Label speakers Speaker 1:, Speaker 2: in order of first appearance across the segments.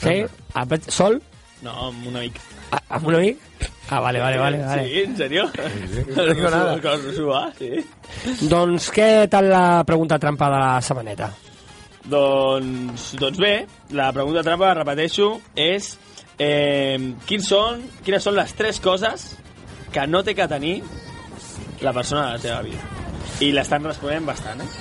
Speaker 1: Sí? A pet- Sol?
Speaker 2: No, amb un amic.
Speaker 1: A, amb un amic? Ah, vale, vale, vale. vale.
Speaker 2: Sí, en serio. No
Speaker 1: digo nada.
Speaker 2: Con su A, sí.
Speaker 1: Doncs què tal la pregunta trampa de la setmaneta?
Speaker 2: Doncs, doncs bé, la pregunta trampa, repeteixo, és eh, quins són, quines són les tres coses que no té que tenir la persona de la seva vida. I l'estan responent bastant, eh?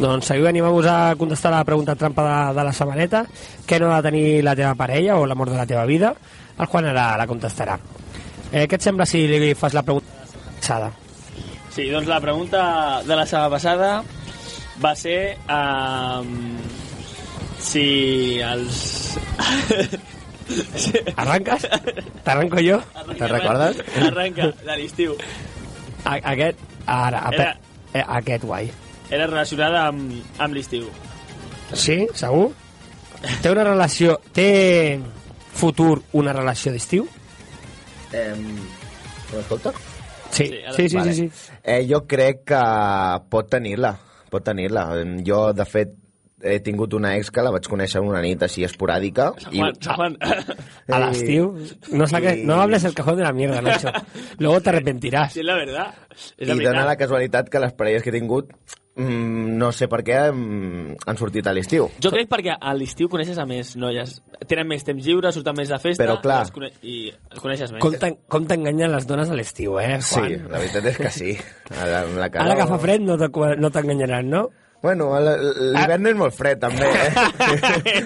Speaker 1: Doncs seguiu animant-vos a contestar la pregunta trampa de, de la setmaneta. Què no ha de tenir la teva parella o l'amor de la teva vida? El Juan ara la contestarà. Eh, què et sembla si li fas la pregunta de la setmana passada?
Speaker 2: Sí, doncs la pregunta de la setmana passada va ser um, si els... Sí.
Speaker 1: Arranques? T'arranco jo?
Speaker 2: Arrenca,
Speaker 3: recordes?
Speaker 2: Arrenca, de l'estiu.
Speaker 1: A, aquest, ara, a,
Speaker 2: Era-
Speaker 1: pe- eh, aquest guai.
Speaker 2: Era relacionada amb, amb l'estiu.
Speaker 1: Sí, segur? Té una relació... Té futur una relació d'estiu?
Speaker 3: Eh, M'escolta?
Speaker 1: Sí,
Speaker 2: Sí, ara-
Speaker 1: sí, sí,
Speaker 3: Vale.
Speaker 1: sí, sí.
Speaker 3: Eh, jo crec que pot tenir-la, pot tenir-la. Em, Jo, de fet, he tingut una ex que la vaig conèixer una nit així esporàdica.
Speaker 2: Sant Juan, Sant Juan.
Speaker 1: A l'estiu. No, saques, no hables el cajón de la mierda, Nacho. Luego te arrepentirás.
Speaker 2: Sí, és la veritat. És
Speaker 3: I
Speaker 2: la
Speaker 3: dona la
Speaker 2: veritat.
Speaker 3: casualitat que les parelles que he tingut, mm, no sé per què, mm, han sortit a l'estiu.
Speaker 2: Jo crec perquè a l'estiu coneixes a més noies. Tenen més temps lliure, surten més de festa...
Speaker 3: Però, clar.
Speaker 2: les Cone I les coneixes més.
Speaker 1: Com t'en- com t'enganyen les dones a l'estiu, eh,
Speaker 3: Sí,
Speaker 1: Juan?
Speaker 3: la veritat és que sí. Ara, amb la cara...
Speaker 1: Ara que fa fred no te- no t'enganyaran, no?
Speaker 3: Bueno, a la- l'hivern és molt fred, també, eh?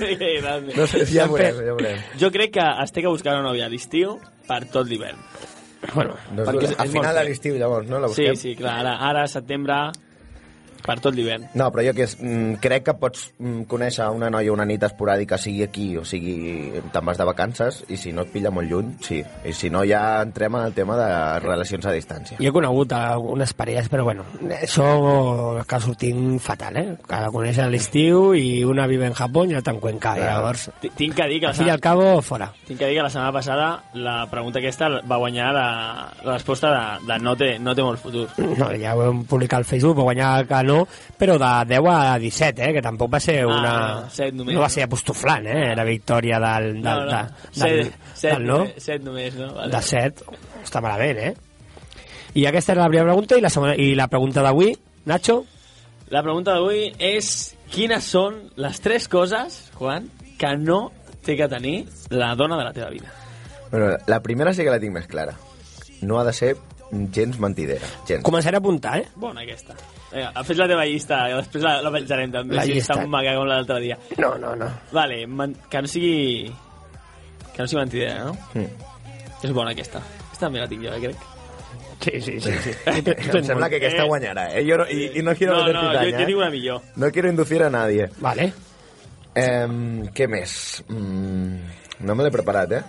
Speaker 3: No sé, ja veurem, ja veurem.
Speaker 2: jo crec que es té que buscar una nòvia a l'estiu per tot l'hivern.
Speaker 1: Bueno,
Speaker 3: Doncs,
Speaker 2: Perquè és-
Speaker 3: a
Speaker 2: és molt
Speaker 3: final de
Speaker 2: fred.
Speaker 3: l'estiu, llavors, no? La
Speaker 2: Sí,
Speaker 3: busquem?
Speaker 2: sí, clar, ara, ara setembre, per tot l'hivern.
Speaker 3: No, però jo que és, mm, crec que pots mm, conèixer una noia una nit esporàdica, sigui aquí, o sigui, te'n vas de vacances, i si no et pilla molt lluny, sí. I si no, ja entrem en el tema de relacions a distància.
Speaker 1: jo he conegut algunes parelles, però bueno, això que sortim fatal, eh? Que la coneixen a l'estiu i una vive en Japó i l'altra en Cuenca,
Speaker 3: Clar.
Speaker 1: llavors...
Speaker 2: Ti- Tinc que dir que la
Speaker 1: Al fi i
Speaker 2: setmana,
Speaker 1: al cabo, fora.
Speaker 2: tinc que, dir que la setmana passada la pregunta aquesta va guanyar la, la resposta de, de no, té, no té molt futur.
Speaker 1: No, ja ho vam publicar al Facebook, va guanyar que no, però de 10 a 17, eh? Que tampoc va ser una...
Speaker 2: Ah, set només,
Speaker 1: no va
Speaker 2: no?
Speaker 1: ser apostoflant, eh? La victòria del... del,
Speaker 2: No, no,
Speaker 1: del, del,
Speaker 2: set, set,
Speaker 1: del no.
Speaker 2: només- set només, no? Vale.
Speaker 1: de 7 està malament, eh? I aquesta era la primera pregunta i la, segona, i la pregunta d'avui, Nacho,
Speaker 2: La pregunta d'avui és quines són les tres coses, Juan, que no té que tenir la dona de la teva vida.
Speaker 3: Bueno, la primera sí que la tinc més clara. No ha de ser gens mentidera. Gens.
Speaker 1: començaré a apuntar, eh?
Speaker 2: Bona aquesta. Vinga, fes la teva llista i després la, la penjarem també.
Speaker 1: La
Speaker 2: si
Speaker 1: llista.
Speaker 2: Està maca com l'altre dia.
Speaker 1: No, no, no.
Speaker 2: Vale, man, que no sigui... Que no sigui mentidera, no?
Speaker 3: Mm.
Speaker 2: És bona aquesta. Aquesta també la tinc jo, eh, crec.
Speaker 1: Sí, sí, sí. sí.
Speaker 3: Em sembla que aquesta guanyarà, eh? Jo no, i, i no quiero
Speaker 2: no,
Speaker 3: meter
Speaker 2: no,
Speaker 3: cizaña,
Speaker 2: jo, jo
Speaker 3: eh?
Speaker 2: tinc una millor.
Speaker 3: No quiero inducir a nadie.
Speaker 1: Vale,
Speaker 3: Eh, què més? Mm, no me l'he preparat, eh?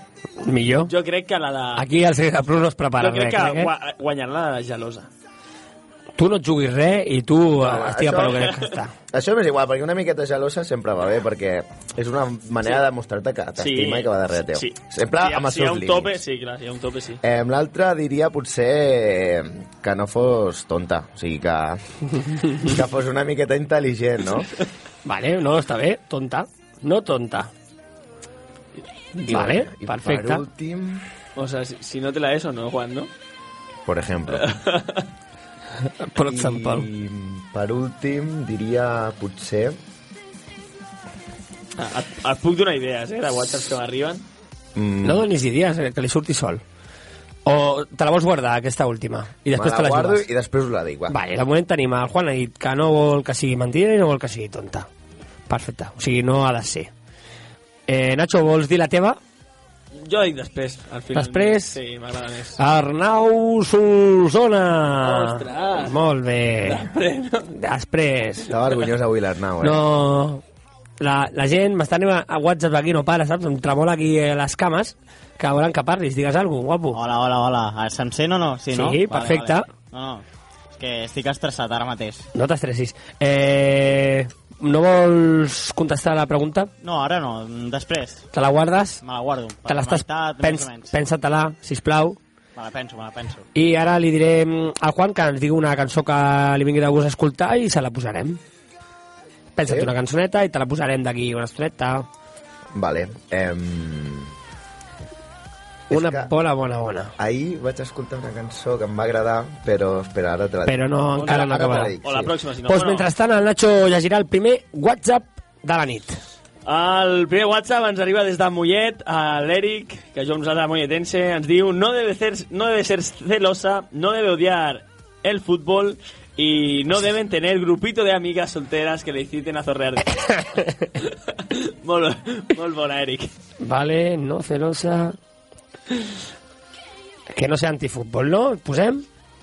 Speaker 1: millor.
Speaker 2: Jo crec que la de...
Speaker 1: Aquí el Sergi Plus no es prepara
Speaker 2: jo crec
Speaker 1: res,
Speaker 2: que
Speaker 1: crec, eh?
Speaker 2: gua- guanyar-la de gelosa.
Speaker 1: Tu no et juguis res i tu no, estia
Speaker 3: això-
Speaker 1: això... pel que crec que està.
Speaker 3: Això m'és igual, perquè una miqueta gelosa sempre va bé, perquè és una manera de mostrar-te que t'estima i que va darrere teu.
Speaker 2: Sí.
Speaker 3: Sempre
Speaker 2: si,
Speaker 3: amb els
Speaker 2: si hi ha
Speaker 3: seus
Speaker 2: un
Speaker 3: límits.
Speaker 2: tope, sí, clar, si hi ha un tope, sí.
Speaker 3: Eh, L'altra diria potser eh, que no fos tonta, o sigui que, que fos una miqueta intel·ligent, no?
Speaker 1: Vale, no, està bé, tonta. No tonta. vale,
Speaker 3: i
Speaker 1: perfecte.
Speaker 3: per últim,
Speaker 2: O sea, si, si no te la es o no, Juan, ¿no?
Speaker 3: por ejemplo.
Speaker 1: Per exemple.
Speaker 3: I per últim diria potser...
Speaker 2: Ah, Et, et puc donar idees, eh, de whatsapps que m'arriben.
Speaker 3: Mm,
Speaker 1: No donis idees, eh, que li surti sol. O te la vols guardar, aquesta última, i després
Speaker 3: me
Speaker 1: te
Speaker 3: la
Speaker 1: la
Speaker 3: guardo
Speaker 1: jugues.
Speaker 3: i després us la dic, va.
Speaker 1: Vale, de moment tenim el Juan ha dit que no vol que sigui mentida i no vol que sigui tonta. Perfecte, o sigui, no ha de ser. Eh, Nacho, vols dir la teva?
Speaker 2: Jo dic després, al final.
Speaker 1: Després?
Speaker 2: Sí, m'agrada més.
Speaker 1: Arnau Solsona!
Speaker 2: Ostres!
Speaker 1: Molt bé.
Speaker 2: Després, no?
Speaker 1: Després.
Speaker 3: Estava vergonyós avui l'Arnau, eh?
Speaker 1: No... La, la gent m'està anant a WhatsApp aquí, no para, saps? Em tremola aquí eh, les cames, que volen que parlis, digues alguna cosa, guapo.
Speaker 4: Hola, hola, hola. Eh, Se'm sent o no? Sí,
Speaker 1: Sí,
Speaker 4: no?
Speaker 1: perfecte.
Speaker 4: No, no. És que estic estressat ara mateix.
Speaker 1: No t'estressis. Eh, no vols contestar la pregunta?
Speaker 4: No, ara no. mm, Després.
Speaker 1: Te la guardes?
Speaker 4: Me la guardo. Per
Speaker 1: Te l'estàs...
Speaker 4: Meitat,
Speaker 1: Pens,
Speaker 4: més o menys.
Speaker 1: Pensa-te-la, sisplau.
Speaker 4: Me la penso, me la penso.
Speaker 1: I ara li diré mm, al Juan que ens digui una cançó que li vingui de gust escoltar i se la posarem. Pensa't
Speaker 3: Sí?
Speaker 1: una cançoneta i te la posarem d'aquí una estoneta.
Speaker 3: Vale. Eh,
Speaker 1: Una
Speaker 3: que-
Speaker 1: bona, bona, bona.
Speaker 3: ahir vaig escoltar una cançó que em va agradar, però espera, ara te la dic.
Speaker 1: Però no,
Speaker 3: ara
Speaker 1: encara no
Speaker 3: te la
Speaker 1: acabarà.
Speaker 3: dic,
Speaker 2: O la
Speaker 3: sí.
Speaker 2: pròxima, si no.
Speaker 1: Doncs pues
Speaker 2: bueno,
Speaker 1: mentrestant el Nacho llegirà el primer WhatsApp de la nit.
Speaker 2: El primer WhatsApp ens arriba des de Mollet, a l'Eric, que jo amb nosaltres molletense, ens diu no debe ser, no debe ser celosa, no debe odiar el fútbol y no deben tener grupito de amigas solteras que le inciten a zorrear. molt, bo- molt bona, Eric.
Speaker 1: Vale, no celosa... Que no sea antifútbol, no? El Posem?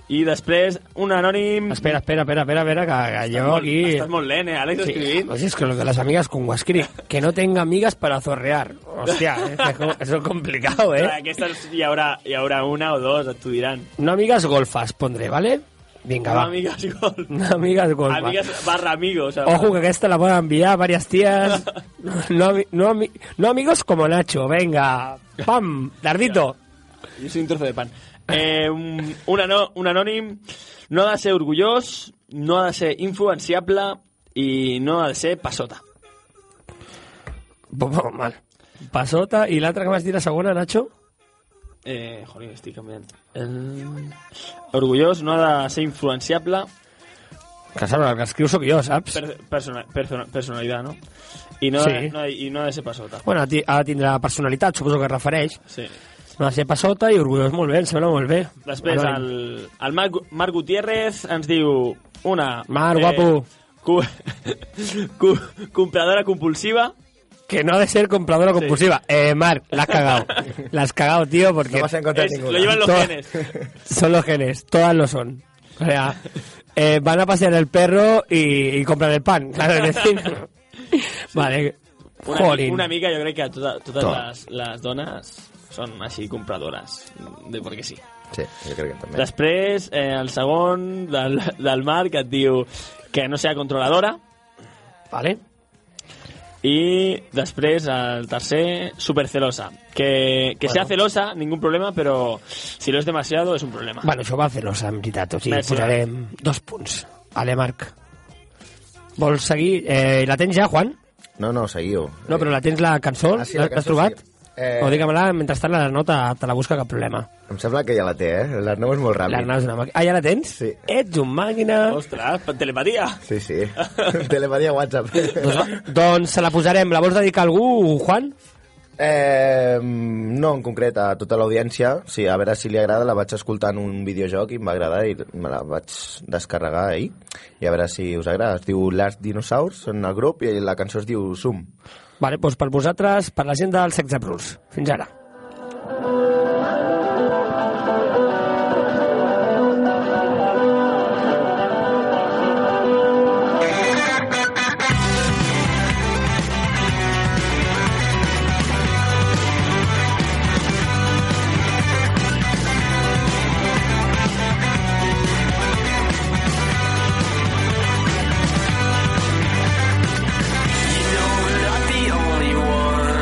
Speaker 2: I després, un anònim...
Speaker 1: Espera, espera, espera, espera, espera que, que
Speaker 2: Estàs
Speaker 1: jo
Speaker 2: molt-
Speaker 1: aquí...
Speaker 2: Estàs molt lent, eh, Àlex,
Speaker 1: Sí,
Speaker 2: escrivint.
Speaker 1: pues es que lo de las amigas con Guascri, que no tenga amigas para zorrear. Hostia, eh, que co- eso es complicado,
Speaker 2: Clar,
Speaker 1: ¿eh?
Speaker 2: Aquestes hi haurà, hi haurà una o dos, et t'ho diran.
Speaker 1: No amigas golfas pondré, ¿vale? Venga,
Speaker 2: No,
Speaker 1: va.
Speaker 2: amigues, gol.
Speaker 1: No amigas golfas.
Speaker 2: Amigues barra amigos. o sea,
Speaker 1: Ojo que aquesta la pueden enviar varias tías. No, ami- no, ami- no amigos como Nacho, venga. ¡Pam! Dardito.
Speaker 2: Yo soy un trozo de pan. Eh, un, un, ano- un anònim no ha de ser orgullós, no ha de ser influenciable i no ha de ser passota.
Speaker 1: Pues vamos mal. Pasota y la otra que más tira segona, Nacho.
Speaker 2: Eh, joder, estic canviant. El... Orgullós no ha de ser influenciable,
Speaker 1: Que saps, el que escriu sóc jo, saps?
Speaker 2: per, persona, persona, personalitat, no? I no, ha de,
Speaker 1: Sí.
Speaker 2: no, ha de- i no ha de ser passota.
Speaker 1: Bueno, ti- ara tindrà personalitat, suposo que es refereix.
Speaker 2: Sí.
Speaker 1: No, ser passota i orgullós molt bé, em sembla molt bé.
Speaker 2: Després,
Speaker 1: Anònim.
Speaker 2: el, el Marc, Marc Gutiérrez ens diu una... eh,
Speaker 1: Marc, guapo.
Speaker 2: Cu, cu, compradora compulsiva.
Speaker 1: Que no ha de ser compradora compulsiva. Eh, Marc, la has cagado. la has cagado, tío, porque
Speaker 3: No vas a encontrar
Speaker 2: Es, lo
Speaker 3: ninguna.
Speaker 2: llevan los
Speaker 1: Toda-
Speaker 2: genes.
Speaker 1: son los genes. Todas lo son. O sea, eh, van a pasear el perro y, y compran el pan. Claro, es decir. Vale.
Speaker 2: Una,
Speaker 1: Jolín.
Speaker 2: mi- una mica jo crec que tota, totes
Speaker 3: Tot.
Speaker 2: les, les dones són així compradores, de perquè sí.
Speaker 3: Sí, jo crec que també.
Speaker 2: Després, eh, el segon del, del Marc et diu que no sea controladora
Speaker 1: Vale.
Speaker 2: i després el tercer, supercelosa. Que, que bueno. sea celosa, ningún problema, però si lo es demasiado es un problema.
Speaker 1: Bueno, això va celosa, en veritat. O sigui,
Speaker 2: Merci,
Speaker 1: posarem dos punts. Vale, Marc. Vols seguir? Eh, la tens ja, Juan?
Speaker 3: No, no, seguiu. Eh,
Speaker 1: No, però la tens la cançó?
Speaker 3: Ah, sí, la
Speaker 1: L'has
Speaker 3: cançó,
Speaker 1: trobat?
Speaker 3: sí. Eh,
Speaker 1: O digue-me-la, mentrestant la nota te la busca cap problema.
Speaker 3: Em sembla que ja la té, eh? L'Arnau és molt ràpid.
Speaker 1: L'Arnau és una màquina. Ah, ja la tens?
Speaker 3: Sí.
Speaker 1: Ets un màquina.
Speaker 2: Ostres, telepatia!
Speaker 3: Sí, sí. Telepatia WhatsApp.
Speaker 1: Doncs, va, doncs se la posarem. La vols dedicar a algú, Juan?
Speaker 3: Eh, no, en concret, a tota l'audiència. Sí, a veure si li agrada. La vaig escoltar en un videojoc i em va agradar i me la vaig descarregar ahir. I a veure si us agrada. Es diu Last Dinosaurs en el grup i la cançó es diu Zoom.
Speaker 1: Vale, doncs per vosaltres, per la gent del 16 Plus. Fins ara.
Speaker 5: not the only one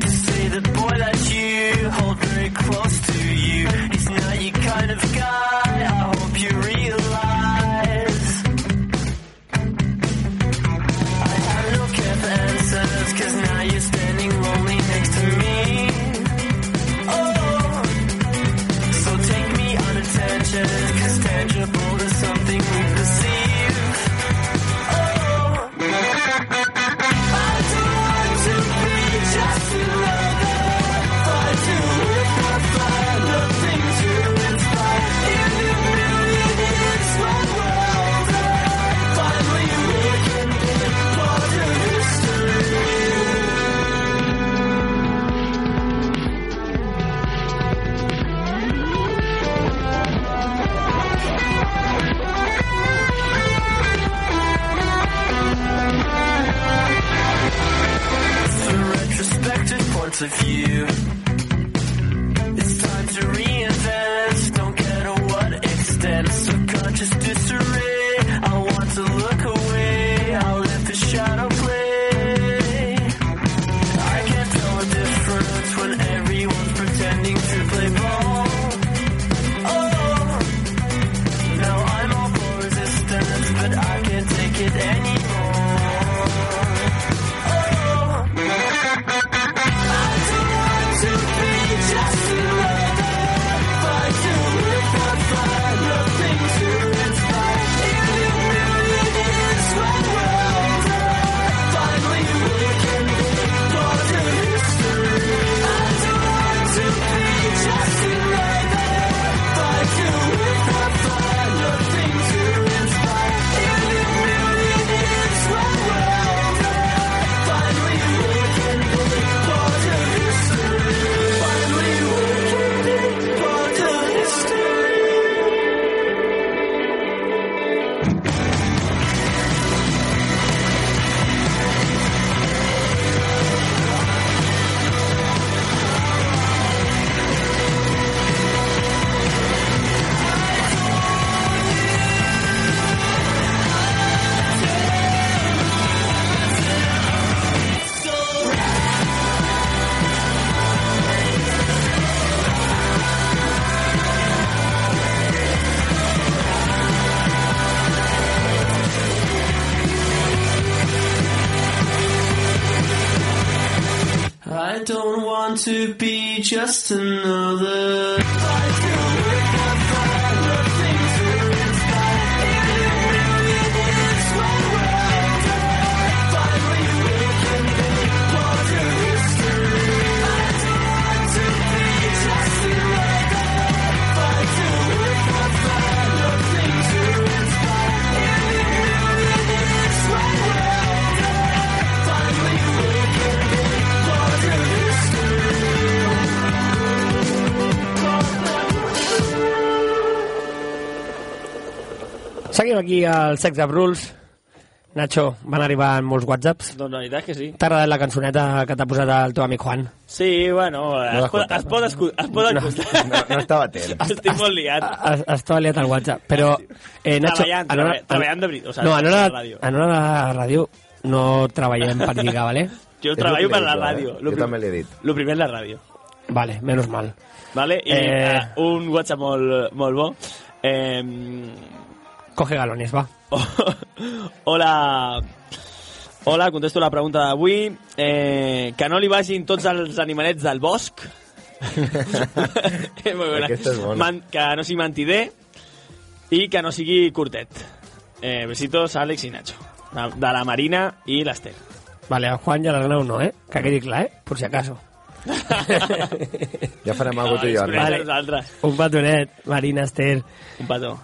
Speaker 5: to say the boy that you hold very close to you is not your kind of guy. I hope you realize. I have no care for answers, cause now you're standing lonely next to me. Oh, so take me unintention, cause tangible is something we perceive. Oh. I don't want to be just another fight to live for fire, nothing to inspire. In a million years, my world finally we can be part of history. the retrospective points of view. It's time to reinvent, don't care to what extent. Subconscious disarray, I want to look away, I'll let the shadow play. I can't tell the difference when everyone's pretending to play ball. Oh, now I'm all for resistance, but I can't take it anymore. Oh. I don't want to be just another.
Speaker 1: Seguim aquí al Sex of Rules. Nacho, van arribar molts whatsapps.
Speaker 2: Doncs la veritat és que sí.
Speaker 1: T'ha agradat la cançoneta que t'ha posat el teu amic Juan?
Speaker 2: Sí, bueno, eh, es,
Speaker 3: l'has
Speaker 2: pot,
Speaker 3: escoltat.
Speaker 2: es pot, escu- es pot escoltar.
Speaker 3: No, no estava atent.
Speaker 2: Estic molt liat.
Speaker 1: Es- Estava liat al WhatsApp, però... Eh,
Speaker 2: Ah,
Speaker 1: Nacho,
Speaker 2: Treballant,
Speaker 1: en hora-
Speaker 2: treball- treballant de veritat, o sigui,
Speaker 1: no, en hora,
Speaker 2: de
Speaker 1: de,
Speaker 2: ràdio.
Speaker 1: en hora de ràdio no treballem per lligar, vale?
Speaker 2: Jo
Speaker 3: És
Speaker 2: treballo
Speaker 3: el que
Speaker 2: per
Speaker 3: li
Speaker 2: la
Speaker 3: dic jo, eh?
Speaker 2: ràdio.
Speaker 3: Jo també l'he dit.
Speaker 2: El primer és la ràdio.
Speaker 1: Vale, menos mal.
Speaker 2: Vale? I
Speaker 1: Eh.
Speaker 2: eh... uh, un WhatsApp molt, molt bo. Eh...
Speaker 1: Coge galones, va.
Speaker 2: Hola... Hola, contesto la pregunta d'avui. Eh, que no li vagin tots els animalets del bosc. Eh, molt bona.
Speaker 3: Aquesta és bona.
Speaker 2: Man, que no sigui mentider i que no sigui curtet. Eh, besitos, Àlex i Nacho. De, de la Marina i l'Ester.
Speaker 1: Vale, a Juan i a l'Arnau no, eh? Que quedi clar, eh? Per si acaso.
Speaker 3: Ja farem
Speaker 2: Ah,
Speaker 3: alguna cosa tu i jo.
Speaker 2: Vale.
Speaker 3: Arnau.
Speaker 2: Nosaltres.
Speaker 1: Un petonet, Marina, Esther...
Speaker 2: Un petó.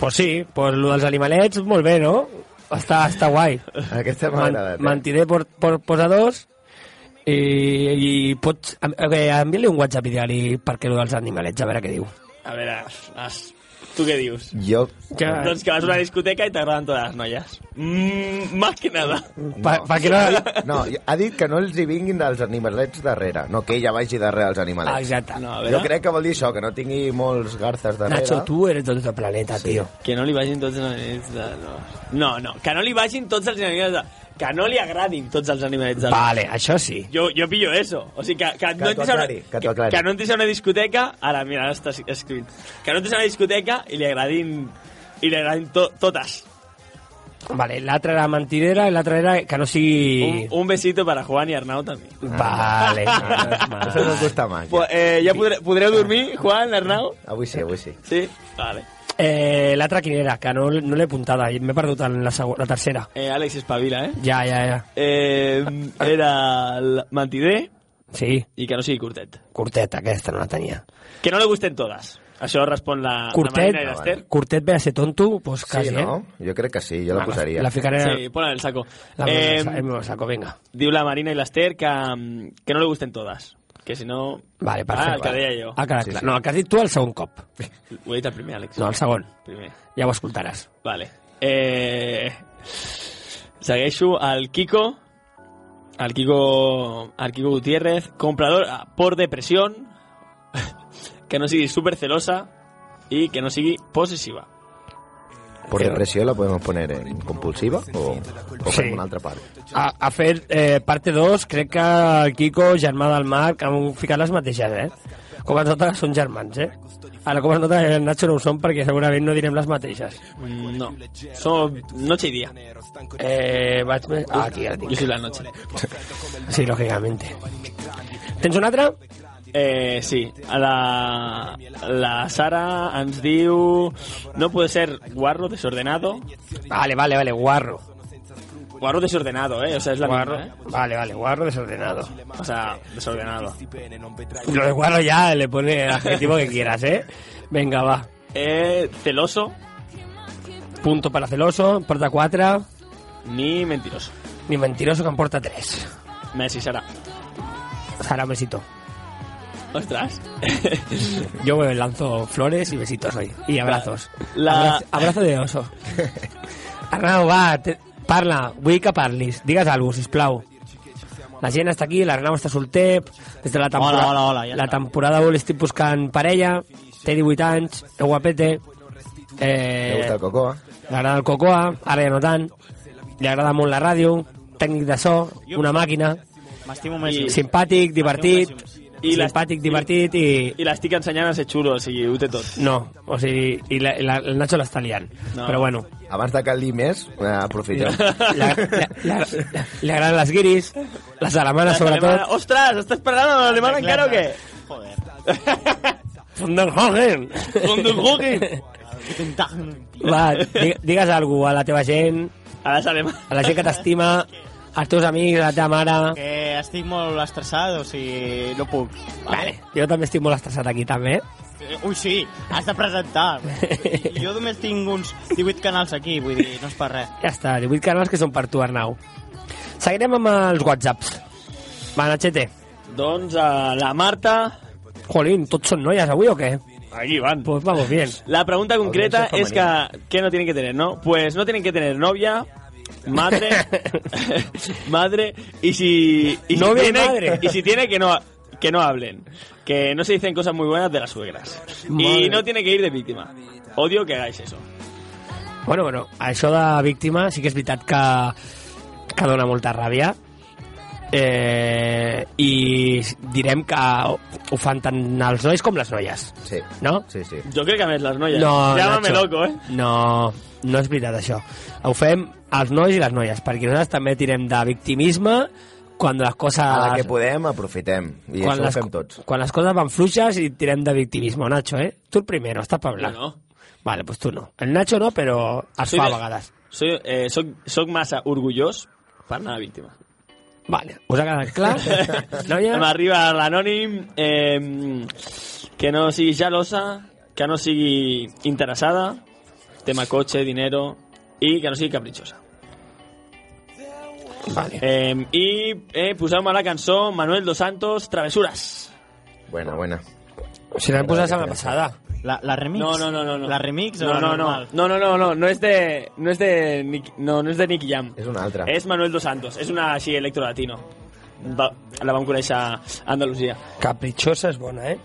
Speaker 1: Pues sí, pues lo dels animalets, molt bé, no? Està, està guai.
Speaker 3: Aquesta m'ha
Speaker 1: Man,
Speaker 3: agradat. eh?
Speaker 1: mentider por, por posadors i, i pots... Okay, Envia-li un WhatsApp i digue-li per què lo dels animalets, a veure què diu.
Speaker 2: A veure, has... tu què dius?
Speaker 3: Jo...
Speaker 1: Ja,
Speaker 2: Doncs que vas a una discoteca i t'agraden totes les noies. Mm, más que nada.
Speaker 1: pa, pa que no...
Speaker 3: No, ha dit que no els hi vinguin dels animalets darrere. No, que ella vagi darrere els animalets.
Speaker 1: Ah, Exacte.
Speaker 2: No, a
Speaker 3: Jo
Speaker 2: veure,
Speaker 3: crec que vol dir això, que no tingui molts garces darrere.
Speaker 1: Nacho, tu eres de otro planeta, sí. tio.
Speaker 2: que no li vagin tots els animalets de... No, no, no que no li vagin tots els animalets de... Que no li agradin tots els animalets de...
Speaker 1: Vale, això sí.
Speaker 2: Jo, jo pillo eso. O sigui, que,
Speaker 3: Que
Speaker 2: que, no
Speaker 3: t'ho
Speaker 2: entris a una,
Speaker 3: aclari, que t'ho aclari.
Speaker 2: que no entris a una discoteca... Ara, mira, ara està escrit. Que no entris a una discoteca i li agradin... I li agradin to, totes.
Speaker 1: Vale, l'altra era mentidera i l'altra era que no sigui...
Speaker 2: Un, un besito para Juan i Arnau també.
Speaker 1: Vale, menos
Speaker 3: Això no
Speaker 1: mal.
Speaker 3: costa mà.
Speaker 2: Pues, eh, ja podré, podreu dormir, Juan, Arnau?
Speaker 3: Avui sí, avui sí.
Speaker 2: Sí? Vale.
Speaker 1: Eh, l'altra quina era? Que no, no l'he apuntada, i m'he perdut en la, segu- la tercera.
Speaker 2: Eh, Àlex, espavila, eh?
Speaker 1: Ja, ja, ja.
Speaker 2: Eh, era el mentider
Speaker 1: Sí,
Speaker 2: i que no sigui curtet.
Speaker 1: curtet, aquesta no la tenia.
Speaker 2: Que no le gusten todas. Això respon la, la
Speaker 1: Curtet,
Speaker 2: Marina i l'Ester.
Speaker 1: curtet ve a ser tonto, doncs quasi,
Speaker 3: Sí, no? Jo crec que sí, jo la posaria.
Speaker 1: La ficaré...
Speaker 2: Sí, ponla en el saco.
Speaker 1: La
Speaker 2: Eh,
Speaker 1: em lo saco, venga.
Speaker 2: diu la Marina i l'Ester que, mm, que no le gusten todas. Que si no... ah,
Speaker 1: Vale,
Speaker 2: el
Speaker 1: perfecte.
Speaker 2: que deia jo.
Speaker 1: Ha quedat
Speaker 3: Sí,
Speaker 1: clar.
Speaker 3: sí.
Speaker 1: No, el que has dit tu el segon cop.
Speaker 2: Ho he dit el primer, Àlex.
Speaker 1: No, el segon.
Speaker 2: Primer.
Speaker 1: Ja ho escoltaràs.
Speaker 2: Vale. Eh, segueixo al Kiko. Al Kiko, al Kiko Gutiérrez. Comprador ah, por depresión. que no sigui súper celosa. I que no sigui possessiva.
Speaker 3: Por depresión la podemos poner en compulsiva o, o sí.
Speaker 1: Sí.
Speaker 3: en una altra part.
Speaker 1: Ha, ha fet eh, parte 2, crec que el Kiko, germà del Marc, han ficat les mateixes, eh? Com es nota que són germans, eh? Ara, com es nota que el Nacho no ho són perquè segurament no direm les mateixes.
Speaker 2: Mm, No. Som noche y día.
Speaker 1: Eh, vaig... me- Ah, aquí ja la
Speaker 2: Yo
Speaker 1: tinc.
Speaker 2: soy la noche.
Speaker 1: Sí, lògicament. Tens una altra?
Speaker 2: Eh, sí, a la, la Sara ens diu... No puede ser guarro desordenado.
Speaker 1: Vale, vale, vale, guarro.
Speaker 2: Guarro desordenado, eh? O sea, es la
Speaker 1: Guarro,
Speaker 2: misma, eh?
Speaker 1: vale, vale, guarro desordenado.
Speaker 2: O sea, desordenado.
Speaker 1: Lo de guarro ya le pone el adjetivo que quieras, ¿eh? Venga, va.
Speaker 2: Eh, celoso
Speaker 1: Punto para celoso, porta 4,
Speaker 2: ni mentiroso.
Speaker 1: ni mentiroso que en porta 3.
Speaker 2: Messi, Sara.
Speaker 1: Sara, besito.
Speaker 2: Ostras.
Speaker 1: Yo me lanzo flores y besitos hoy. Y abrazos.
Speaker 2: La-
Speaker 1: Abrazo, abrazo de oso. Arnau, va, te- parla, vull que parlis. Digues alguna cosa, sisplau. La gent està aquí, l'Arnau està solter, des de la temporada...
Speaker 4: Hola, hola, hola, ja
Speaker 1: la
Speaker 4: està.
Speaker 1: temporada vol estic buscant parella, té 18 anys, és guapete,
Speaker 3: Me
Speaker 1: eh,
Speaker 3: gusta el cocoa.
Speaker 1: Li agrada el cocoa, ara ja no tant. Li agrada molt la ràdio, tècnic de so, una màquina,
Speaker 4: M'estimo més.
Speaker 2: I-
Speaker 4: I...
Speaker 1: simpàtic, divertit,
Speaker 2: I les-
Speaker 1: simpàtic, divertit i...
Speaker 2: I l'estic ensenyant a ser xulo, o sigui, ho té tot.
Speaker 1: No, o sigui, i la, la, el Nacho l'està liant.
Speaker 2: No.
Speaker 1: No. Però bueno,
Speaker 3: Abans de que li més, eh, aprofitem.
Speaker 1: li agra- li agra- li agraden les guiris, les
Speaker 2: Alemana-
Speaker 1: alemanes sobretot.
Speaker 2: Ostres, estàs parlant amb l'alemana encara o què?
Speaker 4: Joder.
Speaker 1: Von der Hogen!
Speaker 2: Von der Hogen.
Speaker 1: Va, di- digues alguna a la teva gent,
Speaker 2: A les alemanes.
Speaker 1: a la gent que t'estima, als teus amics, a la teva mare...
Speaker 4: Que estic molt estressat, o sigui, no puc.
Speaker 1: Vale. Jo també estic molt estressat aquí, també.
Speaker 4: Eh, Ui, sí, has de presentar. Jo només tinc uns 18 canals aquí, vull dir, no és per res.
Speaker 1: Ja està, 18 canals que són per tu, Arnau. Seguirem amb els whatsapps. Va, Nachete.
Speaker 2: Doncs a la Marta...
Speaker 1: Jolín, tots són noies avui o què?
Speaker 2: Aquí van.
Speaker 1: Pues vamos bien.
Speaker 2: La pregunta concreta
Speaker 3: Audiencia
Speaker 2: es que ¿qué no tienen que tener, no? Pues no tienen que tener novia, madre, madre y si y si
Speaker 1: Novia y
Speaker 2: tiene-
Speaker 1: madre.
Speaker 2: y si tiene que no que no hablen, que no se dicen cosas muy buenas de las suegras
Speaker 1: Madre.
Speaker 2: y no tiene que ir de víctima. Odio que hagáis eso.
Speaker 1: Bueno, bueno, això de víctima sí que és veritat que, que dona molta ràbia eh, i direm que ho fan tant els nois com les noies,
Speaker 3: Sí.
Speaker 1: no?
Speaker 3: Sí, sí.
Speaker 2: Yo creo que a ver las noyas.
Speaker 1: No,
Speaker 2: Llámame
Speaker 1: Nacho,
Speaker 2: loco, ¿eh?
Speaker 1: No, no és veritat això. Ho fem els nois i les noies, perquè nosaltres també tirem de victimisme quan les coses...
Speaker 2: Ah,
Speaker 3: A la que podem, aprofitem. I
Speaker 1: Ah, quan
Speaker 3: això ho
Speaker 1: les,
Speaker 3: fem tots.
Speaker 1: Quan les coses van fluixes i tirem de victimisme, Nacho, eh? Tu el primero, estàs per hablar.
Speaker 2: No.
Speaker 1: Vale, pues tu no. El Nacho no, però es
Speaker 2: Soy
Speaker 1: fa
Speaker 2: de-
Speaker 1: a vegades.
Speaker 2: Soy, eh, soc, soc massa orgullós per anar a víctima.
Speaker 1: Vale, us ha quedat clar? Noia?
Speaker 2: Em arriba l'anònim eh, que no sigui jalosa, que no sigui interessada, tema cotxe, dinero i que no sigui capritxosa.
Speaker 1: Vale.
Speaker 2: Eh, I eh, poseu-me la cançó Manuel Dos Santos, Travesures.
Speaker 3: Buena, buena.
Speaker 1: Si l'hem posat la setmana passada.
Speaker 4: La, la remix?
Speaker 2: No, no, no, no, no.
Speaker 4: La remix o
Speaker 2: no,
Speaker 4: la
Speaker 2: no, no,
Speaker 4: normal?
Speaker 2: no, no, no, no, no és de, no és de Nick, no, no és de Nick Jam.
Speaker 3: És una altra.
Speaker 2: És Manuel Dos Santos, és una així electrolatino. Va, la vam conèixer a Andalusia.
Speaker 1: Capritxosa és bona, eh?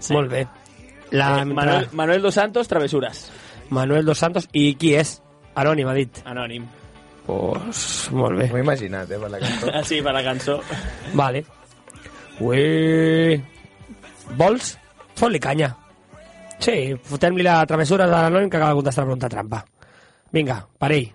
Speaker 1: Sí. Molt bé. La,
Speaker 2: Eh, Manuel, Manuel Dos Santos, Travesures.
Speaker 1: Manuel Dos Santos. I qui és? Anònim, ha dit.
Speaker 2: Anònim.
Speaker 1: Pues, molt bé.
Speaker 3: M'ho he imaginat, eh, per la cançó.
Speaker 2: Ah, Sí, per la cançó.
Speaker 1: Vale. Ui. Vols? Fot-li canya. Sí, fotem-li la travessura de l'anònim que acaba de contestar la pregunta trampa. Vinga, parell.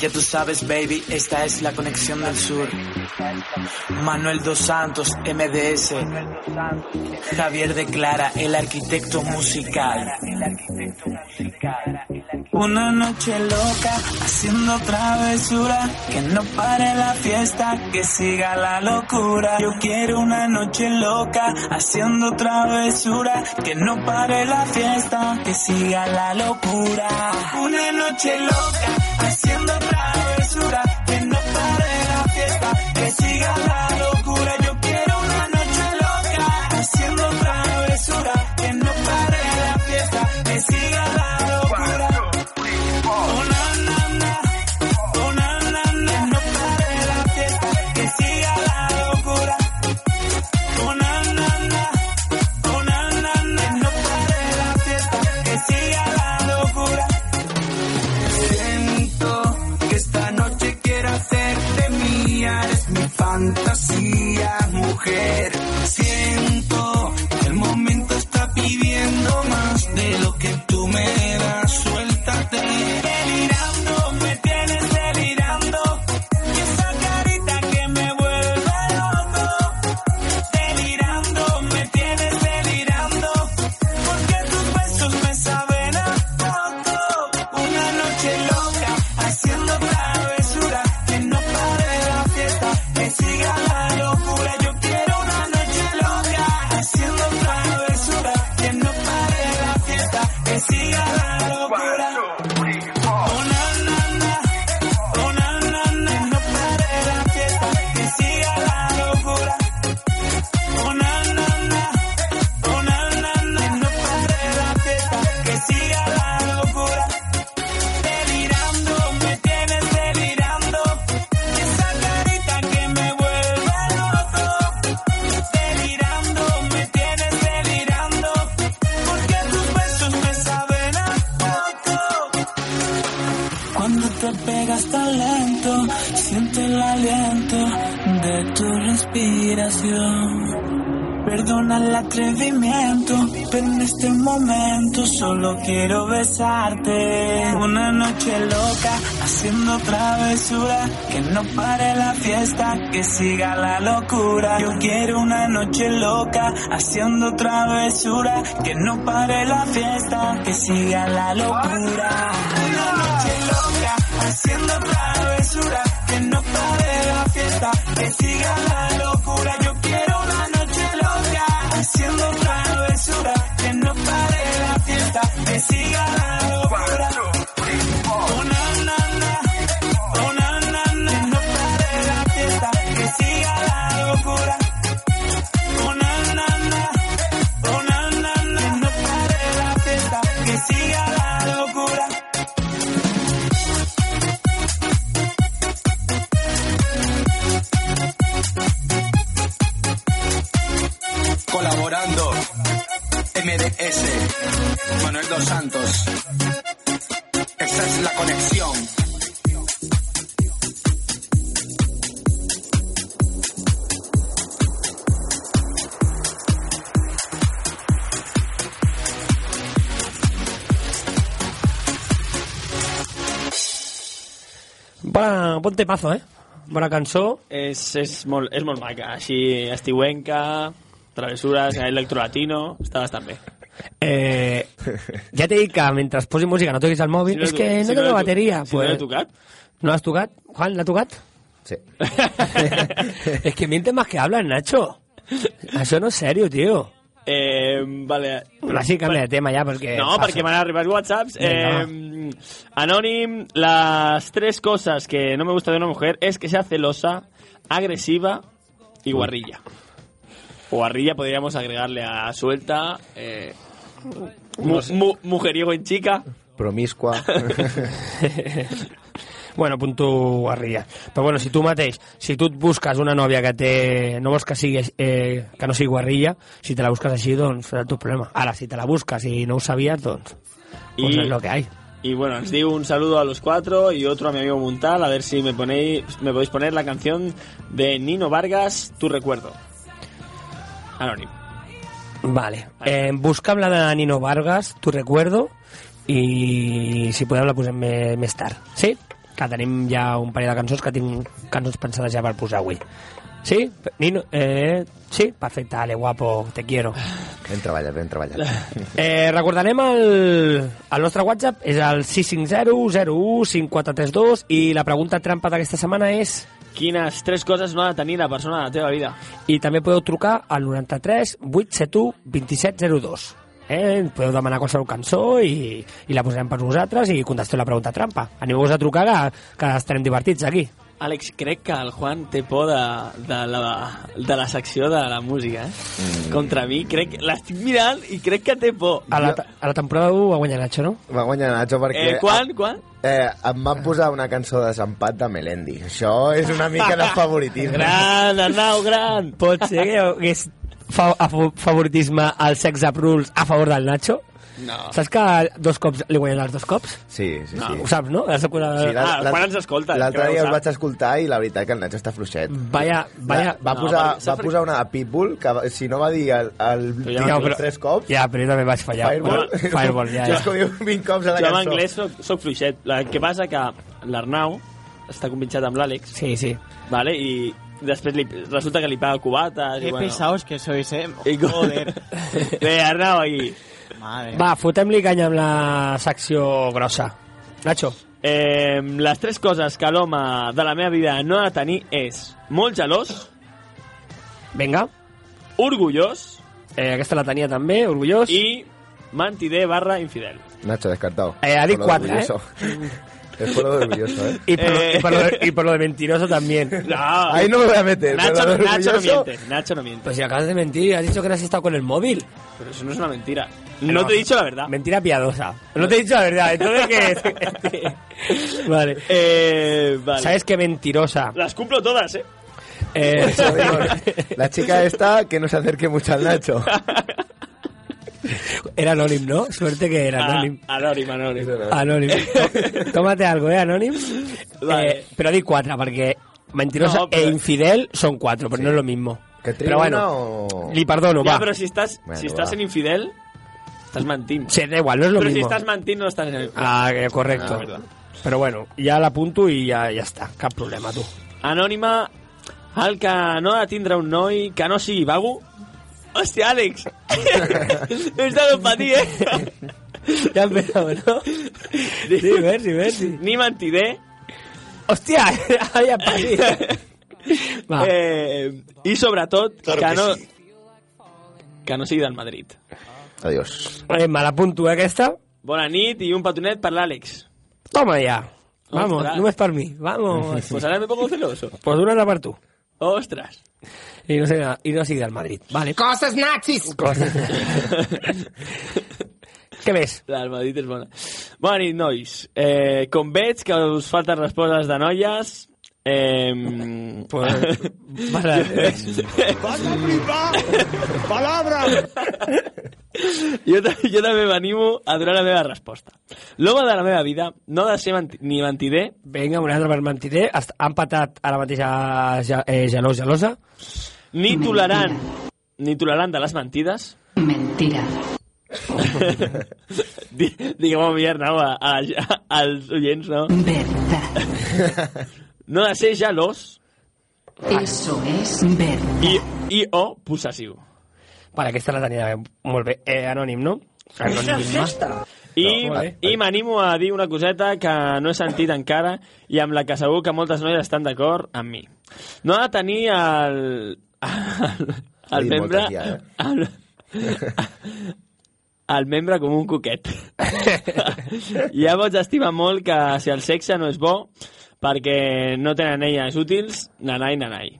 Speaker 6: Ya tú sabes, baby, esta es la conexión del sur. Manuel Dos Santos, MDS. Javier de Clara, el arquitecto musical. Una noche loca, haciendo travesura. Que no pare la fiesta, que siga la locura. Yo quiero una noche loca, haciendo travesura. Que no pare la fiesta, que siga la locura. Una noche loca, haciendo travesura. Que no pare la fiesta, que siga la locura. Yo quiero una noche loca, haciendo travesura. Que no pare la fiesta, que siga la locura. Oh, na, na, na. Oh, na, na, na. Que no pare la fiesta, que siga la locura. Oh, na, na, na. Oh, na, na, na. Que no pare la fiesta, que siga la locura. Siento que esta noche quiero
Speaker 7: Oh,
Speaker 6: respiración. Perdona el atrevimiento, pero en este momento solo quiero besarte. Una noche loca, haciendo travesura, que no pare la fiesta, que siga la locura. Yo quiero una noche loca, haciendo travesura, que no pare la fiesta, que siga la locura. Una noche loca, haciendo travesura, que no pare la fiesta, que siga la locura. Yo quiero una noche loca, haciendo travesura, que no pare la fiesta, que siga la locura. Oh, na, na, na. Oh, na, na, na. Que no pare la fiesta, que siga la locura. Oh, na, na, na. Oh, na, na, na. Que no pare la fiesta, que siga la locura.
Speaker 7: Colaborando. MDS. Manuel Dos Santos. Esa es la conexión.
Speaker 1: Bona, bon temazo, eh? Bona cançó.
Speaker 2: És, és, molt, és molt maca, així estiuenca, travessures, electrolatino, està bastant bé.
Speaker 1: Eh, ja t'he dit que mentre es posi música no toquis el mòbil, és que no
Speaker 2: l'he
Speaker 1: tengo
Speaker 2: to-
Speaker 1: bateria.
Speaker 2: Si no l'he tocat.
Speaker 1: ¿No has tocado? Juan, ¿la has tocado?
Speaker 3: Sí.
Speaker 1: es que mientes más que hablas, Nacho. Eso no es serio, tío.
Speaker 2: Eh, vale.
Speaker 1: Así cambia de tema ya, porque...
Speaker 2: No,
Speaker 1: paso.
Speaker 2: perquè m'han arribat whatsapps.
Speaker 1: Vinga,
Speaker 2: Eh, anònim, las tres cosas que no me gusta de una mujer es que sea celosa, agresiva y guarrilla. O guarrilla podríamos agregarle a suelta, eh, mu- mu- mujeriego en chica.
Speaker 3: Promiscua.
Speaker 1: Bueno, punto arriba. Pero bueno, si tú matéis, si tú buscas una novia que te... No buscas que, sigui, eh, que no sigui guarrilla, si te la buscas así, doncs, será tu problema. Ahora, si te la buscas y no ho sabies, doncs... Pues
Speaker 2: I-
Speaker 1: es lo que hay.
Speaker 2: Y bueno, os digo un saludo a los cuatro y otro a mi amigo Muntal, a ver si me ponéis, me podéis poner la canción de Nino Vargas, Tu recuerdo. Anónimo.
Speaker 1: Vale. Eh, busca'm la de Nino Vargas, tu recuerdo, i si podem la posem més, més tard. Sí? Que tenim ja un parell de cançons que tinc cançons pensades ja per posar avui. Sí? Nino, eh, sí? Perfecte, ale, guapo, te quiero.
Speaker 3: Ben treballat, ben treballat.
Speaker 1: Eh, recordarem el, el nostre WhatsApp, és el 650-01-5432 i la pregunta trampa d'aquesta setmana és
Speaker 2: Quines tres cosas no ha de tenir la persona de la teva vida?
Speaker 1: i també podeu trucar al 93 871 2702 eh? podeu demanar qualsevol cançó i, i la posarem per vosaltres i contesteu la pregunta trampa aneu-vos a trucar que, que estarem divertits aquí
Speaker 2: Àlex, crec que el Juan té por de, de, la, de la secció de la música, eh? Mm. Contra mi, crec, l'estic mirant i crec que té por.
Speaker 1: a la, ta- a la temporada 1 va guanyar Nacho, no?
Speaker 3: Va guanyar Nacho perquè...
Speaker 2: Eh, quan, quan?
Speaker 3: Eh, em van posar una cançó de desempat de Melendi. Això és una mica de favoritisme.
Speaker 2: Gran, Arnau, gran!
Speaker 1: pot ser que hi hagués fa a fa- favoritisme al sex up rules a favor del Nacho?
Speaker 2: No.
Speaker 1: Saps que dos cops li guanyen els dos cops?
Speaker 3: Sí, sí, sí.
Speaker 1: No, ho saps, no? Has de curar...
Speaker 3: Sí,
Speaker 2: Ah, quan ens escolta,
Speaker 3: L'altre
Speaker 2: creu,
Speaker 3: dia el
Speaker 2: sap.
Speaker 3: vaig escoltar i la veritat que el Nacho està fluixet.
Speaker 1: Vaya, Mm, vaya...
Speaker 3: va, va,
Speaker 2: no,
Speaker 3: posar,
Speaker 2: perquè s'ha
Speaker 3: va
Speaker 2: fre-
Speaker 3: posar una a Pitbull que va- si no va dir el, el
Speaker 2: ja
Speaker 3: ja,
Speaker 2: no,
Speaker 3: però, tres cops
Speaker 1: Ja, però jo també vaig fallar.
Speaker 3: Fireball,
Speaker 1: Fireball, ja,
Speaker 3: Jo
Speaker 1: ja.
Speaker 3: és que ho diu 20 cops a la
Speaker 2: Jo en
Speaker 3: cançó
Speaker 2: anglès soc, soc fluixet. El que passa que l'Arnau està convinxat amb l'Àlex,
Speaker 1: Sí, sí.
Speaker 2: vale? i després li, resulta que li paga cubates.
Speaker 4: Qué
Speaker 2: i bueno.
Speaker 4: pesados que sois, eh.
Speaker 2: I com-
Speaker 4: Joder.
Speaker 2: Bé, Arnau, aquí.
Speaker 4: Madre.
Speaker 1: Va, fotem-li canya amb la secció grossa. Nacho.
Speaker 2: Eh, les tres coses que l'home de la meva vida no ha de tenir és molt gelós,
Speaker 1: Vinga.
Speaker 2: orgullós
Speaker 1: Eh, aquesta la tenia també, orgullós.
Speaker 2: i mentider barra infidel.
Speaker 3: Nacho, descartado
Speaker 1: Eh, ha dit quatre,
Speaker 3: eh? es por lo de orgulloso eh?
Speaker 1: I per, lo,
Speaker 2: Eh.
Speaker 1: i, per lo de, i per lo de mentiroso també.
Speaker 2: No,
Speaker 3: ahí no me voy a
Speaker 1: eh,
Speaker 3: meter
Speaker 2: Nacho,
Speaker 3: pero lo de
Speaker 2: Nacho no
Speaker 3: orgulloso-
Speaker 2: miente, Nacho no miente.
Speaker 1: Pues si acabas de mentir, has dicho que no has estado con el móvil.
Speaker 2: Pero eso no es una mentira.
Speaker 1: Ah,
Speaker 2: No te he dicho la
Speaker 3: Ah.
Speaker 2: verdad.
Speaker 1: Mentira piadosa. No te he dicho la verdad, entonces que... vale.
Speaker 2: Eh, vale.
Speaker 1: ¿Sabes qué mentirosa?
Speaker 2: Las cumplo todas, ¿eh?
Speaker 1: Eh,
Speaker 3: Eso digo, la chica esta que no se acerque mucho al Nacho
Speaker 1: era anónimo, ¿no? Suerte que era anónimo.
Speaker 2: Ah, anònim, anònim.
Speaker 1: Anònim. Tómate algo, eh, anònim.
Speaker 2: Vale.
Speaker 1: Eh, però dic quatre, perquè mentirosa
Speaker 2: No, pero-
Speaker 1: e infidel son cuatro, pero no es lo mismo.
Speaker 3: Que
Speaker 1: pero bueno,
Speaker 3: o...
Speaker 1: li perdono,
Speaker 2: ja,
Speaker 1: va.
Speaker 2: però si estàs,
Speaker 3: Bueno,
Speaker 2: si estàs
Speaker 3: va.
Speaker 2: en infidel, estàs mentint.
Speaker 1: Sí, da igual, no es lo
Speaker 2: Però si
Speaker 1: mismo.
Speaker 2: estàs mentint, no estàs en...
Speaker 1: Ah, eh, correcto. pero bueno, ya la apunto y ya, ya está. Cap problema, tú.
Speaker 2: Anònima, el que no ha de tindre un noi que no sigui vago... Hòstia, Àlex! Ens de patir, eh?
Speaker 1: Ya empezamos, ¿no? Sí, Bersi, Bersi.
Speaker 2: Ni mentider,
Speaker 1: ¡Hostia! Había perdido. Va.
Speaker 2: eh, i sobretot
Speaker 8: Claro
Speaker 2: que,
Speaker 8: que
Speaker 2: no,
Speaker 8: sí.
Speaker 2: que no sigui del Madrid.
Speaker 3: Adiós.
Speaker 1: Eh, me la apunto, eh, aquesta.
Speaker 2: Bona nit i un petonet per l'Àlex.
Speaker 1: Toma ya. Vamos,
Speaker 2: Ostras.
Speaker 1: no es para mí. Vamos.
Speaker 2: Pues ahora me pongo celoso.
Speaker 1: Pues una la para tú.
Speaker 2: Ostras.
Speaker 1: Y no, sé, nada, y no sigue al Madrid. Vale. ¡Cosas nazis! ¿Qué ves?
Speaker 2: La del Madrid és bona. Bona nit, nois. Eh, com veig que us falten respostes de noies... Eh,
Speaker 1: Pues, vale.
Speaker 8: ¡Vas a flipar! ¡Palabras!
Speaker 2: jo, ta- jo també m'animo a donar la meva resposta. L'home de la meva vida no ha de ser menti ni mentider,
Speaker 1: Vinga, un altre per mentiré. Est- Ha empatat ara mateix a ja, eh, Gelós, Gelosa.
Speaker 2: ni tolerant, ni tolerant de les mentides.
Speaker 9: Mentira.
Speaker 2: Di Diguem-ho aviat, no, a, a, als oients, no?
Speaker 9: Verdad.
Speaker 2: No ha de ser gelós
Speaker 9: Eso es verdad.
Speaker 2: i, i o possessiu.
Speaker 1: Vale, aquesta la tenia bé. molt bé. Eh, anònim, no?
Speaker 2: I,
Speaker 1: No, molt bé.
Speaker 2: i m'animo a dir una coseta que no he sentit encara i amb la que segur que moltes noies estan d'acord amb mi. No ha de tenir el... el, el
Speaker 3: dit
Speaker 2: membre...
Speaker 3: moltes ja, eh?
Speaker 2: El, el membre com un coquet. ja pots estimar molt que si el sexe no és bo perquè no tenen elles útils, nanai, nanai.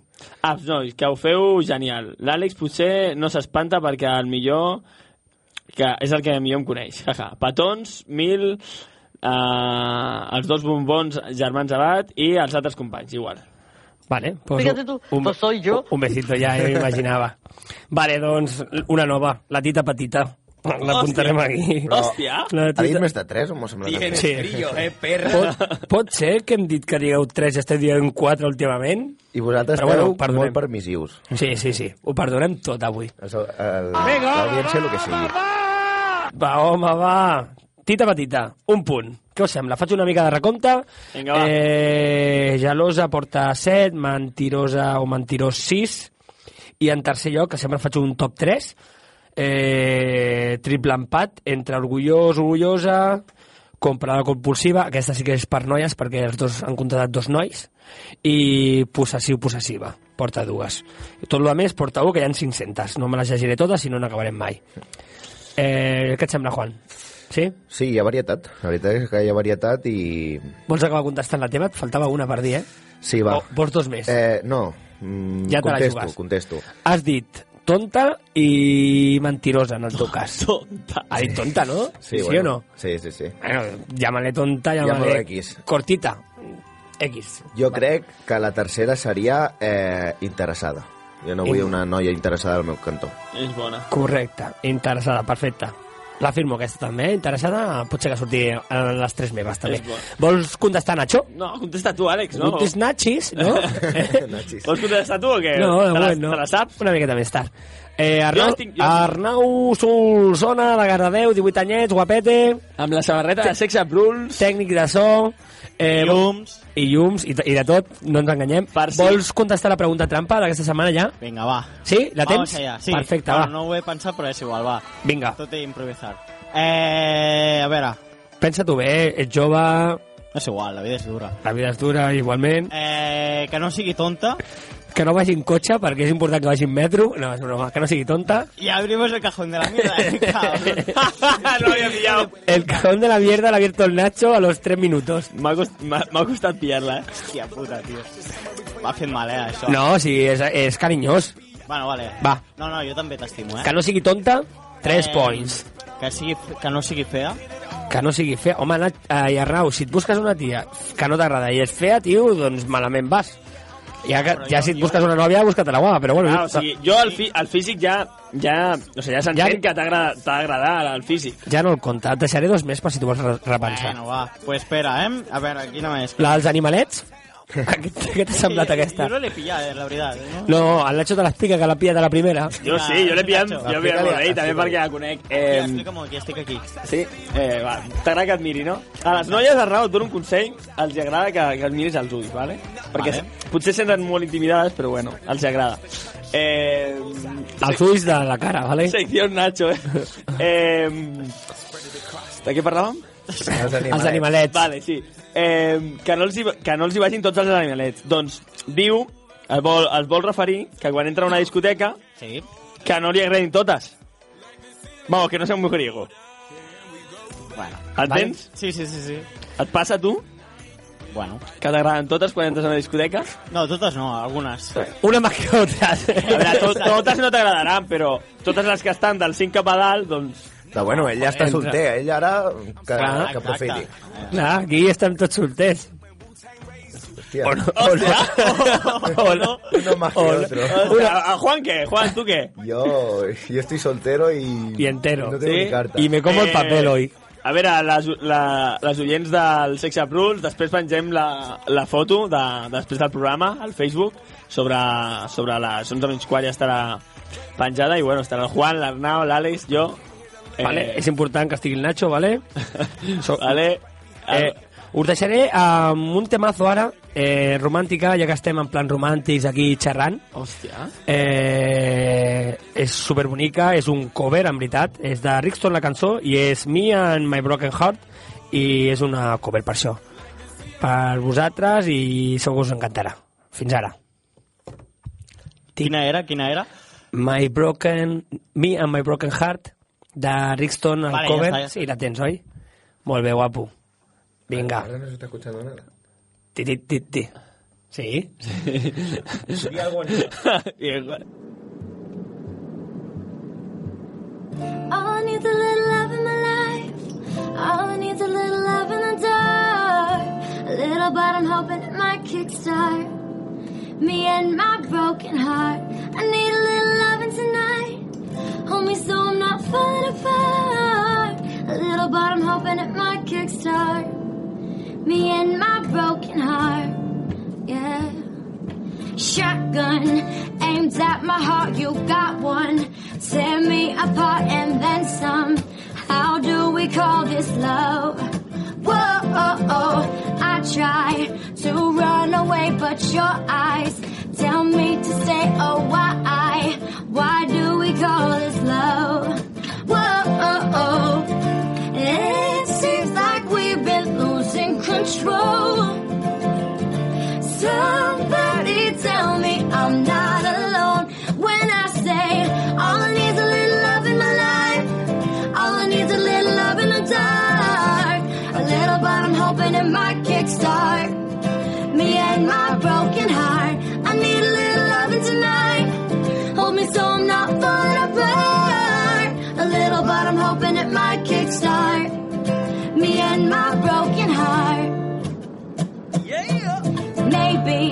Speaker 2: Aps, nois, que ho feu genial. L'Àlex potser no s'espanta perquè el millor que és el que millor em coneix. Jaja. Petons, mil, eh, els dos bombons germans Abad i els altres companys, igual.
Speaker 1: Vale, pues,
Speaker 4: Fíjate tú, pues soy yo.
Speaker 1: Un besito ja, ja m'imaginava. Vale, doncs, una nova, la tita petita. L'apuntarem aquí.
Speaker 2: Hòstia!
Speaker 1: La
Speaker 3: Ha dit
Speaker 1: tita...
Speaker 3: més de tres o m'ho sembla que
Speaker 1: Sí. Pot, pot ser que hem dit que digueu 3 i esteu dient 4 últimament?
Speaker 3: I vosaltres
Speaker 1: Però bueno,
Speaker 3: esteu
Speaker 1: perdonem.
Speaker 3: molt permissius.
Speaker 1: Sí, sí, sí. Ho perdonem tot avui.
Speaker 3: El seu- el- L'audiència, el que sigui.
Speaker 1: Va, home, va. Tita petita, un punt. Què us sembla? Faig una mica de recompte.
Speaker 2: Vinga, va.
Speaker 1: Eh, gelosa porta 7, mentirosa o mentirós 6. I en tercer lloc, que sempre faig un top 3, eh, triple empat entre orgullós, orgullosa, compradora compulsiva, aquesta sí que és per noies perquè els dos han contratat dos nois, i possessiu, possessiva, porta dues. Tot el més porta un, que hi ha 500. No me les llegiré totes, si no n'acabarem mai. Eh, què et sembla, Juan? Sí?
Speaker 3: Sí, hi ha varietat. La veritat és que hi ha varietat i...
Speaker 1: Vols acabar contestant la teva? Et faltava una per dir, eh?
Speaker 3: Sí, va.
Speaker 2: Oh,
Speaker 1: O
Speaker 2: pues.
Speaker 1: vols dos més?
Speaker 3: Eh, no, mm,
Speaker 1: Ja te la
Speaker 3: contesto,
Speaker 1: jugues.
Speaker 3: contesto.
Speaker 1: Has dit tonta i mentirosa, en el teu cas.
Speaker 2: Tonta.
Speaker 1: Ha dit tonta, no?
Speaker 3: Sí,
Speaker 1: sí
Speaker 3: bueno.
Speaker 1: o no?
Speaker 3: Sí, sí, sí.
Speaker 1: Bueno, llámale tonta, llámale...
Speaker 3: Llámalo X.
Speaker 1: Cortita. X.
Speaker 3: Jo crec que la tercera seria eh, interessada. Jo no vull
Speaker 1: In-
Speaker 3: una noia interessada al meu cantó.
Speaker 2: És bona.
Speaker 1: Correcte. Interessada, perfecte. La firmo aquesta també, eh? Interessada, potser que surti a les tres meves també.
Speaker 2: És bo.
Speaker 1: Vols contestar, Nacho?
Speaker 2: No, contesta tu, Àlex, no?
Speaker 1: No. Utes nachis, no? Eh?
Speaker 3: Nachis.
Speaker 2: Vols contestar tu o què?
Speaker 1: No,
Speaker 2: Eh,
Speaker 1: de
Speaker 2: te la,
Speaker 1: moment no.
Speaker 2: Te la saps?
Speaker 1: Una miqueta més tard. Eh, Arnau,
Speaker 2: Jo tinc- jo-
Speaker 1: Arnau Solsona, de Gardadeu, 18 anyets, guapete,
Speaker 2: Amb la samarreta de sexe bruls.
Speaker 1: tècnic de so... Eh,
Speaker 4: Llums.
Speaker 1: I llums, i, t- i de tot, no ens enganyem.
Speaker 2: Per si-
Speaker 1: Vols contestar la pregunta trampa d'aquesta setmana ja?
Speaker 4: Venga, va.
Speaker 1: Sí? La
Speaker 4: Vamos
Speaker 1: tens?
Speaker 4: allá, sí.
Speaker 1: Perfecte,
Speaker 4: Bueno,
Speaker 1: va.
Speaker 4: No ho he pensat, però és igual, va.
Speaker 1: Vinga,
Speaker 4: Tot he improvisar. Eh, a veure,
Speaker 1: pensa-t'ho bé, eh? ets jove,
Speaker 4: és igual, la vida és dura.
Speaker 1: la vida és dura igualment.
Speaker 4: Eh, que no sigui tonta.
Speaker 1: Que no vagin cotxe, perquè és important que vagin metro. No, és broma, que no sigui tonta.
Speaker 4: Y abrimos el cajón de la mierda. eh, cabrón.
Speaker 2: no l'havia pillat.
Speaker 1: El cajón de la mierda l'ha abierto el Nacho a los 3 minutos.
Speaker 2: M'ha cost, m'ha- m'ha costat pillar-la, eh?
Speaker 4: Hòstia puta, tio. M'ha fet mal, eh, això.
Speaker 1: No, sí, és, és carinyós.
Speaker 4: Bueno, vale.
Speaker 1: Va.
Speaker 4: No, no, jo també t'estimo, eh.
Speaker 1: Que no sigui tonta, 3
Speaker 4: Eh,
Speaker 1: points.
Speaker 4: Que, sigui, fe- que no sigui fea.
Speaker 1: Que no sigui fea. Home, Nat, eh, i Arnau, si et busques una tia que no t'agrada i és fea, tio, doncs malament vas. Ja, que,
Speaker 4: Però
Speaker 1: ja
Speaker 4: jo-
Speaker 1: si et
Speaker 4: jo-
Speaker 1: busques una nòvia, busca-te la guapa, però bueno...
Speaker 2: Ah, o sigui, jo el, fi, el físic ja... ja o sigui, ja s'entén
Speaker 1: Ja-
Speaker 2: que t'ha agra- t'ha agradat el físic.
Speaker 1: Ja no el compta. Et deixaré dos més per si tu vols re- repensar.
Speaker 4: Bueno, va. Pues espera, eh. A veure, quina més?
Speaker 1: La dels animalets? Què t'ha semblat aquesta?
Speaker 4: Jo no l'he pillat, eh, la veritat. No?
Speaker 1: No, el Nacho te l'explica que l'ha pillat a la primera.
Speaker 2: Jo sí, jo l'he pillat, jo l'he pillat molt bé, i també
Speaker 3: Ah, Explica-li,
Speaker 2: perquè la conec.
Speaker 4: Ja,
Speaker 2: Eh,
Speaker 4: explica molt, ja estic aquí.
Speaker 2: sí, eh, va, t'agrada que et miri, no? A les noies, Arnau, et dono un consell, els hi agrada que, que et miris als ulls, vale? Perquè
Speaker 4: Vale.
Speaker 2: potser es senten molt intimidades, però bueno, els hi agrada. Eh,
Speaker 1: Els ulls de la cara, vale?
Speaker 2: Secció Nacho, eh? eh de què parlàvem?
Speaker 3: Els
Speaker 1: Els animalets.
Speaker 2: Vale, sí. Eh, que, no els hi, que no els hi vagin tots els animalets. Doncs diu, es vol, es vol referir, que quan entra a una discoteca,
Speaker 4: Sí.
Speaker 2: que no li agradin totes. Vamos, que no sea un mujeriego.
Speaker 4: Bueno.
Speaker 2: Entens?
Speaker 4: Sí, sí, sí, sí.
Speaker 2: Et passa a tu?
Speaker 4: Bueno.
Speaker 2: Que t'agraden totes quan entres a una discoteca?
Speaker 4: No, totes no, algunes.
Speaker 1: Una más que otra.
Speaker 2: A veure, to totes no t'agradaran, però totes les que estan del 5 cap a dalt, doncs...
Speaker 3: Però bueno, ell ja està solter, ell ara que,
Speaker 1: Clar,
Speaker 3: que aprofiti.
Speaker 1: Clar, aquí estem tots solters.
Speaker 3: Hòstia,
Speaker 2: O no.
Speaker 3: uno más que otro.
Speaker 2: Hòstia, a, a Juan què? Juan, tu què?
Speaker 3: Yo, yo estoy soltero y...
Speaker 1: Y entero.
Speaker 3: No tengo
Speaker 2: Sí,
Speaker 3: ni carta.
Speaker 1: Y me como el papel hoy.
Speaker 2: Eh, A veure, les, la, les oients del Sexe Bruls, després pengem la, la foto de, després del programa al Facebook, sobre, sobre les 11 menys quart ja estarà penjada, i bueno, estarà el Juan, l'Arnau, l'Àlex, jo... eh,
Speaker 1: Vale?
Speaker 4: Eh.
Speaker 1: És important que estigui el Nacho, vale? So-
Speaker 2: vale?
Speaker 1: Eh,
Speaker 2: Eh,
Speaker 1: us deixaré amb un temazo ara, eh, romàntica, ja que estem en plan romàntics aquí xerrant.
Speaker 2: hòstia.
Speaker 1: Eh, és superbonica, és un cover, en veritat. És de Rixton, la cançó, i és Me and My Broken Heart, i és una cover per això. Per vosaltres, i segur que us encantarà. Fins ara.
Speaker 4: Quina era, quina era?
Speaker 1: My Broken... Me and My Broken Heart, de Rixton, el
Speaker 4: Vale, ja
Speaker 1: cover.
Speaker 4: està, ja està.
Speaker 1: Sí, la tens, oi? Molt bé, guapo. Vinga.
Speaker 3: Ahora no se está escuchando nada.
Speaker 1: Ti, ti, ti, ti. Sí?
Speaker 10: All I need's a little love in my life. All I need's a little love in the dark. A little, but I'm hoping it might kickstart me and my broken heart. I need a little loving tonight. Hold me so I'm not falling apart. A little, but I'm hoping it might kickstart me and my broken heart. Yeah shotgun aimed at my heart. You got one, tear me apart and then some. How do we call this love? Whoa, I try to run away, but your eyes tell me to stay. Oh, why? Why do we call this love? Whoa, it seems like we've been losing control. Somebody tell me I'm not alone when I say all I need's a little love in my life. All I need's a little love in the dark. A little, but I'm hoping it might kickstart me and my broken heart. I need a little loving tonight. Hold me so I'm not falling apart. A little, but I'm hoping it might kickstart me and my broken heart. Maybe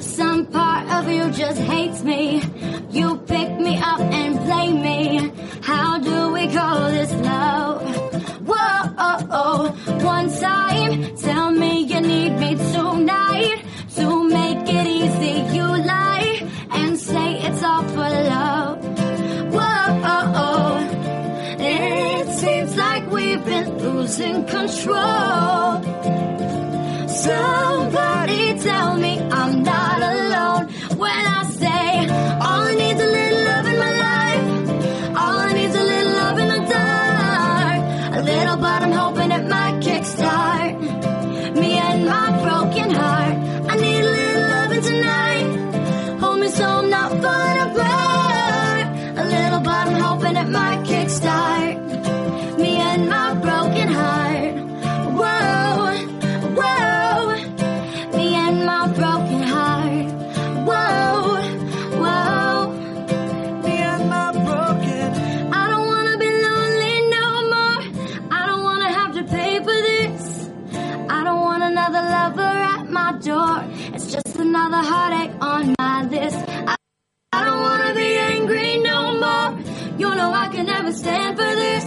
Speaker 10: some part of you just hates me. You pick me up and play me. How do we call this love? Whoa, one time, tell me you need me tonight. To make it easy, you lie and say it's all for love. Whoa, it seems like we've been losing control. Somebody tell me I'm not alone when I say all I need's a little love in my life. All I need's a little love in the dark. A little, but I'm hoping it might kickstart me and my broken heart. I need a little loving tonight. Hold me so I'm not falling apart. A little, but I'm hoping it might kickstart me and my broken heart. Whoa, whoa, me and my broken heart. Whoa, whoa, me and my broken. I don't wanna be lonely no more. I don't wanna have to pay for this. I don't want another lover at my door. It's just another heartache on my list. I I don't wanna be angry no more. You know I can never stand for this.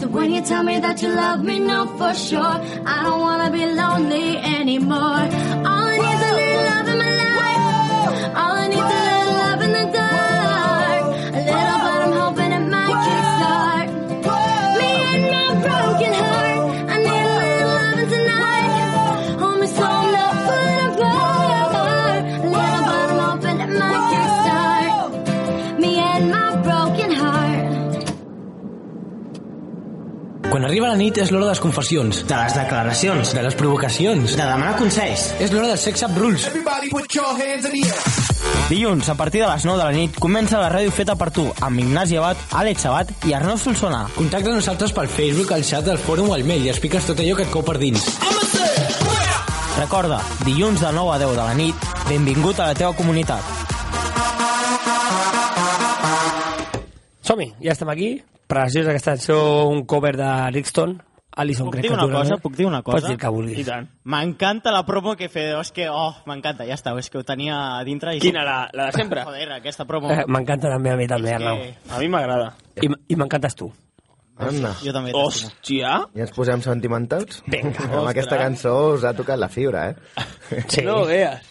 Speaker 10: So when you tell me that you love me, no for sure. I don't wanna be lonely anymore. All I need's a little the dark. A little, but I'm hoping it might kickstart. Me and my broken heart. I need a little loving tonight. Hold me so I'm not put apart. A little, but I'm hoping it might kickstart. Me and my broken heart.
Speaker 11: Quan arriba la nit és l'hora de les confessions. De les declaracions. De les provocacions. De demanar consells. És l'hora del sex up rules.
Speaker 7: Everybody put your hands in the air.
Speaker 4: Dilluns, a partir de les 9 de la nit, comença la ràdio feta per tu, amb Ignasi Abad, Àlex Sabat i Arnau Solsona.
Speaker 11: Contacta amb nosaltres pel Facebook, al xat del fòrum o al mail i expliques tot allò que et cau per dins.
Speaker 4: Recorda, dilluns de 9 a 10 de la nit, benvingut a la teva comunitat.
Speaker 1: Som-hi, ja estem aquí. Preciosa aquesta cançó, un cover de Rickston. Alison,
Speaker 4: Puc
Speaker 1: crec
Speaker 4: dir
Speaker 1: que
Speaker 4: una
Speaker 1: tu, no,
Speaker 4: cosa?
Speaker 1: eh?
Speaker 4: Puc dir una cosa?
Speaker 1: Pots dir el que vulguis.
Speaker 4: I tant. M'encanta la promo que he fet. És que, oh, m'encanta, ja està. És que ho tenia a dintre. I
Speaker 2: Quina, la- la de sempre?
Speaker 4: Joder, aquesta promo.
Speaker 1: Eh, M'encanta també a mi, també, Arnau.
Speaker 2: A mi m'agrada.
Speaker 1: I, m- i m'encantes tu.
Speaker 3: Anna.
Speaker 4: Jo també t'estimo.
Speaker 2: Hòstia!
Speaker 3: I ens posem sentimentals?
Speaker 1: Vinga.
Speaker 3: Amb aquesta cançó us ha tocat la fibra, eh?
Speaker 1: Sí.
Speaker 2: No ho veies.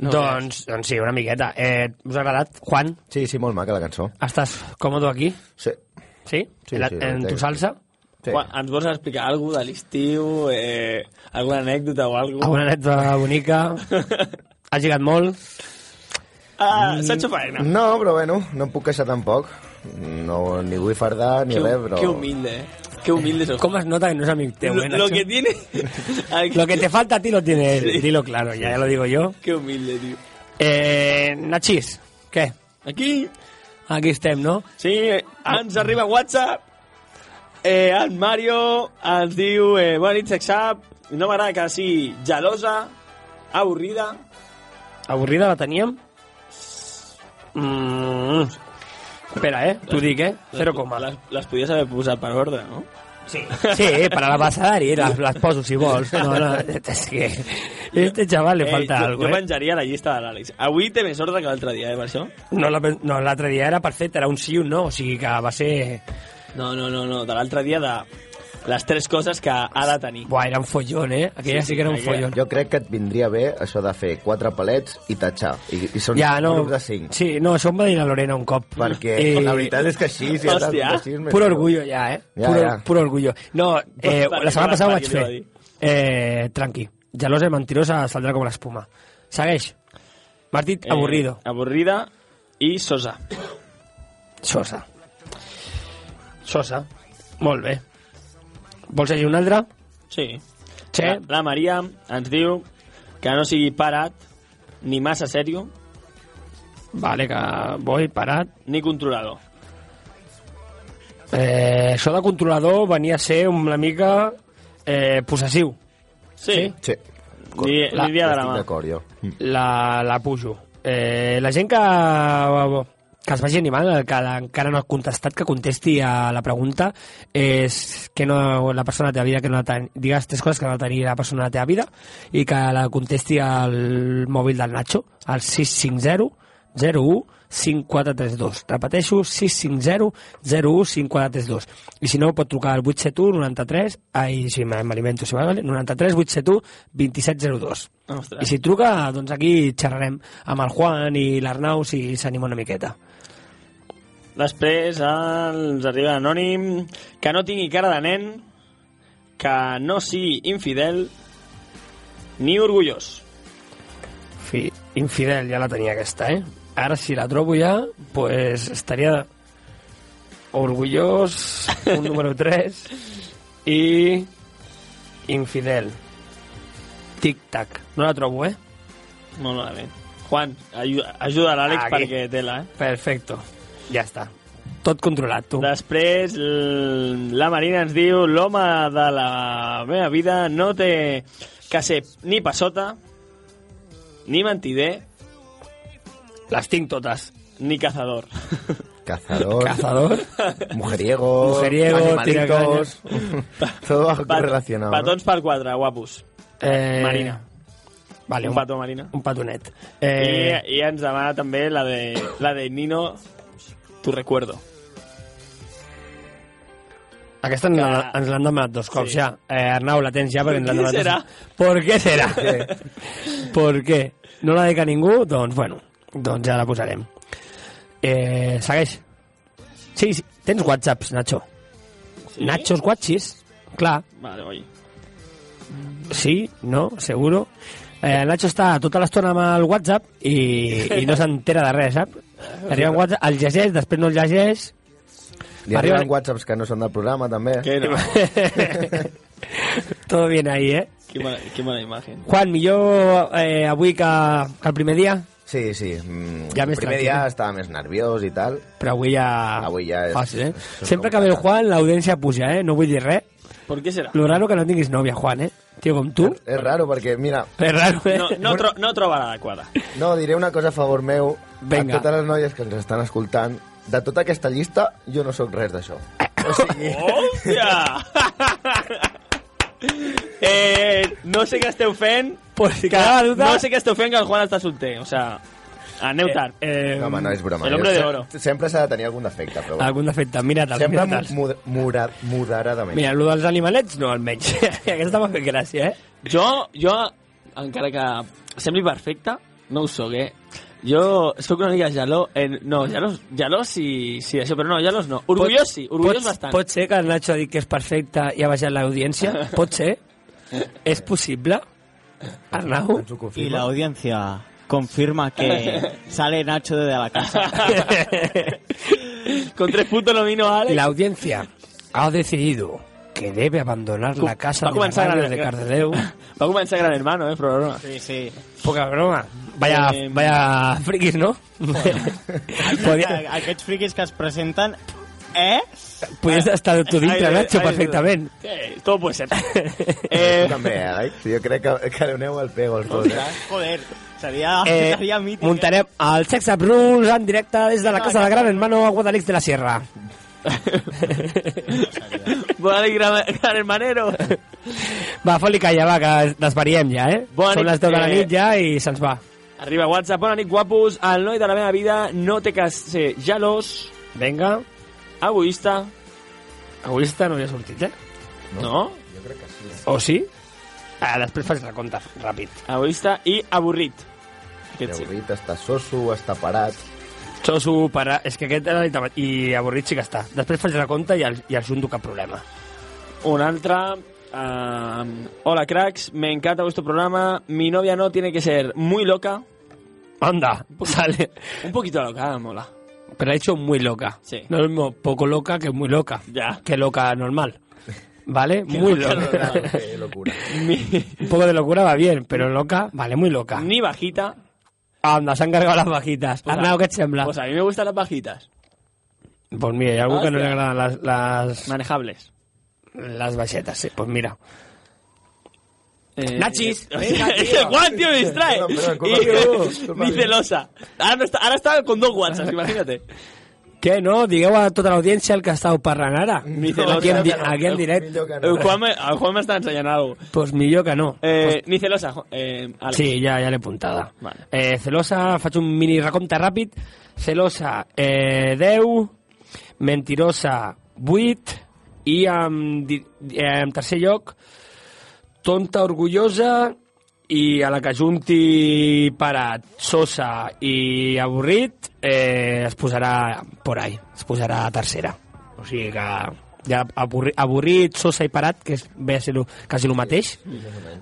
Speaker 1: No doncs, doncs sí, una miqueta. Eh, us ha agradat? Juan,
Speaker 3: Sí, sí, molt maca la cançó.
Speaker 1: estàs còmode aquí?
Speaker 3: Sí.
Speaker 1: Sí?
Speaker 3: Sí,
Speaker 1: en, la-
Speaker 3: sí,
Speaker 1: en tu
Speaker 3: entenc.
Speaker 1: salsa?
Speaker 3: Sí.
Speaker 2: Juan, ens vols explicar alguna cosa de l'estiu? Eh, alguna anècdota o alguna
Speaker 1: Alguna neta bonica? Has lligat molt?
Speaker 2: Ah, Sancho Faena.
Speaker 3: No, però bueno, no em puc queixar tampoc. No, ni vull fardar ni
Speaker 2: Qué,
Speaker 3: res, però...
Speaker 2: qué humilde, eh? Qué humilde sos.
Speaker 1: Com es nota que no és amic teu,
Speaker 2: Lo,
Speaker 1: eh,
Speaker 2: lo
Speaker 1: Nacho?
Speaker 2: que tiene... Aquí-
Speaker 1: Lo que te falta a ti lo tiene él.
Speaker 2: Sí.
Speaker 1: Dilo claro, ya, ya lo digo yo.
Speaker 2: Qué humilde, tío.
Speaker 1: Eh, Nachis, què?
Speaker 2: Aquí,
Speaker 1: Aquí estem, no?
Speaker 2: sí, ens arriba WhatsApp, eh, en Mario ens diu eh, bona nit, sexap, no m'agrada que sigui gelosa, avorrida,
Speaker 1: Avorrida la teníem? Mm. Espera, eh? T'ho dic, eh? Zero coma.
Speaker 2: Les, les podies haver posat per ordre, no?
Speaker 1: Sí, sí per a l'abecedari, les, les poso si vols. No, no, és que... Este xaval li falta
Speaker 2: jo,
Speaker 1: alguna
Speaker 2: jo
Speaker 1: cosa, eh?
Speaker 2: penjaria la llista de l'Àlex. Avui té més ordre que l'altre dia, eh, per això?
Speaker 1: No, la- no, l'altre dia era perfecte, era un sí i un no, o sigui que va ser...
Speaker 2: No, no, no, no, de l'altre dia de les tres coses que ha de tenir.
Speaker 1: Buah, era un follón, eh? Aquella
Speaker 2: Sí,
Speaker 1: sí, que era un
Speaker 2: aquella-
Speaker 1: follón.
Speaker 3: Jo crec que et vindria bé això de fer quatre palets i tatxar. I, i són
Speaker 1: Ja, no...
Speaker 3: grups de cinc.
Speaker 1: Sí, no, això em va dir la Lorena un cop. Eh,
Speaker 3: Perquè la veritat és que així... Si
Speaker 2: Eh, Hòstia,
Speaker 1: Puro orgullo ja, eh?
Speaker 3: Ja,
Speaker 1: puro,
Speaker 3: ja.
Speaker 1: puro orgullo. No, eh,
Speaker 2: Perquè
Speaker 1: la setmana
Speaker 2: no
Speaker 1: passada ho
Speaker 2: va
Speaker 1: vaig
Speaker 2: estar,
Speaker 1: fer.
Speaker 2: qui li
Speaker 1: Eh, tranqui. Gelosa i mentirosa saldrà com l'espuma. Segueix. M'has dit avorrido.
Speaker 2: Eh, avorrida i sosa.
Speaker 1: Sosa. Sosa. Molt bé. Vols llegir una altra?
Speaker 2: Sí.
Speaker 1: Sí.
Speaker 2: La, la Maria ens diu que no sigui parat, ni massa serio,
Speaker 1: Vale, que voy parat.
Speaker 2: ni controlador.
Speaker 1: Eh, això de controlador venia a ser una mica eh, possessiu.
Speaker 2: Sí.
Speaker 3: Sí,
Speaker 2: Ni,
Speaker 1: La-
Speaker 2: ni dia de la
Speaker 3: estic
Speaker 2: mà.
Speaker 3: d'acord, jo.
Speaker 1: Mm.
Speaker 3: Mm.
Speaker 1: La, la pujo. Eh, la gent que, que es vagi animant, que la- encara no ha contestat, que contesti a la pregunta, és que no, la persona de la teva vida, que no la ten, digues tres coses que no ha de tenir la persona de la teva vida i que la contesti al mòbil del Nacho, al 650 01 5432. Repeteixo, 650 01 5432. I si no, pot trucar al 871 93... Ai, si me- m'alimento, si m'alimento, 93 871 2702.
Speaker 2: Ostres.
Speaker 1: I si truca, doncs aquí xerrarem amb el Juan i l'Arnau si s'anima una miqueta.
Speaker 2: Després ens arriba l'anònim que no tingui cara de nen, que no sigui infidel, ni orgullós.
Speaker 1: Fi, infidel, ja la tenia aquesta, eh? Ara, si la trobo ja, pues estaria orgullós, un número 3, i infidel. Tic-tac. No la trobo, eh?
Speaker 2: Molt malament. Juan, aju- ajuda l'Àlex
Speaker 1: Aquí.
Speaker 2: perquè tela, eh?
Speaker 1: Perfecto. Ja està. Tot controlat, tu.
Speaker 2: Després, l- la Marina ens diu l'home de la meva vida no té que ser ni passota, ni mentider,
Speaker 1: Les tinc totes.
Speaker 2: ni cazador.
Speaker 3: Cazador,
Speaker 1: Cazador.
Speaker 3: mujeriego,
Speaker 1: Mujeriego,
Speaker 3: animalitos... Todo bajo
Speaker 2: Pat-
Speaker 3: relacionado. ¿no?
Speaker 2: Petons per quatre, guapos.
Speaker 1: Eh,
Speaker 2: Marina.
Speaker 1: Vale,
Speaker 2: Un petó, Marina.
Speaker 1: Un petonet.
Speaker 2: Eh...
Speaker 1: Eh,
Speaker 2: I, I ens demana també la de, la de Nino, tu recuerdo.
Speaker 1: Aquesta ens l'han ens l'han demanat dos cops
Speaker 2: Sí.
Speaker 1: ja. Eh, Arnau, la tens ja perquè ens l'han
Speaker 2: què
Speaker 1: demanat.
Speaker 2: serà?
Speaker 1: dos- ¿Por qué será? ¿Por qué? No la dedica ningú? Doncs, bueno, doncs ja la posarem. Eh, segueix. Sí, sí, tens whatsapps, Nacho. Sí? Nachos guatxis, clar.
Speaker 2: Vale, oi.
Speaker 1: Sí, no, seguro. Eh, Nacho està tota l'estona amb el WhatsApp i, i no s'entera de res, sap? Arriba el WhatsApp, el llegeix, després no el llegeix...
Speaker 3: Li
Speaker 1: Arriba-
Speaker 3: arriben whatsapps que no són del programa, també.
Speaker 2: Que no.
Speaker 1: Todo bien ahí, eh?
Speaker 2: Qué mala, qué mala imagen.
Speaker 1: Juan, millor eh, avui que, que el primer dia?
Speaker 3: Sí, sí. Mm,
Speaker 1: Ja
Speaker 3: el
Speaker 1: més
Speaker 3: primer
Speaker 1: tranquil.
Speaker 2: eh?
Speaker 3: dia estava més nerviós i tal.
Speaker 1: Però avui ja...
Speaker 3: Avui ja és...
Speaker 1: Fàcil, eh?
Speaker 3: és
Speaker 1: Sempre que ve el Juan, l'audiència puja, eh? No vull dir res.
Speaker 2: ¿Por qué será?
Speaker 1: Lo raro que no tinguis nòvia, Juan, eh? Tio, com tu.
Speaker 3: És raro perquè, mira...
Speaker 1: És raro, eh?
Speaker 2: No, no, tro, no troba l'adequada.
Speaker 3: No, diré una cosa a favor meu.
Speaker 1: Vinga.
Speaker 3: A totes les noies que ens estan escoltant, de tota aquesta llista, jo no sóc res d'això. O sigui,
Speaker 2: ¡Hòstia! eh, no sé què esteu fent.
Speaker 1: Pues
Speaker 2: que,
Speaker 1: quedava duda.
Speaker 2: no sé què esteu fent que el Juan està solter. O sea, aneu tard.
Speaker 1: Eh,
Speaker 3: no, home, no és broma.
Speaker 2: El hombre
Speaker 3: Jo
Speaker 2: de
Speaker 3: se-
Speaker 2: oro.
Speaker 3: Sempre s'ha de tenir algun defecte, però... Bueno.
Speaker 1: Algun defecte, mira te'ls,
Speaker 3: Sempre
Speaker 1: mira te'ls.
Speaker 3: mu mura- moderadament.
Speaker 1: Mira, el dels animalets, no, almenys. Aquesta m'ha fet gràcia, eh?
Speaker 2: Jo, jo, encara que sembli perfecte, no ho soc, eh? Jo sóc una mica geló, eh, no, gelós, gelós sí, sí, això, però no, gelós no. Orgullós sí, orgullós
Speaker 1: pot,
Speaker 2: bastant.
Speaker 1: Pot ser que el Nacho ha dit que és perfecte i ha baixat l'audiència? Pot ser? és possible? Arnau?
Speaker 3: Ens ho
Speaker 4: Y
Speaker 3: confirma.
Speaker 4: la audiencia confirma que sale Nacho desde la casa.
Speaker 2: Con tres puntos no vino Alex.
Speaker 1: La audiencia ha decidido que debe abandonar la casa
Speaker 2: Va
Speaker 1: de la
Speaker 2: començar
Speaker 1: radio
Speaker 2: Gran-
Speaker 1: de Cardedeu.
Speaker 2: Va començar Gran Hermano, eh, programa.
Speaker 4: Sí, sí.
Speaker 1: Poca broma. Vaya,
Speaker 2: Eh,
Speaker 1: vaya friquis, no? Podien-
Speaker 4: Aquests friquis que es presenten... Eh?
Speaker 1: Podies estar tu dintre, Nacho, perfectament.
Speaker 2: Eh, todo puede ser.
Speaker 3: Tu
Speaker 2: eh,
Speaker 3: també, eh, Alex? Jo crec que, que doneu el pego als dos, eh?
Speaker 4: Joder, seria, seria
Speaker 1: Eh,
Speaker 4: mític. eh?
Speaker 1: muntarem el Sex Up Rules en directe des de la casa de Gran Hermano a Guadalix de la Sierra.
Speaker 2: Vale, gran, gran hermanero.
Speaker 1: Va, fot-li calla, va, que desvariem ja, eh?
Speaker 2: Bona
Speaker 1: Són
Speaker 2: nit,
Speaker 1: les 10 de la
Speaker 2: eh,
Speaker 1: nit ja i se'ns va.
Speaker 2: Arriba WhatsApp, bona nit, guapos. El noi de la meva vida no té que ser gelós,
Speaker 1: Vinga.
Speaker 2: egoista...
Speaker 1: Egoista no hi ha sortit, eh?
Speaker 2: No?
Speaker 1: O Oh, sí? Ah, després faig la compta, ràpid.
Speaker 2: Egoista i avorrit. Aquest sí.
Speaker 3: Avorrit, està soso, està parat...
Speaker 1: Xoso, para... És que aquest era l'itama- i avorrit sí que està. Després faig la compta i el, i el junto cap problema.
Speaker 2: Un altre... ehm, hola, cracks. Me encanta vuestro programa. Mi novia no tiene que ser muy loca.
Speaker 1: Anda, sale.
Speaker 2: Un poquito loca, mola.
Speaker 1: Pero ha hecho muy loca.
Speaker 2: Sí.
Speaker 1: No es lo mismo poco loca que muy loca.
Speaker 2: Ya.
Speaker 1: Que loca normal. ¿Vale? muy
Speaker 2: loca
Speaker 1: loca.
Speaker 2: normal.
Speaker 3: Que locura.
Speaker 2: Ni,
Speaker 1: Un poco de locura va bien, pero loca, vale, muy loca.
Speaker 2: ni bajita.
Speaker 1: Anda, se han cargado las bajitas.
Speaker 2: Pues a-
Speaker 1: Arnau, ¿qué te sembla?
Speaker 2: Pues a mí me gustan las bajitas.
Speaker 1: Pues mira, hay algo que no le
Speaker 2: Hostia.
Speaker 1: agradan las, las,
Speaker 2: Manejables.
Speaker 1: las bachetas, sí. Pues mira.
Speaker 2: Eh,
Speaker 1: Nachis.
Speaker 2: eh,
Speaker 1: Venga, tío.
Speaker 2: ese Juan, tío, me distrae.
Speaker 3: Perdón, perdón, culpa
Speaker 2: Y-
Speaker 3: mía, culpa
Speaker 2: ni
Speaker 3: mía.
Speaker 2: celosa. Ahora, no está, ahora está con dos WhatsApps, imagínate.
Speaker 1: ¿Qué, no? Digueu a tota l'audiència el que ha estado parlant ara.
Speaker 2: dice
Speaker 1: aquí, en,
Speaker 2: l'altre
Speaker 1: di-
Speaker 2: que no.
Speaker 1: aquí en directe.
Speaker 3: Millor que
Speaker 2: Eh,
Speaker 3: no.
Speaker 2: Juan me, a Juan me está enseñando algo.
Speaker 1: Pues millor que no.
Speaker 2: Eh, ni celosa, Ju- eh, Alex.
Speaker 1: Pues- Sí, ja, ja l'he apuntada.
Speaker 2: Vale.
Speaker 1: Eh, celosa, faig un mini recompte ràpid. Celosa, eh, 10. Mentirosa, 8. I en, di- eh, en tercer lloc, tonta, orgullosa, i a la que junti parat, sosa i avorrit, eh, es posarà por ahí, es posarà tercera. O sigui que ja avorri- avorrit, sosa i parat, que és, ve a ser lo, quasi el mateix,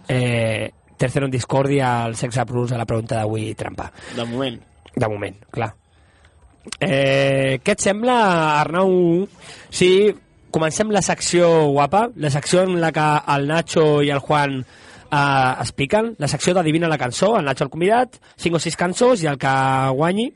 Speaker 1: eh, tercero en discòrdia al sexe plus a la pregunta d'avui trampa.
Speaker 2: De moment.
Speaker 1: De moment, clar. Eh, què et sembla, Arnau? Sí, comencem la secció guapa, la secció en la que el Nacho i el Juan eh, es piquen, la secció d'adivina la cançó, el Nacho el convidat, 5 o 6 cançons i el que guanyi,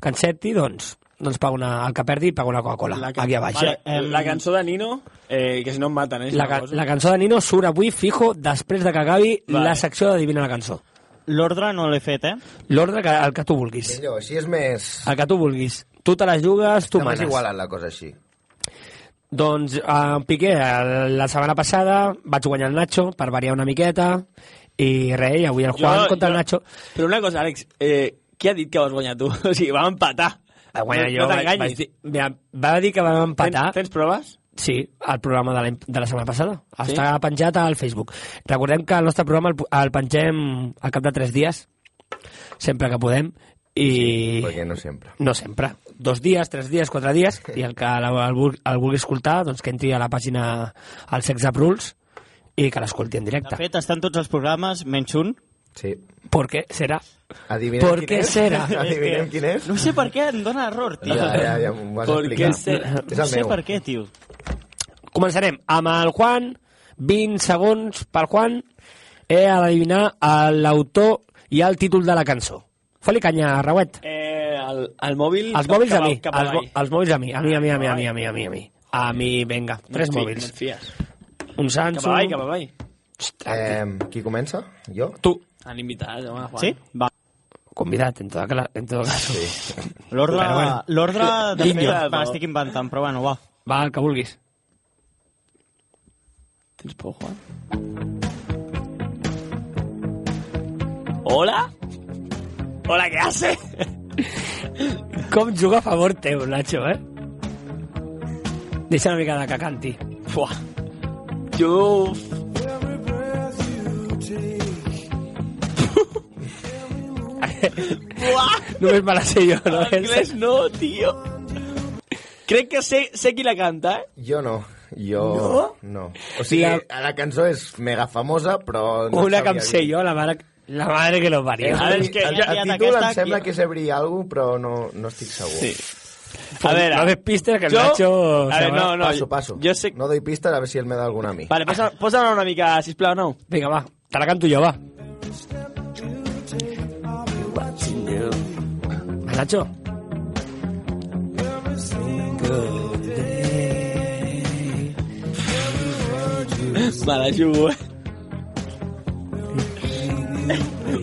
Speaker 1: que encerti, doncs, doncs paga una, el que perdi paga una Coca-Cola,
Speaker 2: La que-
Speaker 1: aquí a baix.
Speaker 2: Vale,
Speaker 1: eh?
Speaker 2: la cançó de Nino, eh, que si no em maten, eh? si
Speaker 1: la,
Speaker 2: no
Speaker 1: ca-
Speaker 2: poso.
Speaker 1: la cançó de Nino surt avui fijo després de que acabi
Speaker 2: Vale.
Speaker 1: la secció d'adivina la cançó.
Speaker 4: L'ordre no l'he fet, eh?
Speaker 1: L'ordre que, el que tu vulguis.
Speaker 3: Millor, així és més...
Speaker 1: El que tu vulguis. Tu te les jugues, tu
Speaker 3: Està
Speaker 1: manes.
Speaker 3: més igualat la cosa així.
Speaker 1: Doncs en Piqué, eh, la setmana passada vaig guanyar el Nacho per variar una miqueta i res, i avui el Juan
Speaker 2: Jo-
Speaker 1: contra
Speaker 2: jo-
Speaker 1: el Nacho.
Speaker 2: Però una cosa, Àlex, eh, qui ha dit que vas guanyar tu? O sigui, vam empatar.
Speaker 1: Va
Speaker 2: no,
Speaker 1: guanyar Ah, jo,
Speaker 2: No
Speaker 1: vaig- vaig
Speaker 2: t'enganyis.
Speaker 1: dir- mira, va dir que vam empatar,
Speaker 2: Tens, tens proves?
Speaker 1: sí, al programa de la, de la setmana passada. Està penjat al Facebook. Recordem que el nostre programa el, pu- el pengem al cap de tres dies, sempre que podem, I...
Speaker 3: Perquè no sempre.
Speaker 1: No sempre. Dos dies, tres dies, quatre dies, i el que la- el, vul- el vulgui escoltar, doncs que entri a la pàgina al Sex Up Rules i que l'escolti en
Speaker 4: De
Speaker 1: directe.
Speaker 4: fet, estan tots els programes, menys un.
Speaker 3: Sí.
Speaker 1: Per què serà?
Speaker 3: Adivinem
Speaker 1: Per
Speaker 3: quin
Speaker 1: què
Speaker 3: és?
Speaker 1: serà?
Speaker 3: Adivinem quin és?
Speaker 4: No sé per què em dóna error, tio.
Speaker 3: Ja, ja, ja m'ho has explicat. És el
Speaker 4: No sé
Speaker 3: meu.
Speaker 4: per què, tio.
Speaker 1: Començarem amb el Juan, 20 segons pel Juan, he eh, d'adivinar el- l'autor i el títol de la cançó. Foli canya, Rauet.
Speaker 2: Eh, el, el mòbil...
Speaker 1: Els
Speaker 2: cap-
Speaker 1: mòbils a
Speaker 2: cap
Speaker 1: mi,
Speaker 2: Cap
Speaker 1: els, mo-
Speaker 2: avall.
Speaker 1: els mòbils a mi, a mi, a mi, a mi, a mi, a mi, a mi, a mi. A mi, vinga,
Speaker 2: No
Speaker 1: tres
Speaker 2: et fi- No
Speaker 1: mòbils.
Speaker 2: et fies.
Speaker 1: Un Samsung...
Speaker 2: Cap avall, cap avall.
Speaker 3: Eh, qui comença? Jo?
Speaker 1: Tu.
Speaker 2: Han invitat, home, Juan.
Speaker 4: Sí? Va.
Speaker 1: Convidat, en, toda, cla- en todo caso.
Speaker 4: L'ordre,
Speaker 1: Bueno, bueno.
Speaker 4: l'ordre de fet,
Speaker 1: Guinyo.
Speaker 4: me l'estic inventant, però bueno, va.
Speaker 1: Va, el que vulguis.
Speaker 2: Tens por, Juan? Hola? Hola, què hace?
Speaker 1: Com juga a favor teu, Nacho, eh? Deixa una mica de que canti.
Speaker 2: Buah. Jo... Buah!
Speaker 1: Només me la sé jo, no?
Speaker 2: Anglès Ah, no, tio. Crec que sé, sé qui la canta, eh?
Speaker 3: Jo no. Jo... No? No. O sigui, la... la cançó és mega famosa, però... No
Speaker 1: Una que em
Speaker 3: sabia
Speaker 1: sé
Speaker 3: dir.
Speaker 1: jo, la mare, la madre Eh, que em lo parió.
Speaker 3: El, el, el, el títol em sembla que és Every Algo, però no, no estic segur.
Speaker 2: Sí. A ah, veure...
Speaker 1: No des pistes, que el
Speaker 2: jo-
Speaker 1: Nacho...
Speaker 2: A
Speaker 1: se
Speaker 2: veure,
Speaker 1: va.
Speaker 2: no, no,
Speaker 3: passo, passo. Jo sé... No doy pistes a ver si él me da alguna a mi.
Speaker 2: Vale, posa, posa una mica, sisplau, nou.
Speaker 1: Vinga, va, te la canto jo, va. Va, Nacho.
Speaker 2: Me la jugo, eh?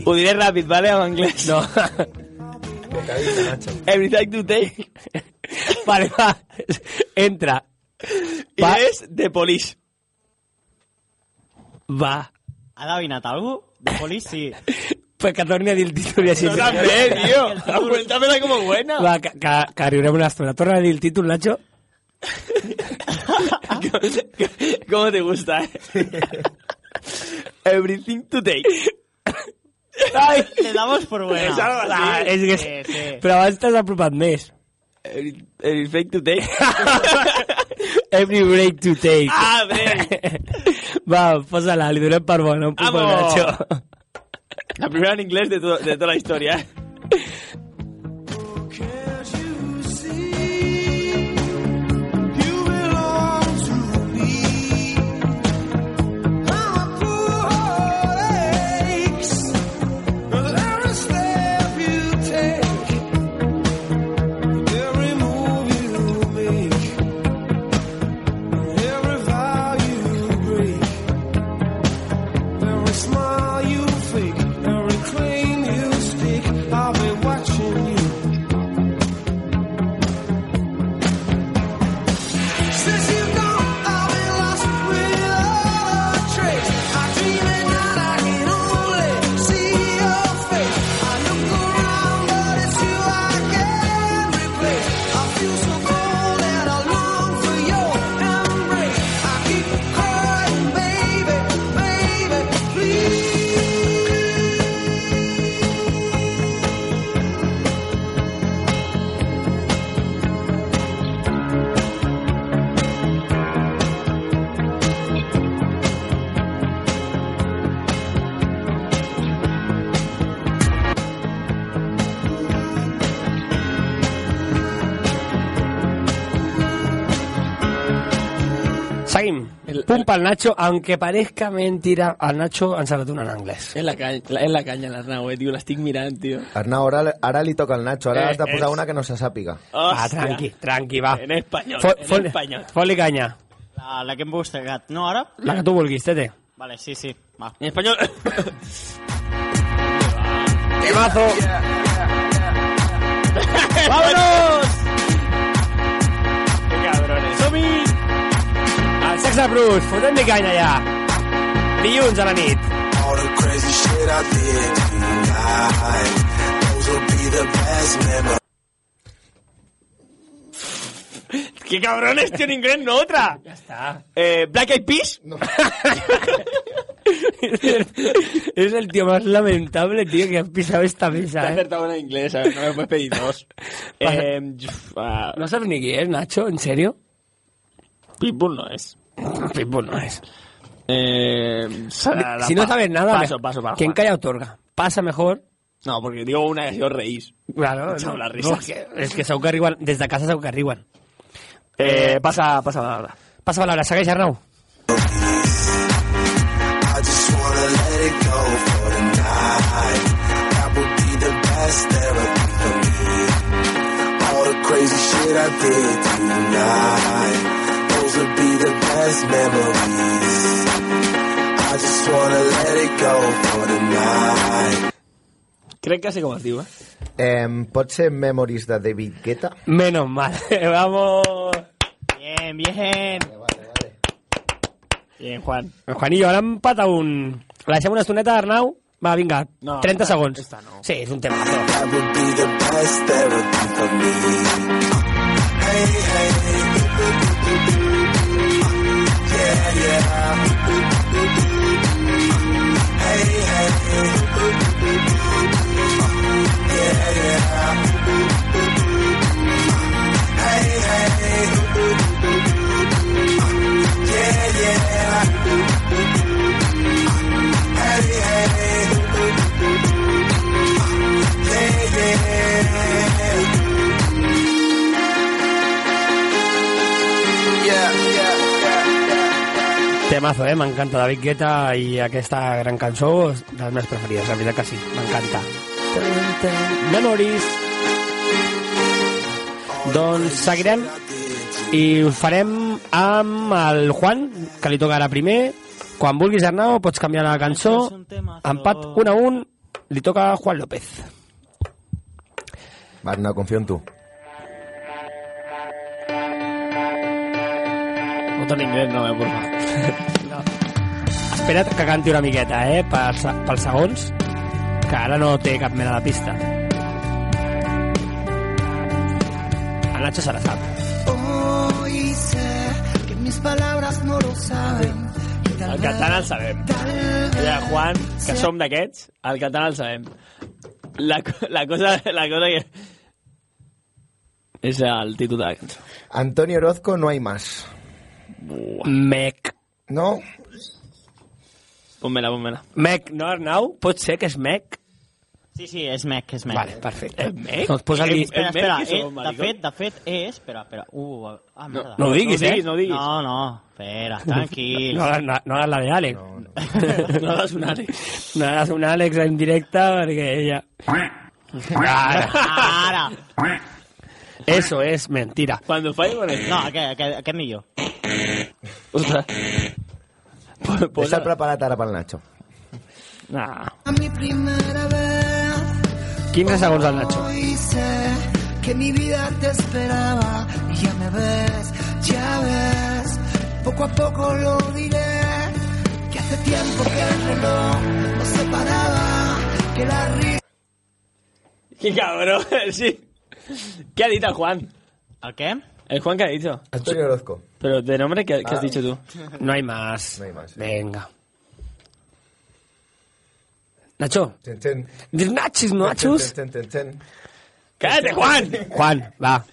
Speaker 2: Ho diré ràpid, vale, en anglès?
Speaker 1: No.
Speaker 2: Everything to take.
Speaker 1: Vale, va. Entra.
Speaker 2: I és The Police.
Speaker 1: Va.
Speaker 4: Ha devinat algú? De polis, sí.
Speaker 1: Pues que torni a dir el títol i així.
Speaker 2: No també, tio. Cuéntamela como buena.
Speaker 1: Va, que, que, que riurem una estona. Torna a dir el títol, Nacho.
Speaker 2: ¿Cómo te gusta, eh? Everything to take.
Speaker 4: Ai, le damos por buena.
Speaker 2: És algo así.
Speaker 1: Ah, és que...
Speaker 4: Sí, sí.
Speaker 1: Però abans t'has apropat més.
Speaker 2: Every- Everything to take.
Speaker 1: Every break to take.
Speaker 2: Ah, bé.
Speaker 1: Va, posa-la, li donem per bona. Un punt per
Speaker 2: Vamos.
Speaker 1: Nacho.
Speaker 2: La primera en inglés de, to- de toda la historia, eh.
Speaker 5: Smile you fake, every claim you stick, I'll be watching you. Since you've gone, I've been lost without a trace. I dream at night, I can only see your face. I look around, but it's you I can't replace. I feel so cold and I long for your embrace. I keep crying, baby, baby, please.
Speaker 1: Seguim. Punt pel Nacho, aunque parezca mentira, el Nacho ens ha donat una en anglès.
Speaker 2: Es la, caña, es la caña, la Arnau, eh, tío. La estic mirant, tío.
Speaker 3: Arnau, ara, ara li toca al Nacho. Ara
Speaker 2: Eh,
Speaker 3: has de posar
Speaker 2: és-
Speaker 3: una que no se sàpiga.
Speaker 1: Va,
Speaker 2: Hòstia.
Speaker 1: Ah, tranqui, Ah. tranqui, va.
Speaker 2: En español,
Speaker 1: Fo-
Speaker 2: en
Speaker 1: foli-
Speaker 2: español.
Speaker 1: Foli canya.
Speaker 4: La, la que hem buscat. No, ara?
Speaker 1: La que tu vulguis, tete.
Speaker 4: Vale, sí, sí. Va.
Speaker 2: En español.
Speaker 1: Temazo.
Speaker 2: ¡Vámonos! ¡Qué cabrones! ¡Somi!
Speaker 1: El sexe brut, fotem-li canya ja. Dilluns a la nit.
Speaker 5: All the crazy shit I did tonight. Those will be the best memories.
Speaker 2: ¡Qué cabrones, tío, en inglés no otra!
Speaker 1: Està.
Speaker 2: Eh, ¿Black Eyed Peas?
Speaker 1: es el tío más lamentable, tío, que ha pisado esta
Speaker 2: Te he
Speaker 1: mesa. ¿eh?
Speaker 2: acertado una inglesa, no me puedes pedir dos. eh, ah,
Speaker 1: ¿No sabes ni quién es, Nacho? ¿En serio?
Speaker 2: Pitbull no es.
Speaker 1: Pitbull no es.
Speaker 2: Eh, será la
Speaker 1: si no
Speaker 2: pa-
Speaker 1: sabes nada,
Speaker 2: paso,
Speaker 1: me-
Speaker 2: paso para
Speaker 1: quien
Speaker 2: Juan.
Speaker 1: calla otorga. Pasa mejor.
Speaker 2: No, porque digo una que yo reís.
Speaker 1: Claro,
Speaker 2: Echado las
Speaker 1: no,
Speaker 2: risas.
Speaker 1: es que, es que s'ho carriuen- des de casa s'ho carriuen.
Speaker 2: Eh, pasa, pasa palabra.
Speaker 1: Passa palabra, segueix Arnau.
Speaker 5: I just wanna let it go for the night. That would be the best therapy for me. All the crazy shit I did tonight. Those would be the best memories. I just wanna let it go for the night.
Speaker 2: Crec que sé com es diu, eh?
Speaker 3: Em, pot ser Memories de David Guetta?
Speaker 1: Menos mal. Vamos.
Speaker 4: Bien, bien.
Speaker 2: Bien, Juan.
Speaker 1: Juanillo, ara empata un... La deixem una estoneta, Arnau? Va, vinga,
Speaker 2: No,
Speaker 1: 30
Speaker 2: esta-
Speaker 1: segons.
Speaker 2: esta no.
Speaker 1: Sí, és un tema.
Speaker 5: That would be the best therapy for me. Hey, hey. Yeah, yeah. Hey, hey. Yeah, yeah. Hey, hey. Yeah, yeah. Hey, hey. Yeah, yeah.
Speaker 1: Temazo, eh? M'encanta David Guetta i aquesta gran cançó és de les meves preferides, la veritat que sí, m'encanta. Memories. Doncs seguirem i ho farem amb el Juan, que li toca ara primer. Quan vulguis, Arnau, pots canviar la cançó. Empat 1 a 1, li toca a Juan López.
Speaker 3: Va, Arnau, confio en tu.
Speaker 2: Vota en inglés, no, eh, por
Speaker 1: Espera't que canti una miqueta, eh, pels, pels segons, que ara no té cap mena de pista. El Nacho se la sap.
Speaker 12: Hoy sé que mis palabras no lo saben.
Speaker 2: El català el sabem. Ja, Juan, que som d'aquests, el català el sabem. La, co- la, cosa, la cosa que... És el títol de la cançó.
Speaker 3: Antonio Orozco, no hay más.
Speaker 1: Mec.
Speaker 3: No?
Speaker 2: Ponme-la, ponme-la.
Speaker 1: Mec, no, Arnau? Pot ser que és Mec?
Speaker 4: Sí, sí, és Mec, és Mec.
Speaker 1: Vale, perfecte.
Speaker 4: És Mec?
Speaker 1: Doncs posa-li-
Speaker 4: Espera,
Speaker 1: És Mec,
Speaker 4: espera,
Speaker 1: qui
Speaker 4: eh,
Speaker 1: som,
Speaker 4: de
Speaker 1: maricón?
Speaker 4: fet, de fet, és... Espera, espera, uh, ah, merda.
Speaker 1: no ho diguis, No ho diguis, eh? no ho diguis.
Speaker 4: No, no, espera, tranquil.
Speaker 1: No, hagas na- no hagas la de Àlex. No, no.
Speaker 2: no hagas un Àlex.
Speaker 1: No hagas un Àlex en directe perquè ella... Ara.
Speaker 4: Ara!
Speaker 1: Eso es mentira.
Speaker 2: Cuando falle con el...
Speaker 4: No, aquest, aquest, aquest millor.
Speaker 2: Ostres.
Speaker 3: Està preparat ara pel Nacho.
Speaker 1: Nah.
Speaker 12: A mi primera vez
Speaker 1: 15 segons al Nacho.
Speaker 12: hoy sé que mi vida te esperaba. Y ya me ves, ya ves. Poco a poco lo diré. Que hace tiempo que el reloj nos separaba. Que la risa.
Speaker 2: Qué cabrón, sí. ¿Qué ha dicho el Juan?
Speaker 4: ¿El qué?
Speaker 2: ¿El Juan qué ha dicho?
Speaker 3: Antonio Orozco.
Speaker 2: Pero de nombre, ¿qué, qué has dicho tú?
Speaker 1: No hay más.
Speaker 3: No hay más.
Speaker 1: Venga. Nacho.
Speaker 3: Chen, chen.
Speaker 1: Nachis, Nachos.
Speaker 3: Chen, chen, chen, chen.
Speaker 2: ¡Cállate, Juan!
Speaker 1: Juan, va.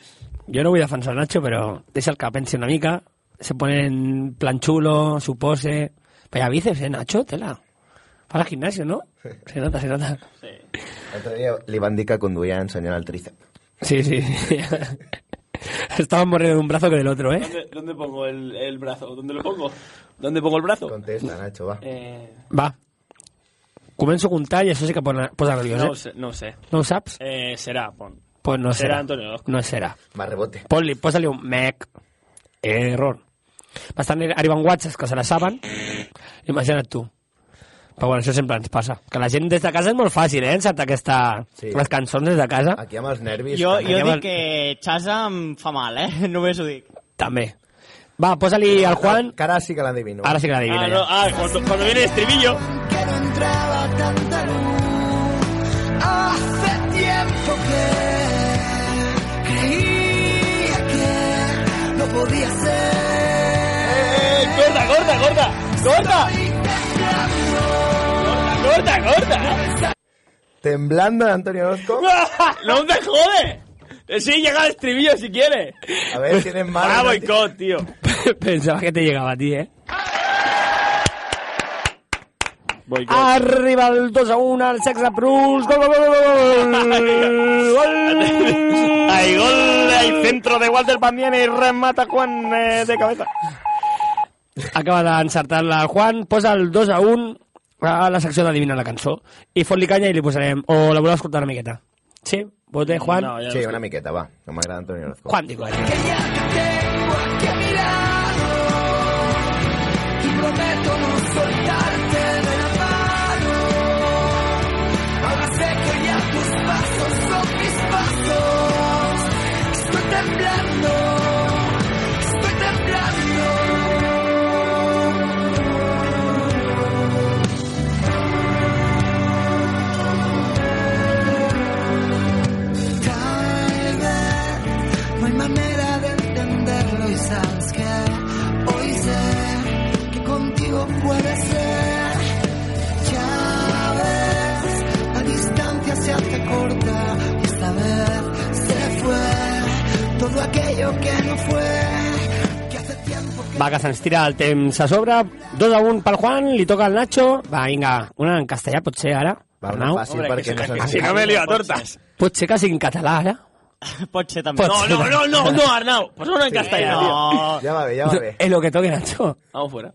Speaker 1: Yo no voy a defensar a Nacho, pero es el que pense una mica. Se pone en plan chulo, su pose. Vaya bíceps, ¿eh, Nacho? Tela. Para el gimnasio, ¿no? Se nota, se nota.
Speaker 3: L'altre dia li van dir que conduïa ensenyant el tríceps.
Speaker 1: Sí, sí. Estaba más mordido de un brazo que del otro, ¿eh?
Speaker 2: ¿Dónde, dónde pongo el, el brazo? ¿Dónde lo pongo? ¿Dónde pongo el brazo?
Speaker 3: Contesta, Nacho, va.
Speaker 2: Eh,
Speaker 1: Va. Comenzo a juntar y eso sí que pone- posa nervios,
Speaker 2: no,
Speaker 1: ¿eh?
Speaker 2: ho sé, no ho sé.
Speaker 1: ¿No saps?
Speaker 2: Eh, será, pon.
Speaker 1: Pues no
Speaker 2: Será
Speaker 1: será.
Speaker 2: Antonio Orozco.
Speaker 1: No será.
Speaker 3: Va, rebote.
Speaker 1: Ponli, posa-li un mec. Error. Bastant arriben whatsapps que se la saben. Imagina't tu. Però bueno, això sempre ens passa. Que la gent des de casa és molt fàcil, eh? Encertar aquesta...
Speaker 3: Sí. Ah.
Speaker 1: les cançons des de casa.
Speaker 3: Aquí amb els nervis...
Speaker 4: Jo,
Speaker 3: que-
Speaker 4: jo
Speaker 1: Anem
Speaker 4: dic
Speaker 1: al-
Speaker 4: que Chasa em fa mal, eh? Només ho dic.
Speaker 1: També. Va, posa-li al Juan.
Speaker 3: Que ara sí que l'endevino.
Speaker 1: Ara sí que l'adivina
Speaker 2: Ah, no, ah cuando, cuando viene el estribillo.
Speaker 12: Que no entraba tanta luz. Hace tiempo que creía que no podía ser.
Speaker 2: ¡Eh, corta, corta, corta! ¡Corta!
Speaker 12: Te
Speaker 2: ¡Corta, corta!
Speaker 3: Temblando de Antonio Orozco.
Speaker 2: ¡No te jode! Sí, llega el estribillo si quiere.
Speaker 3: A ver, tienes más.
Speaker 2: Ah, boicot, tío.
Speaker 1: Pensaba que te llegaba a ti, ¿eh?
Speaker 2: Boicot.
Speaker 13: Ah,
Speaker 1: Arriba el 2 a 1 al Sexa Plus. Gol, gol, gol, gol, gol.
Speaker 13: Hay gol, hay centro de Walter Pandiani y remata Juan eh, de cabeza.
Speaker 1: Acaba d'encertar-la el Juan, posa el 2 a 1 a la secció d'adivinar la cançó i fot-li canya i li posarem o la voleu escoltar una miqueta sí? Vols
Speaker 2: Mm,
Speaker 1: dir, Juan?
Speaker 3: No, sí, una miqueta, va. No m'agrada Antonio Orozco.
Speaker 1: Juan, digo, eh?
Speaker 12: Ti prometto non soltarti nella mano Ahora sé que ya tus pasos son mis pasos Estoy temblando Estoy temblando Tal vez no hay manera de entenderlo y sabes que hoy sé que contigo puede ser. Ya ves, la distancia se hace corta y esta vez se fue todo aquello que no fue.
Speaker 1: va que se'ns tira el temps a sobre 2 a 1 pel Juan, li toca al Nacho va, vinga, una en castellà potser ara
Speaker 3: Va, una
Speaker 1: Arnau.
Speaker 3: fàcil Hombre, perquè que no sí, se'ns-
Speaker 2: que si no me lío a tortas.
Speaker 1: potser que sigui en català ara
Speaker 4: Pot ser també.
Speaker 1: Pot ser.
Speaker 2: No, no, no, no, Arnau. Pues una en castellano.
Speaker 4: No.
Speaker 3: Ja va bé, ja
Speaker 1: No, és lo que toque Nacho
Speaker 2: Vamos fuera.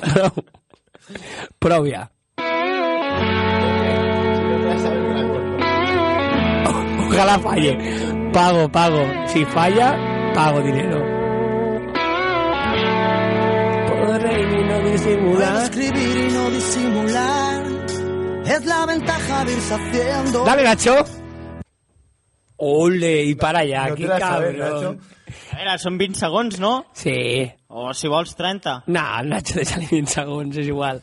Speaker 1: prou prou ja ojalá falle pago, pago si falla, pago dinero Podré y no
Speaker 12: Puedo
Speaker 1: disimular
Speaker 12: escribir y no disimular. Es la ventaja de irse haciendo.
Speaker 1: Dale, Nacho. Ole, y para allá,
Speaker 4: No te
Speaker 1: qué
Speaker 4: la sabes,
Speaker 1: cabrón.
Speaker 4: A veure, són 20 segons, no?
Speaker 1: Sí.
Speaker 4: O si vols 30.
Speaker 1: No, el Nacho de salir 20 segons, és igual.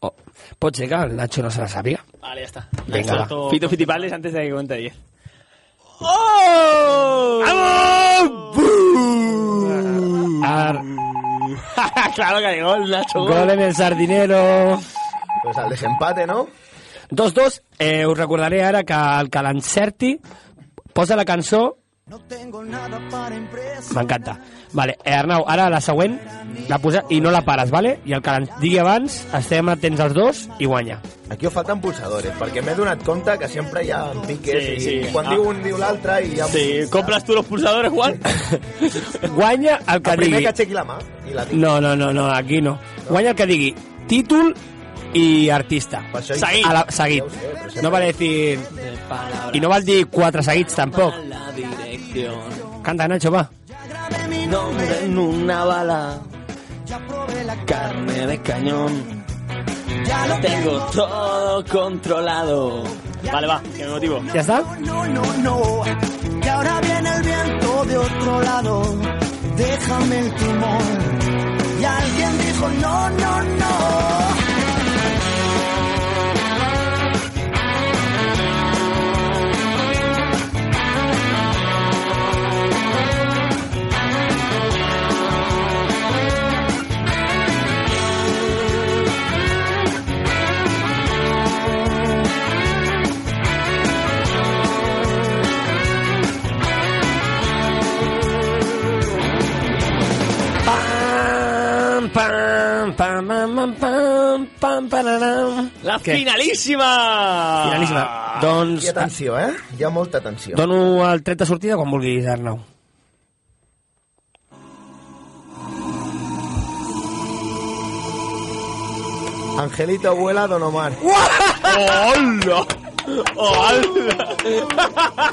Speaker 1: Oh, pot ser que el Nacho no se la sàpiga.
Speaker 2: Vale, ya está.
Speaker 1: Venga, va.
Speaker 2: Fito Fitipales antes de que cuente 10. ¡Oh! ¡Vamos!
Speaker 4: Mm.
Speaker 1: Ar...
Speaker 2: claro que hay gol, Nacho.
Speaker 3: Oh!
Speaker 1: Gol en el sardinero.
Speaker 3: Pues al desempate, no?
Speaker 1: 2-2. Eh, us recordaré ara que el que l'encerti posa la cançó... M'encanta. Vale, eh, Arnau, ara la següent la posa i no la pares, vale? I el que l'en- digui abans, estem atents als dos i guanya.
Speaker 3: Aquí os faltan pulsadores, perquè m'he donat compte que sempre hi ha piques
Speaker 2: Sí,
Speaker 3: i
Speaker 2: sí.
Speaker 3: quan
Speaker 2: Ah.
Speaker 3: diu un diu l'altre i ja...
Speaker 2: Sí, ¿compras tú los pulsadores, Juan?
Speaker 1: Guanya el que
Speaker 3: El primer
Speaker 1: digui...
Speaker 3: que aixequi la mà i la tingui.
Speaker 1: No, no, no, no, aquí no. Guanya el que digui títol i artista.
Speaker 3: això-
Speaker 1: A la, seguit.
Speaker 3: Ja ho sé, però sempre-
Speaker 1: No vale decir... I no val dir quatre seguits, tampoc. Canta, Nacho, va.
Speaker 2: Nombre en una bala. Carne de cañón. Ya lo tengo todo controlado. Vale, va, que me motivo.
Speaker 1: ¿Ya está?
Speaker 12: No, no, no. Que ahora viene el viento de otro lado. Déjame el timón. Y alguien dijo no, no, no.
Speaker 1: Pam, pam, pam, pam, pam, pam, pam, pararam.
Speaker 2: La
Speaker 1: Què?
Speaker 2: finalísima.
Speaker 1: Finalíssima. Doncs
Speaker 3: Hi ha tensió, eh? Hi ha molta tensió.
Speaker 1: dono el tret de sortida quan vulguis, Arnau.
Speaker 3: Angelito abuela Don Omar.
Speaker 2: ¡Hola! Oh, ¡Hola!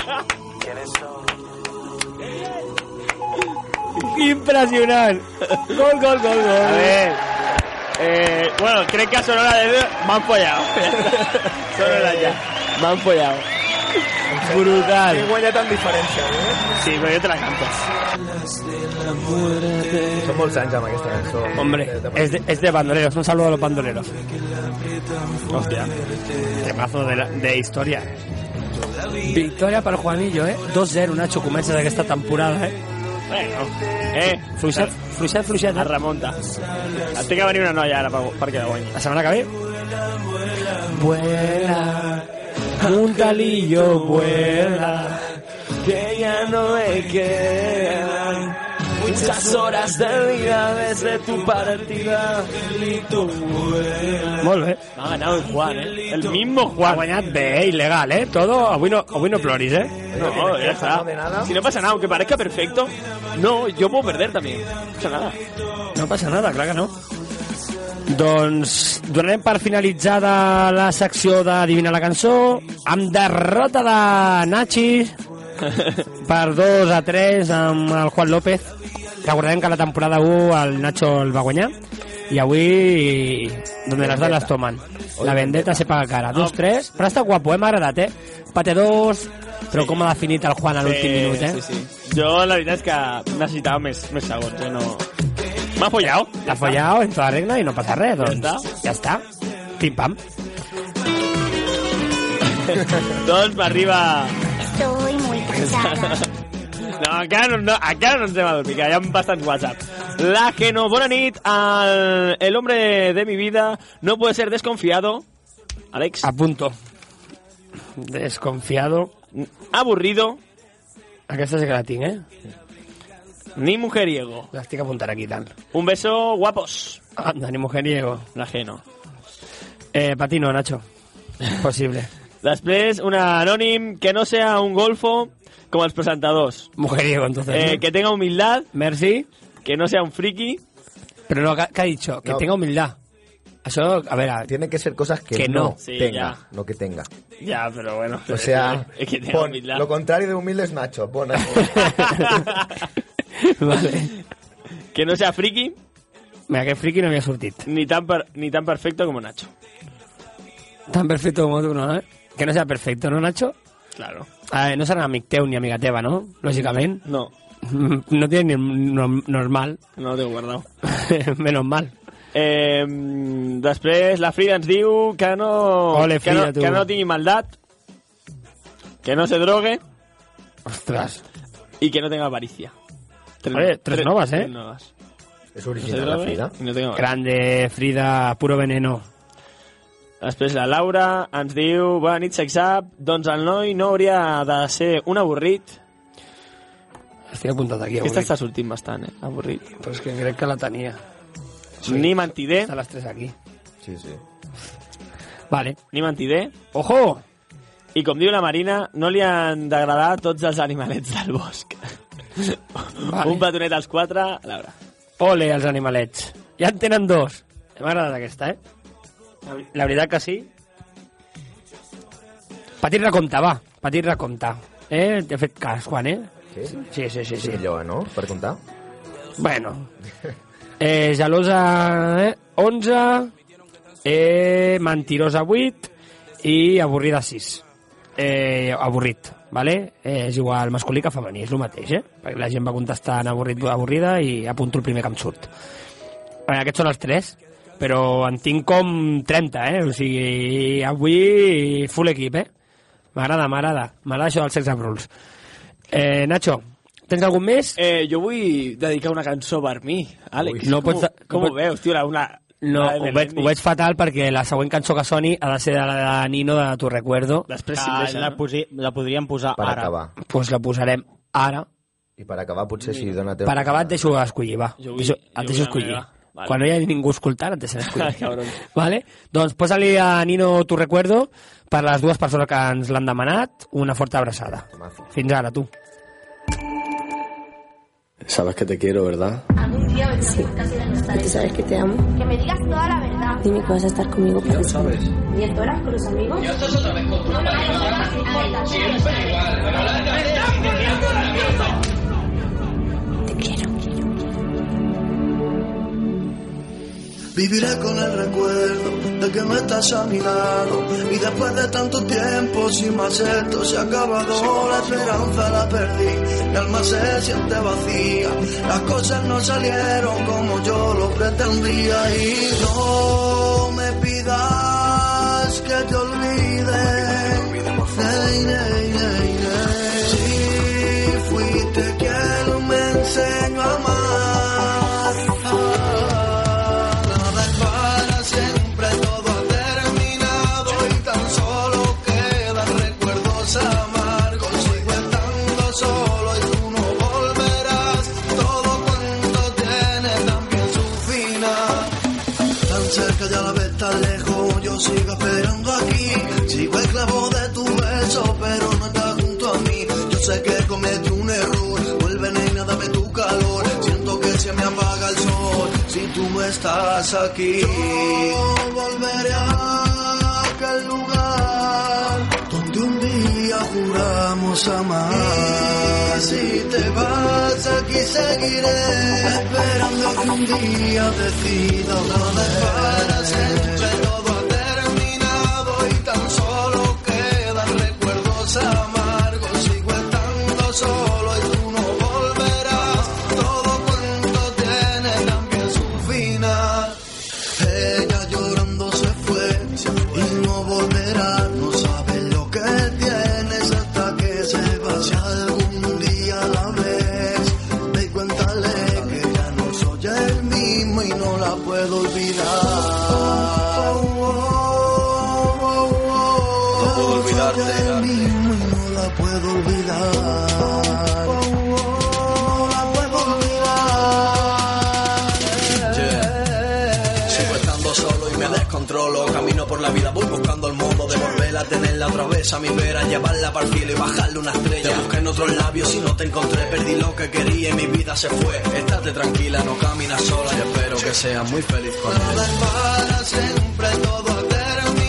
Speaker 1: Impressionant. Gol, gol, gol, gol.
Speaker 2: A ver. Eh, bueno, creen que a Sonora de... Me han follado. Sonora ya. Me han follado.
Speaker 1: Brutal.
Speaker 3: Qué guanya tan diferència, eh?
Speaker 2: Sí, pero yo te la canto.
Speaker 3: Són molts anys amb aquesta cançó. Eh,
Speaker 1: Hombre, es de, es de bandoleros. Un saludo a los bandoleros. Hostia. Temazo de, la- de historia. Victoria para Juanillo, ¿eh? 2-0, Nacho, comienza de esta temporada, ¿eh?
Speaker 2: Bueno, eh,
Speaker 1: Fluixet, fluixet, fluixet.
Speaker 2: Es remunta. Et té que venir una noia ara per- perquè la guanyi.
Speaker 1: La setmana que ve? Vuela, un talillo vuela,
Speaker 5: que ya no me quedan muchas horas de vida desde tu partida.
Speaker 1: Molt bé.
Speaker 2: Ha ganado el Juan, eh? El mismo Juan.
Speaker 1: Ha guanyat bé, il·legal, eh? Todo, avui no, avui no ploris, eh?
Speaker 2: No, ya está. Si no pasa nada, aunque parezca perfecto, no, yo puedo perder también. No pasa nada.
Speaker 1: No passa nada, clar que no. Doncs donarem per finalitzada la secció d'Adivina la cançó amb derrota de Nachi per 2 a 3 amb el Juan López. Recordem que la temporada 1 el Nacho el va guanyar i avui donde las dan las toman. La vendetta se paga cara.
Speaker 2: Ah.
Speaker 1: 2-3, però ha estat guapo, eh? m'ha agradat, eh? Pate 2, però com ha definit el Juan a l'últim
Speaker 2: Sí,
Speaker 1: minut, eh?
Speaker 2: Sí, sí. Jo, la veritat és que necessitava més, més segons, eh? No... M'ha follat.
Speaker 1: L'ha follado en toda regla i no passa res, doncs ja està. Ja està. Pim pam.
Speaker 2: doncs m'arriba...
Speaker 10: Estoy muy cansada.
Speaker 2: No, encara no, no, encara no ens hem adormit, que hi ha bastants whatsapps. La que no, bona nit, el, el hombre de mi vida no puede ser desconfiado. Alex.
Speaker 1: A punto. Desconfiado.
Speaker 2: Aburrido.
Speaker 1: Aquesta sí que la tinc, eh?
Speaker 2: Ni mujeriego.
Speaker 1: L'estic apuntant aquí tant.
Speaker 2: Un beso, guapos.
Speaker 1: Anda, ni mujeriego.
Speaker 2: L'ajeno.
Speaker 1: Eh, patino, Nacho. Possible.
Speaker 2: Després, un anònim que no sea un golfo com els presentadors.
Speaker 1: Mujeriego, entonces.
Speaker 2: Eh,
Speaker 1: ¿no?
Speaker 2: que tenga humildad.
Speaker 1: Merci.
Speaker 2: Que no sea un friki.
Speaker 1: Pero no, ¿qué ha dicho? Que
Speaker 3: No.
Speaker 1: tenga humildad. Eso, a ver, a-
Speaker 3: Tienen que ser cosas que,
Speaker 1: Que no.
Speaker 3: no,
Speaker 1: Sí,
Speaker 3: tenga,
Speaker 1: ya.
Speaker 3: no que tenga.
Speaker 2: Ya, pero bueno.
Speaker 3: O sea,
Speaker 2: es que tenga
Speaker 3: pon-
Speaker 2: humildad.
Speaker 3: lo contrario de humilde es Nacho. Pon ahí.
Speaker 1: vale.
Speaker 2: Que no sea friki
Speaker 1: Mira, que friki no havia sortit.
Speaker 2: ni tan, per- ni tan perfecto como Nacho.
Speaker 1: Tan perfecto como tú, no, eh? Que no sea perfecto, ¿no, Nacho?
Speaker 2: Claro.
Speaker 1: A ver, no serà amic teu ni amiga teva, no? Lògicament.
Speaker 2: No,
Speaker 1: No tiene ni nom- normal.
Speaker 2: no lo tengo guardado.
Speaker 1: Menos mal.
Speaker 2: Eh, després, la Frida ens diu que no,
Speaker 1: Ole,
Speaker 2: que, no,
Speaker 1: Frida, tu.
Speaker 2: que no tingui maldat, que no se drogue
Speaker 1: Ostras.
Speaker 2: y que no tenga avaricia.
Speaker 1: Oye, tres novas, eh.
Speaker 2: Tres novas.
Speaker 3: Es
Speaker 2: No
Speaker 3: original
Speaker 2: se
Speaker 3: la
Speaker 2: drogue
Speaker 3: Frida.
Speaker 2: i No tenga avaricia.
Speaker 1: Grande, Frida, puro veneno.
Speaker 2: Després la Laura ens diu, bona nit, sexap, doncs el noi no hauria de ser un avorrit.
Speaker 1: Estic apuntat aquí.
Speaker 2: Aquesta
Speaker 1: avorrit.
Speaker 2: està sortint bastant, eh? Avorrit.
Speaker 1: Però és que crec que la tenia.
Speaker 2: Ni mentider,
Speaker 1: Estan les tres aquí.
Speaker 3: Sí, sí.
Speaker 1: Vale.
Speaker 2: ni mentider.
Speaker 1: Ojo!
Speaker 2: I com diu la Marina, no li han d'agradar tots els animalets del bosc.
Speaker 1: Vale.
Speaker 2: Un petonet als quatre, Laura.
Speaker 1: Ole, els animalets. Ja en tenen dos. M'ha agradat aquesta, eh? La veri- La veritat que sí. Petit recompte, va. Petit recompte. Eh? T'he fet cas, Juan, eh?
Speaker 3: Sí?
Speaker 1: Sí, sí, sí. sí.
Speaker 3: Lloa, no? Per comptar.
Speaker 1: Bueno. Eh, gelosa, eh? 11. Eh, mentirosa, 8. I avorrida, 6. Eh, avorrit, vale? Eh, és igual masculí que femení, és el mateix, eh? Perquè la gent va contestar en avorrit, avorrida i apunto el primer que em surt. Eh, aquests són els tres, però en tinc com 30, eh? O sigui, avui full equip, eh? M'agrada, m'agrada. M'agrada això dels sex and rules. Eh, Nacho, tens algun més?
Speaker 2: Eh, jo vull dedicar una cançó per mi, Àlex.
Speaker 1: Ui. No
Speaker 2: com,
Speaker 1: pots-
Speaker 2: com
Speaker 1: no
Speaker 2: ho
Speaker 1: pots-
Speaker 2: veus, tio? La, una,
Speaker 1: No,
Speaker 2: la de
Speaker 1: ho veig,
Speaker 2: Melendi.
Speaker 1: ho veig fatal perquè la següent cançó que soni ha de ser de la de Nino de Tu Recuerdo.
Speaker 2: Després si em
Speaker 4: Ah,
Speaker 2: deixa,
Speaker 4: la,
Speaker 1: eh?
Speaker 2: no?
Speaker 4: posi, la podríem posar
Speaker 3: Per
Speaker 4: ara. Eh,
Speaker 3: acabar.
Speaker 1: Doncs pues la posarem ara.
Speaker 3: I per acabar, pues, potser si dona temps...
Speaker 1: Per acabar et deixo escollir, va.
Speaker 2: Jo
Speaker 1: Jo
Speaker 2: vull-
Speaker 1: deixo,
Speaker 2: jo
Speaker 1: et deixo
Speaker 2: vull la
Speaker 1: escollir.
Speaker 2: meva. Vale.
Speaker 1: Quan no hi ha ningú escoltant, et deixen escollir.
Speaker 2: Cabrón.
Speaker 1: vale? Doncs posa-li a Nino Tu Recuerdo per les dues persones que ens l'han demanat una forta abraçada.
Speaker 3: Mazo.
Speaker 1: Fins ara, tu.
Speaker 14: Sabes que te quiero, ¿verdad?
Speaker 10: Algún día vendrá un podcast de
Speaker 15: Y tú
Speaker 10: nostalgia.
Speaker 15: sabes que te amo.
Speaker 10: Que me digas toda la verdad.
Speaker 15: Dime que vas a estar conmigo para
Speaker 14: lo
Speaker 15: siempre.
Speaker 10: ¿Y tú eras con los amigos? Yo estás otra vez con tu no, no, no, no, no, Siempre igual.
Speaker 15: Te quiero.
Speaker 16: Viviré con el recuerdo de que no estás a mi lado y después de tanto tiempo sin más esto se ha acabado la esperanza la perdí mi alma se siente vacía las cosas no salieron como yo lo pretendía y no me pidas que te olvide Ey, ey, ey, ey. si fuiste quien me enseñó cerca, ya la ves tan lejos. Yo sigo esperando aquí. Sigo esclavo de tu beso, pero no estás junto a mí. Yo sé que cometí un error. Vuelve, nena, dame tu calor. Siento que se me apaga el sol si tú no estás aquí. Yo volveré a aquel lugar donde un día juramos amar. Y si te vas, aquí seguiré esperando que un día decida volver. Para siempre todo ha terminado y tan solo quedan recuerdos amargos. Sigo estando solo y tú no volverás. Todo cuanto tiene también su final. Ella llorando se fue y no volverá. No sabes lo que tienes hasta que se va. Si algún día la ves, ve y cuéntale que ya no soy el mismo y no la puedo olvidar. No puedo olvidarte. El mismo y no la puedo olvidar. No la puedo olvidar.
Speaker 17: Yeah. Sigo estando solo y me descontrolo. Camino por la vida, voy buscando el modo de volver a tenerla otra vez a mi vera, llevarla para el cielo y bajarle una estrella. Te busqué en otros labios y no te encontré. Perdí lo que quería y mi vida se fue. Estate tranquila, no caminas sola y espero que seas muy feliz con él.
Speaker 16: Para siempre todo ha terminado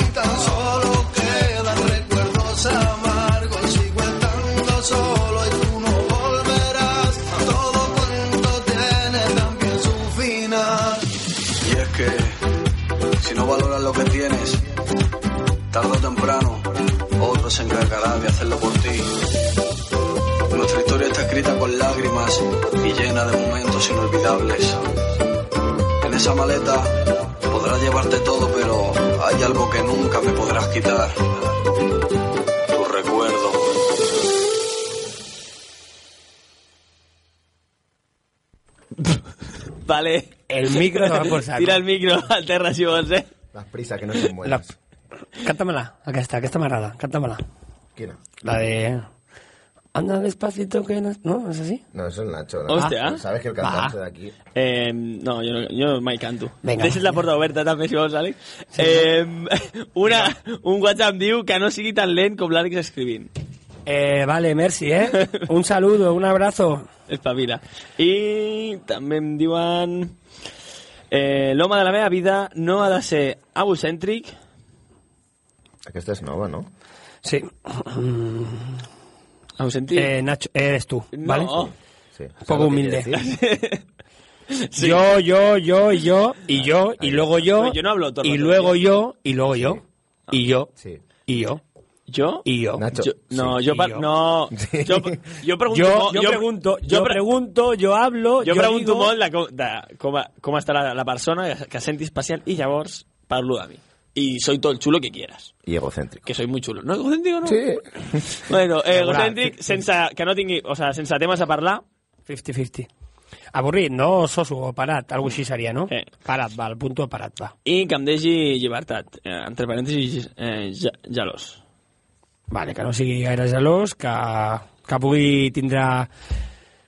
Speaker 16: y tan solo quedan recuerdos amargos. Sigo estando solo y tú no volverás. Todo cuanto tiene también su final.
Speaker 17: Y es que si no valoras lo que tienes, tarde o temprano, otro se encargará de hacerlo por ti. Nuestra historia está escrita con lágrimas y llena de momentos inolvidables. En esa maleta podrás llevarte todo, pero hay algo que nunca me podrás quitar. Tu recuerdo.
Speaker 2: Vale.
Speaker 1: El micro se va por saco.
Speaker 2: Tira el micro al terra, si vols, eh?
Speaker 3: Las prisas, que no son buenas.
Speaker 1: Cántamela, aquesta, aquesta m'agrada, cántamela.
Speaker 3: Quina?
Speaker 1: La de... Anda despacito que no... No, és així?
Speaker 3: No, eso es Nacho. ¿no?
Speaker 2: Hòstia.
Speaker 3: Sabes que el cantante de aquí...
Speaker 2: Eh, no, jo, no, jo mai canto.
Speaker 1: Vinga.
Speaker 2: Deixes la porta oberta també, si vols, Àlex. Eh, una, un WhatsApp diu que no sigui tan lent com l'Àlex escrivint.
Speaker 1: Eh, vale, merci, eh? Un saludo, un abrazo.
Speaker 2: Espavila. I també em diuen... Eh, L'home de la meva vida no ha de ser egocèntric.
Speaker 3: Aquesta és nova, no?
Speaker 1: Sí.
Speaker 2: Egocèntric?
Speaker 1: Eh, Nacho, eres tú, ¿vale?
Speaker 2: No.
Speaker 3: Sí.
Speaker 1: Poco humilde. Yo, yo, yo, y yo, y yo, y luego yo,
Speaker 2: Pero yo no hablo todo el
Speaker 1: y
Speaker 2: rato,
Speaker 1: luego
Speaker 2: tío.
Speaker 1: yo, y luego yo,
Speaker 2: Ah.
Speaker 1: y yo,
Speaker 3: Sí.
Speaker 1: y yo,
Speaker 2: Jo?
Speaker 1: y yo.
Speaker 3: Nacho.
Speaker 2: jo no,
Speaker 1: Sí,
Speaker 2: jo, per,
Speaker 1: jo.
Speaker 2: no, jo, jo pregunto...
Speaker 1: Yo,
Speaker 2: molt-
Speaker 1: yo pregunto, yo
Speaker 2: pre-
Speaker 1: pregunto, yo hablo,
Speaker 2: jo
Speaker 1: yo
Speaker 2: pregunto
Speaker 1: digo-
Speaker 2: molt de com, de com, a- com està la, la persona que, que senti especial i llavors parlo de mi. I soy todo el chulo que quieras.
Speaker 3: I egocèntric.
Speaker 2: Que soy muy chulo. No, egocèntric o no?
Speaker 3: Sí.
Speaker 2: Bueno, eh,
Speaker 1: Regular.
Speaker 2: egocèntric sense, que no tingui, o sea, sense temes a parlar.
Speaker 1: 50-50. Avorrit, no? Soso o parat, algo així seria, no?
Speaker 2: Eh.
Speaker 1: Parat, va, el punto parat, va.
Speaker 2: i que em deixi llibertat. Eh, entre parèntesis, eh, ja, gelós.
Speaker 1: Vale, que no sigui gaire gelós, que, que pugui tindre...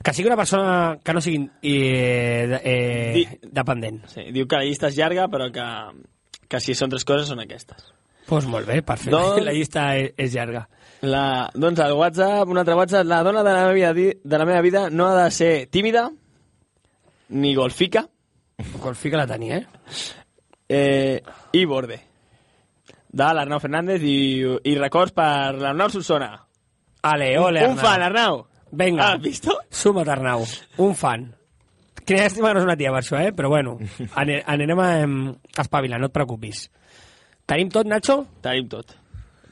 Speaker 1: Que sigui una persona que no sigui eh, de- eh,
Speaker 2: Di-
Speaker 1: dependent.
Speaker 2: Sí, diu que la llista és llarga, però que, que si són tres coses són aquestes.
Speaker 1: Doncs pues molt bé, perfecte.
Speaker 2: Doncs-
Speaker 1: La llista és, és llarga.
Speaker 2: La, doncs el WhatsApp, un altre WhatsApp, la dona de la, meva vida, di- de la meva vida no ha de ser tímida, ni golfica,
Speaker 1: Golfi que la tenia, eh?
Speaker 2: eh, i borde. De l'Arnau Fernández i, i records per l'Arnau Solsona.
Speaker 1: Ale, ole,
Speaker 2: Un fan, Arnau. Ah,
Speaker 1: Venga.
Speaker 2: Has visto?
Speaker 1: Suma't, Arnau. Un fan. Quina llàstima que no és una tia per això, eh? Però bueno, ane- anirem a em, espavilar, no et preocupis. Tenim tot, Nacho?
Speaker 2: Tenim tot.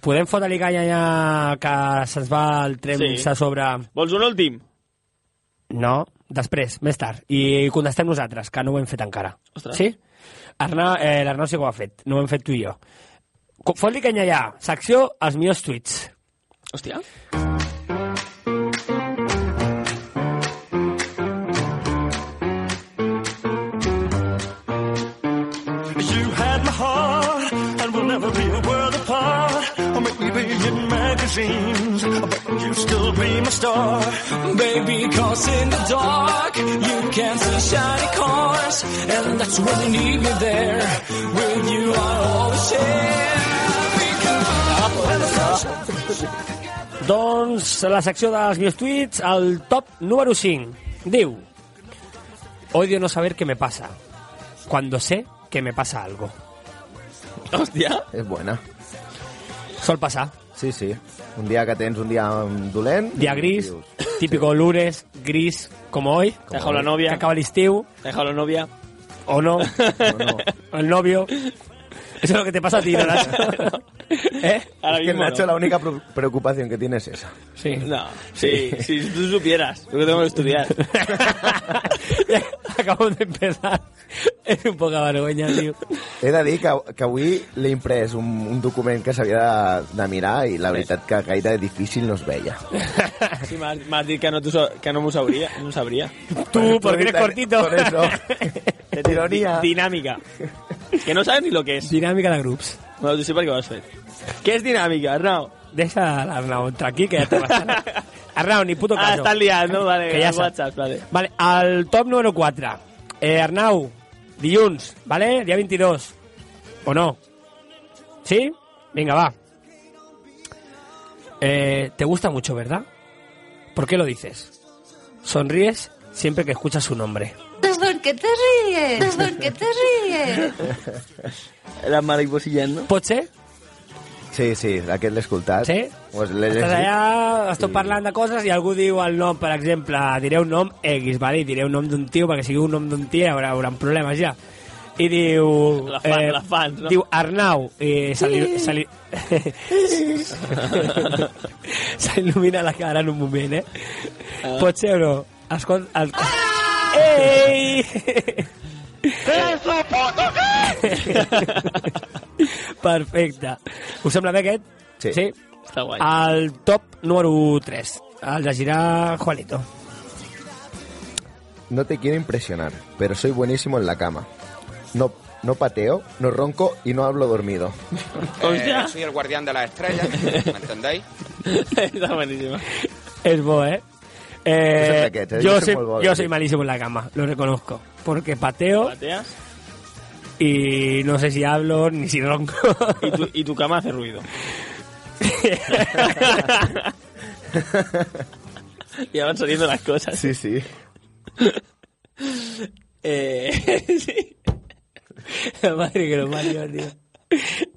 Speaker 1: Podem fotre-li canya ja que se'ns va el tren
Speaker 2: Sí.
Speaker 1: sí. a sobre...
Speaker 2: Vols un últim?
Speaker 1: No, després, més tard. I contestem nosaltres, que no ho hem fet encara.
Speaker 2: Ostres.
Speaker 1: Sí? Arnau, eh, L'Arnau sí que ho ha fet, no ho hem fet tu i jo. Co- Fot-li canya ja. Secció, els millors tuits.
Speaker 2: Hòstia.
Speaker 8: You had my heart, and we'll never be a world apart. Or make me
Speaker 5: baby, in magazines. But you still be my star, baby, cause in the dark, you can see shiny cars. And that's when you need me there. With you, I'll always share.
Speaker 1: Doncs la secció dels meus tuits, el top número 5. Diu... Odio no saber qué me pasa. Cuando sé que me pasa algo.
Speaker 2: Hòstia.
Speaker 3: És bona.
Speaker 1: Sol passar.
Speaker 3: Sí, sí. Un dia que tens un dia mm, dolent...
Speaker 1: Día gris, típico lunes, gris, como hoy.
Speaker 2: Te dejado la novia.
Speaker 1: Que acaba el estiu.
Speaker 2: He dejado la novia.
Speaker 1: O no. O el novio. Eso es lo que te pasa a ti, ¿no, Nacho? ¿Eh?
Speaker 2: Ahora
Speaker 3: Es que
Speaker 2: mismo
Speaker 3: Nacho
Speaker 2: no.
Speaker 3: la única pro- preocupación que tiene es esa.
Speaker 1: Sí.
Speaker 2: No, sí, si tú supieras lo que tengo que estudiar.
Speaker 1: Acabamos de empezar. Es un poca vergüenza, tío.
Speaker 3: He de dir que, que avui l'he imprès un, un document que s'havia de, de mirar i la veritat que gaire difícil no es veia.
Speaker 2: Sí, m'has m'has dit que no, t'ho sa- que no m'ho sabria. No ho sabria.
Speaker 1: Tú, porque eres cortito.
Speaker 3: Por eso.
Speaker 2: Di- Dinámica. Que no sabes ni lo que es.
Speaker 1: Dinámica de grups.
Speaker 2: Bueno, tú sí perquè ho has fet. Què és dinàmica, Arnau?
Speaker 1: Deja al Arnau tranqui, que ya te vas a... Arnau, ni puto
Speaker 2: Ah,
Speaker 1: caso.
Speaker 2: estàs liat, no? Vale,
Speaker 1: Que ja
Speaker 2: al
Speaker 1: saps.
Speaker 2: WhatsApp, vale.
Speaker 1: Vale, al top número 4. Eh, Arnau, dilluns, vale? Dia 22. O no? Sí? Vinga, va. Eh, te gusta mucho, ¿verdad? ¿Por qué lo dices? Sonríes siempre que escuchas su nombre.
Speaker 9: ¿Por qué te ríes? ¿Por qué te ríes?
Speaker 2: Las mariposillas, no?
Speaker 1: Pot ser?
Speaker 3: Sí, sí, aquest l'he escoltat.
Speaker 1: Sí?
Speaker 3: Pues l'he
Speaker 1: Estàs
Speaker 3: llegit.
Speaker 1: allà, esteu parlant de coses i algú diu el nom, per exemple, diré un nom X, vale? i diré un nom d'un tio, perquè sigui un nom d'un tio hi haurà, hi haurà problemes ja. I diu... eh,
Speaker 2: La fan- la fan, no?
Speaker 1: Diu Arnau, i se li, se li, se li il·lumina la cara en un moment, eh?
Speaker 2: Ah.
Speaker 1: Pot ser o no? Escolta... El... Ei! Perfecte. Us sembla bé aquest?
Speaker 3: Sí.
Speaker 1: sí?
Speaker 2: Està guai.
Speaker 1: Al top número 3. El llegirà Juanito.
Speaker 3: No te quiero impresionar, pero soy buenísimo en la cama. No, no pateo, no ronco y no hablo dormido.
Speaker 7: Eh, soy el guardián de las estrellas, ¿me entendéis?
Speaker 2: Está buenísimo.
Speaker 1: Es bo, ¿eh? Eh,
Speaker 3: Pues es paquete, yo
Speaker 1: yo,
Speaker 3: soy
Speaker 1: soy, eh.
Speaker 3: muy bobo,
Speaker 1: yo
Speaker 3: sí.
Speaker 1: soy malísimo en la cama, lo reconozco. Porque pateo
Speaker 2: Pateas
Speaker 1: y no sé si hablo ni si ronco.
Speaker 2: y tu, y tu cama hace ruido. y van saliendo las cosas.
Speaker 3: Sí, sí.
Speaker 2: Eh, sí.
Speaker 1: La Madre que lo parió, tío.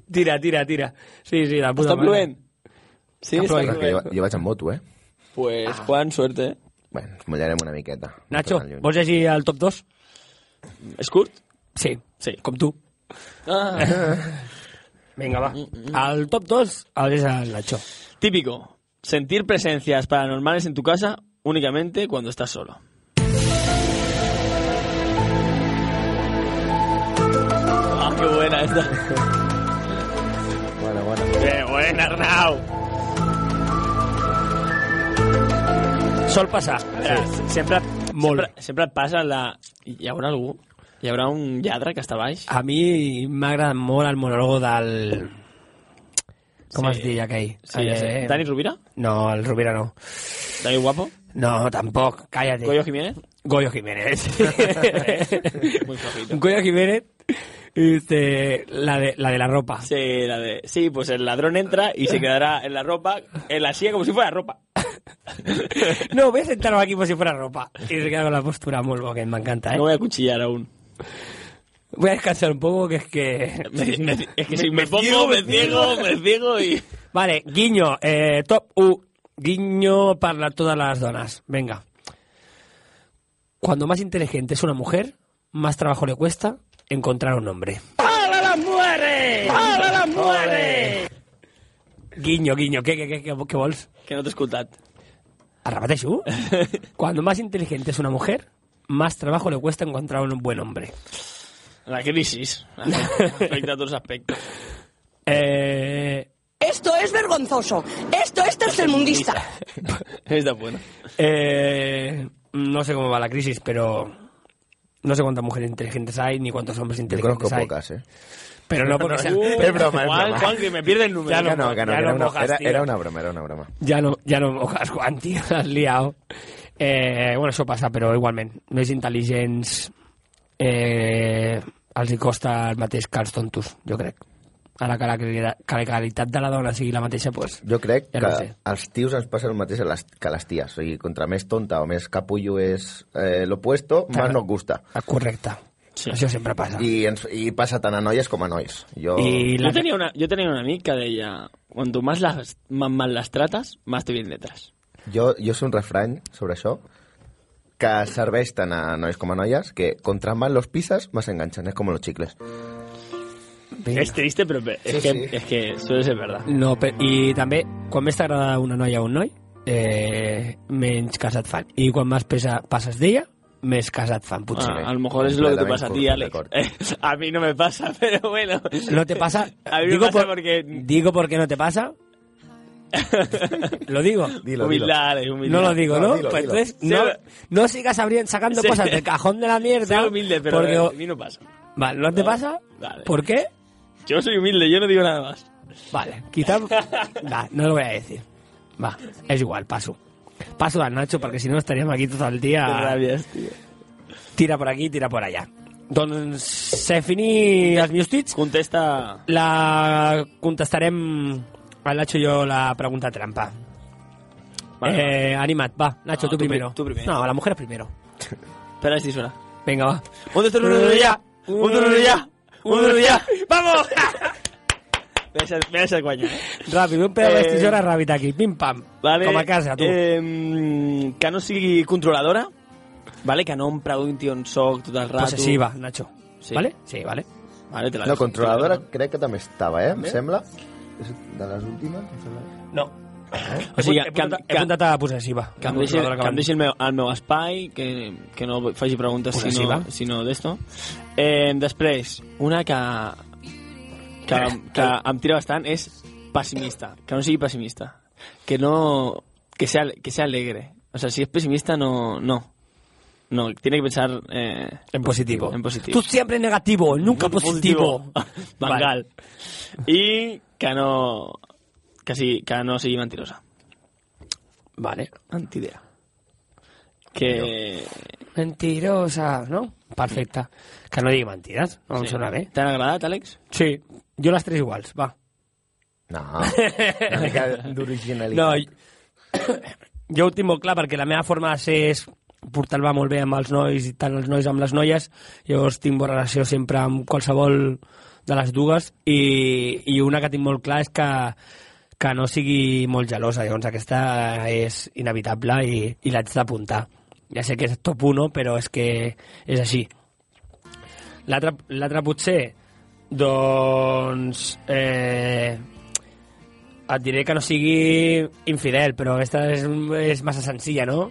Speaker 1: Tira, tira, tira. Sí, sí, la puta
Speaker 2: ¿Está
Speaker 1: madre.
Speaker 2: Pluen? Sí,
Speaker 1: Està
Speaker 2: está
Speaker 1: plovent.
Speaker 3: Clar, que jo,
Speaker 2: Pluen.
Speaker 3: jo vaig amb moto, eh?
Speaker 2: Pues Juan, suerte. eh.
Speaker 3: Bueno, ens mullarem una miqueta. No
Speaker 1: Nacho,
Speaker 3: tan lluny.
Speaker 1: vols llegir el top 2?
Speaker 2: ¿Es Kurt?
Speaker 1: Sí,
Speaker 2: Sí.
Speaker 1: com tu.
Speaker 2: Ah.
Speaker 1: Vinga, va. Al top 2 el és el Nacho.
Speaker 2: Típico. Sentir presencias paranormales en tu casa únicamente cuando estás solo. Ah, qué buena esta.
Speaker 3: Bueno, bueno.
Speaker 2: Qué buena, Arnau.
Speaker 1: Sol passar.
Speaker 2: Sí. Sempre,
Speaker 1: Molt.
Speaker 2: sempre, sempre et passa la... Hi haurà algú? Hi haurà un lladre que està baix?
Speaker 1: A mi m'agrada molt el monòlogo del... Com
Speaker 2: Sí.
Speaker 1: es deia aquell?
Speaker 2: Sí, ja sé.
Speaker 1: Eh,
Speaker 2: Dani Rovira?
Speaker 1: No, el Rovira no.
Speaker 2: Dani Guapo?
Speaker 1: No, tampoc, cállate.
Speaker 2: Goyo Jiménez?
Speaker 1: Goyo Jiménez.
Speaker 2: Muy flojito.
Speaker 1: Goyo Jiménez, este, la, de, la de la ropa.
Speaker 2: Sí, la de... sí, pues el ladrón entra y se quedará en la ropa, en la silla como si fuera ropa.
Speaker 1: No, voy a sentarme aquí como si fuera ropa. Y se queda con la postura muy bo, que me encanta, ¿eh?
Speaker 2: No voy a cuchillar aún.
Speaker 1: Voy a descansar un poco, que es que...
Speaker 2: Me- me- es que si
Speaker 1: Me-
Speaker 2: me,
Speaker 1: me ciego,
Speaker 2: pongo, me
Speaker 1: me
Speaker 2: ciego, me ciego y...
Speaker 1: Vale, guiño, eh, top U. Guiño para todas las donas. Venga. Cuando más inteligente es una mujer, más trabajo le cuesta encontrar un hombre. Guiño, guiño, ¿qué, qué, qué, qué, qué vols?
Speaker 2: Que no te escuchad.
Speaker 1: El repeteixo? Cuando más inteligente es una mujer, más trabajo le cuesta encontrar un buen hombre.
Speaker 2: La crisis. Afecta a todos los aspectos.
Speaker 1: Eh,
Speaker 18: Esto es vergonzoso. Esto es tercermundista.
Speaker 2: Está bueno.
Speaker 1: eh, no sé cómo va la crisis, pero no sé cuántas mujeres inteligentes hay ni cuántos hombres
Speaker 3: Yo conozco
Speaker 1: inteligentes hay.
Speaker 3: pocas, eh.
Speaker 1: Pero no porque
Speaker 3: es
Speaker 1: sea-
Speaker 3: es broma, es
Speaker 2: Juan,
Speaker 3: broma.
Speaker 2: Juan, que me pierde el número.
Speaker 3: Ya no, que no,
Speaker 1: ya
Speaker 3: que
Speaker 1: no
Speaker 3: era, una,
Speaker 1: mojas,
Speaker 3: era-
Speaker 1: tío.
Speaker 3: era una broma, era una broma.
Speaker 1: Ya no, ja no mojas, Juan, tio, l'has liado. Eh, bueno, això passa, però igualment. Més intel·ligents eh, els hi costa el mateix que els tontos, jo crec. Ara que la, crea- que la qualitat de la dona sigui la mateixa, pues, doncs...
Speaker 3: Jo crec
Speaker 1: Ja
Speaker 3: que
Speaker 1: no sé.
Speaker 3: als tios ens passa el mateix a les, que a les ties. O sigui, contra més tonta o més capullo és eh, l'opuesto,
Speaker 1: Clar.
Speaker 3: més nos gusta.
Speaker 1: Correcte. Sí. Això sempre passa.
Speaker 3: I, ens, I passa tant a noies com a nois. Jo...
Speaker 2: Yo tenía una, yo tenía un amigo que decía, cuanto más las más, más las tratas, más te vienen detrás.
Speaker 3: Jo, jo sé un refrany sobre això que serveix tant a nois com a noies que contra más los pisas, más enganchan. És com los chicles.
Speaker 2: Es triste, pero es,
Speaker 3: Sí,
Speaker 2: que,
Speaker 3: sí.
Speaker 2: es que suele ser verdad.
Speaker 1: No, però, I també, quan més t'agrada una noia o un noi, eh, menys casat fan. I quan més pesa, passes d'ella, més casat fan, potser.
Speaker 2: Ah, a lo mejor es lo que te pasa a ti, Alex. Eh, a mí no me pasa, pero bueno.
Speaker 1: No te pasa.
Speaker 2: A mí me
Speaker 1: digo
Speaker 2: pasa
Speaker 1: por-
Speaker 2: porque.
Speaker 1: Digo porque no te pasa. ¿Lo digo?
Speaker 2: dilo. Humildad, Alex, humildad.
Speaker 1: No lo digo, ¿no?
Speaker 2: No, dilo,
Speaker 1: pues
Speaker 2: dilo.
Speaker 1: entonces,
Speaker 2: Sí,
Speaker 1: no,
Speaker 2: pero-
Speaker 1: no sigas abriendo, sacando
Speaker 2: Sí.
Speaker 1: cosas del cajón de la mierda.
Speaker 2: Soy humilde, pero
Speaker 1: porque-
Speaker 2: a mí no pasa.
Speaker 1: Vale, ¿no te pasa?
Speaker 2: Vale.
Speaker 1: ¿Por qué?
Speaker 2: Yo soy humilde, yo no digo nada más.
Speaker 1: Vale, quizás... Va, no lo voy a decir. Va, es igual, paso. Paso a Nacho, porque si no estaríamos aquí todo el día...
Speaker 2: Qué rabies, tío.
Speaker 1: Tira por aquí, tira por allá. Doncs se finí els meus tuits.
Speaker 2: Contesta...
Speaker 1: La contestarem a Nacho i jo la pregunta trampa.
Speaker 2: Vale.
Speaker 1: eh, animat, va, Nacho,
Speaker 2: No,
Speaker 1: tú
Speaker 2: tú pri-
Speaker 1: primero.
Speaker 2: tú primero.
Speaker 1: No, la mujer primero.
Speaker 2: Espera, si suena.
Speaker 1: Venga, va.
Speaker 2: Un tururú ya, un tururú ya, un tururú ya. ¡Vamos! Me das- Me das el cuello.
Speaker 1: Ràpid, un pedaç
Speaker 2: Eh,
Speaker 1: d'estissora ràpid aquí. Pim-pam.
Speaker 2: Vale.
Speaker 1: Com a casa, tu.
Speaker 2: Eh, que no sigui controladora, vale? que no em pregunti on soc tot el rato.
Speaker 1: Possessiva, Nacho.
Speaker 2: Sí.
Speaker 1: Vale? Sí, vale.
Speaker 2: vale te la
Speaker 3: No,
Speaker 2: dejo.
Speaker 3: controladora crec que també estava, eh? Em
Speaker 2: També?
Speaker 3: sembla. És de les últimes? em sembla.
Speaker 1: No.
Speaker 2: O sigui, que, em-
Speaker 1: He
Speaker 2: que,
Speaker 1: apuntat- he apuntat a possessiva.
Speaker 2: que em deixi,
Speaker 1: Controladora
Speaker 2: que em
Speaker 1: van-
Speaker 2: deixi el, meu, el meu espai, que, que no faci preguntes si no,
Speaker 1: Possessiva.
Speaker 2: si no d'esto. Eh, després, una que, que,
Speaker 1: Eh.
Speaker 2: que em tira bastant és pessimista, que no sigui pessimista. Que no... Que sea, que sea alegre. O sea, si es pesimista, no... No, no tiene que pensar... Eh,
Speaker 1: Pues, en positivo.
Speaker 2: En positivo.
Speaker 1: Tú siempre negativo, nunca positivo.
Speaker 2: Bangal. I que no... Que, sigui, que no sigui mentirosa.
Speaker 1: Vale.
Speaker 2: Antidea. Que...
Speaker 1: Mentirosa, ¿no? Perfecta. Que no diga mentiras. No em
Speaker 2: Sí.
Speaker 1: sona bé.
Speaker 2: T'han agradat, Àlex?
Speaker 1: Sí. Jo les tres iguals, va.
Speaker 3: No, una mica
Speaker 1: No,
Speaker 3: d'originalitat.
Speaker 1: jo- jo ho tinc molt clar perquè la meva forma de ser és portar-me molt bé amb els nois i tant els nois amb les noies. Llavors tinc bona relació sempre amb qualsevol de les dues i, i una que tinc molt clar és que, que no sigui molt gelosa. Llavors aquesta és inevitable i, i l'haig d'apuntar. Ja sé que és top 1, però és que és així. L'altre l'altre potser, doncs... Eh, et diré que no sigui infidel, però aquesta és, és massa senzilla, no?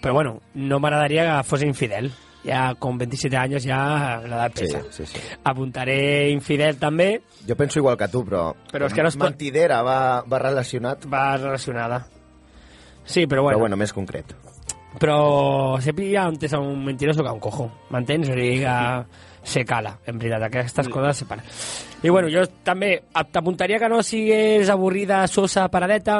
Speaker 1: Però bueno, no m'agradaria que fos infidel. Ja com 27 anys ja l'edat
Speaker 3: Sí,
Speaker 1: pesa.
Speaker 3: sí, sí.
Speaker 1: Apuntaré infidel també,
Speaker 3: Jo penso igual que tu, però...
Speaker 1: Però és que no es pot-
Speaker 3: Mentidera va, va relacionat.
Speaker 1: va relacionada. Sí, però bueno.
Speaker 3: Però bueno, més concret.
Speaker 1: Però se pilla antes a un mentiroso que a un cojo, m'entens? O sigui que se cala, en veritat, aquestes coses se paren. I bueno, jo també t'apuntaria que no sigues avorrida, sosa, paradeta,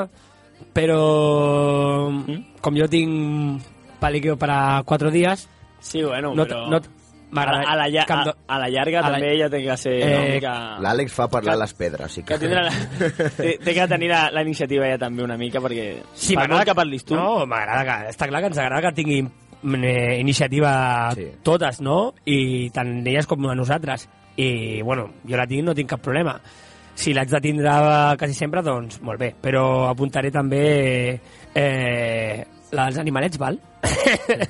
Speaker 1: però
Speaker 2: Mm?
Speaker 1: com jo tinc paliqueo per a quatre dies,
Speaker 2: Sí, bueno,
Speaker 1: no, t-
Speaker 2: però...
Speaker 1: no t-
Speaker 2: a, la,
Speaker 1: m'agrada-
Speaker 2: a, la, llar-
Speaker 1: que em do-
Speaker 2: a, a la llarga
Speaker 1: a la-
Speaker 2: també ella té que ser eh, una
Speaker 1: Eh,
Speaker 2: mica...
Speaker 3: L'Àlex fa parlar les pedres, sí que...
Speaker 2: Que tindrà la, té, té que tenir la, la iniciativa ella també una mica perquè...
Speaker 1: Sí,
Speaker 2: per
Speaker 1: m'agrada
Speaker 2: molt que parlis tu.
Speaker 1: No, m'agrada que... Està clar que ens agrada que tinguin mm, eh, iniciativa sí. totes, no? I tant elles com a nosaltres. I, bueno, jo la tinc, no tinc cap problema. Si l'haig de tindre quasi sempre, doncs molt bé. Però apuntaré també eh, la dels animalets, val?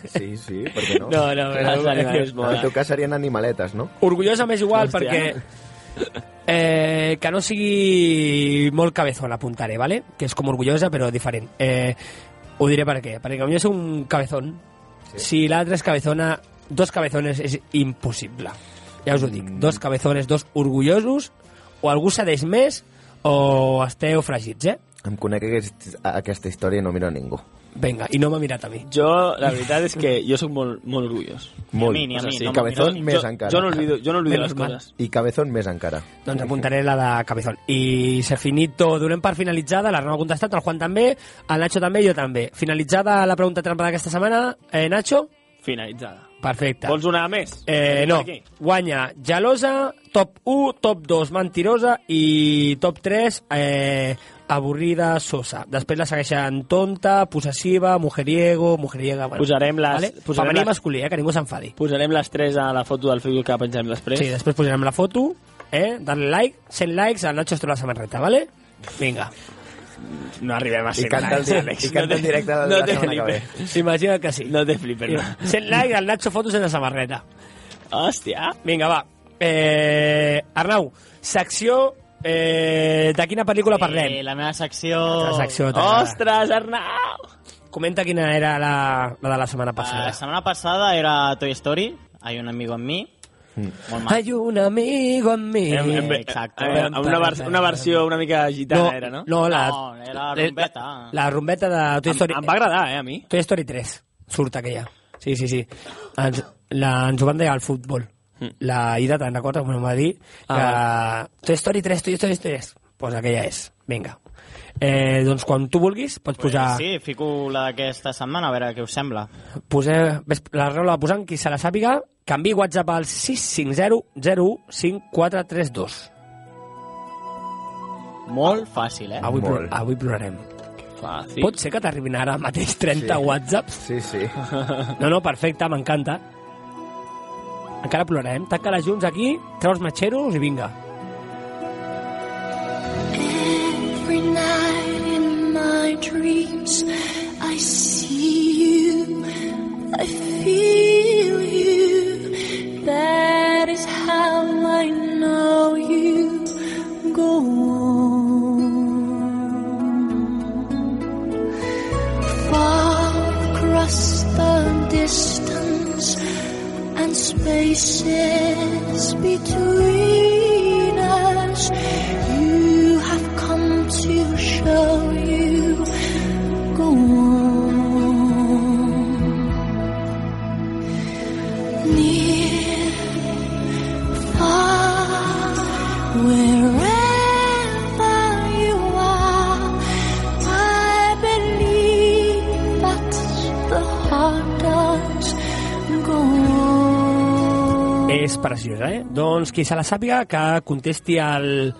Speaker 3: Sí, sí, per què no?
Speaker 1: No, no, no, no, no.
Speaker 2: eh.
Speaker 3: En teu cas serien animaletes, no?
Speaker 1: Orgullosa m'és igual
Speaker 3: Hòstia.
Speaker 1: perquè... Eh, que no sigui molt cabezón, apuntaré, ¿vale? Que és com orgullosa, però diferent. Eh, ho diré per què. Perquè com jo soc un cabezón, sí. si l'altre és cabezona, dos cabezones és impossible. Ja us ho dic. Dos cabezones, dos orgullosos, o algú cedeix més, o esteu fregits, eh?
Speaker 3: Em conec aquest, aquesta història i no miro a ningú.
Speaker 1: Venga, i no m'ha mirat a mi.
Speaker 2: Jo, la veritat és que jo sóc molt, molt orgullós.
Speaker 3: Molt.
Speaker 2: O sigui,
Speaker 3: I Cabezón
Speaker 2: jo-
Speaker 3: més
Speaker 2: jo,
Speaker 3: encara.
Speaker 2: Jo no olvido, jo no olvido les
Speaker 1: mal.
Speaker 2: coses.
Speaker 3: I Cabezón més encara.
Speaker 1: Doncs apuntaré la de Cabezón. I se finito, donem per finalitzada, la Roma ha contestat, el Juan també, el Nacho també i jo també. Finalitzada la pregunta trampa d'aquesta setmana, eh, Nacho?
Speaker 2: Finalitzada.
Speaker 1: Perfecte.
Speaker 2: Vols una més?
Speaker 1: Eh, no,
Speaker 2: Aquí.
Speaker 1: guanya Gelosa, top 1, top 2, Mentirosa i top 3, eh, Avorrida, Sosa. Després la segueixen Tonta, Possessiva, Mujeriego, Mujeriega... Bueno,
Speaker 2: Posarem les-
Speaker 1: Vale?
Speaker 2: posarem
Speaker 1: Femení i
Speaker 2: les-
Speaker 1: masculí, eh, que ningú s'enfadi.
Speaker 2: Posarem les tres a la foto del Facebook que pengem després.
Speaker 1: Sí, després posarem la foto, eh? Dale like, 100 likes, el Nacho es treu la samarreta, vale? Vinga.
Speaker 2: No arribem a
Speaker 1: I
Speaker 2: 100
Speaker 1: canta el
Speaker 2: likes,
Speaker 1: di-
Speaker 2: Àlex.
Speaker 1: i canta
Speaker 2: No
Speaker 1: en
Speaker 2: te-
Speaker 1: directe la-
Speaker 2: no
Speaker 1: la
Speaker 2: te
Speaker 1: setmana que ve.
Speaker 2: flipes.
Speaker 1: Imagina que sí.
Speaker 2: No te flipes, no.
Speaker 1: 100 likes, el Nacho fotos en la samarreta.
Speaker 2: Hòstia.
Speaker 1: Vinga, va. Eh, Arnau, secció... Eh, de quina pel·lícula parlem?
Speaker 4: Eh, la meva secció...
Speaker 1: La secció t'agrada.
Speaker 2: Ostres, Arnau!
Speaker 1: Comenta quina era la, la de la setmana
Speaker 4: Ah,
Speaker 1: passada.
Speaker 4: La semana pasada era Toy Story, Hay un amigo en mí.
Speaker 1: Hmm.
Speaker 4: Molt mal.
Speaker 1: Hay un amigo en mi.
Speaker 4: Em- em- Exacte.
Speaker 2: Eh, amb una, vers- una versió una mica gitana
Speaker 1: No,
Speaker 2: era, no?
Speaker 1: no, la-
Speaker 4: No, era rompeta.
Speaker 1: La, la rombeta de Toy Story...
Speaker 2: Em, em va agradar, eh, a mi.
Speaker 1: Toy Story 3 surt aquella. Sí, sí, sí. Ens, la, ens ho van dir al futbol.
Speaker 4: Mm.
Speaker 1: La ida te'n recordes? Bueno, em va dir que...
Speaker 4: Ah.
Speaker 1: Toy Story 3, Toy Story 3. Doncs pues aquella és. Vinga. Eh, doncs quan tu vulguis pots
Speaker 4: Pues
Speaker 1: posar...
Speaker 4: Sí, fico la d'aquesta setmana, a veure què us sembla.
Speaker 1: Poseu, ves- la raó la va posant qui se la sàpiga. Canvi WhatsApp al 650-015432.
Speaker 4: Molt fàcil, eh?
Speaker 1: Avui, plor, avui plorarem.
Speaker 2: Fàcil.
Speaker 1: Pot ser que t'arribin ara mateix 30
Speaker 3: Sí.
Speaker 1: whatsapps?
Speaker 3: Sí, sí.
Speaker 2: Ah.
Speaker 1: No, no, perfecte, m'encanta. Encara plorarem. Tanca les llums aquí, treu els matxeros i vinga.
Speaker 5: Every night in my dreams, I see you, I feel you. That is how I know you. Go on. Far across the distance and spaces between us. You have come to show you go on. Near, far, wherever you are, I believe that the heart does go on.
Speaker 1: És preciosa, eh? Doncs qui se la sàpiga que contesti al,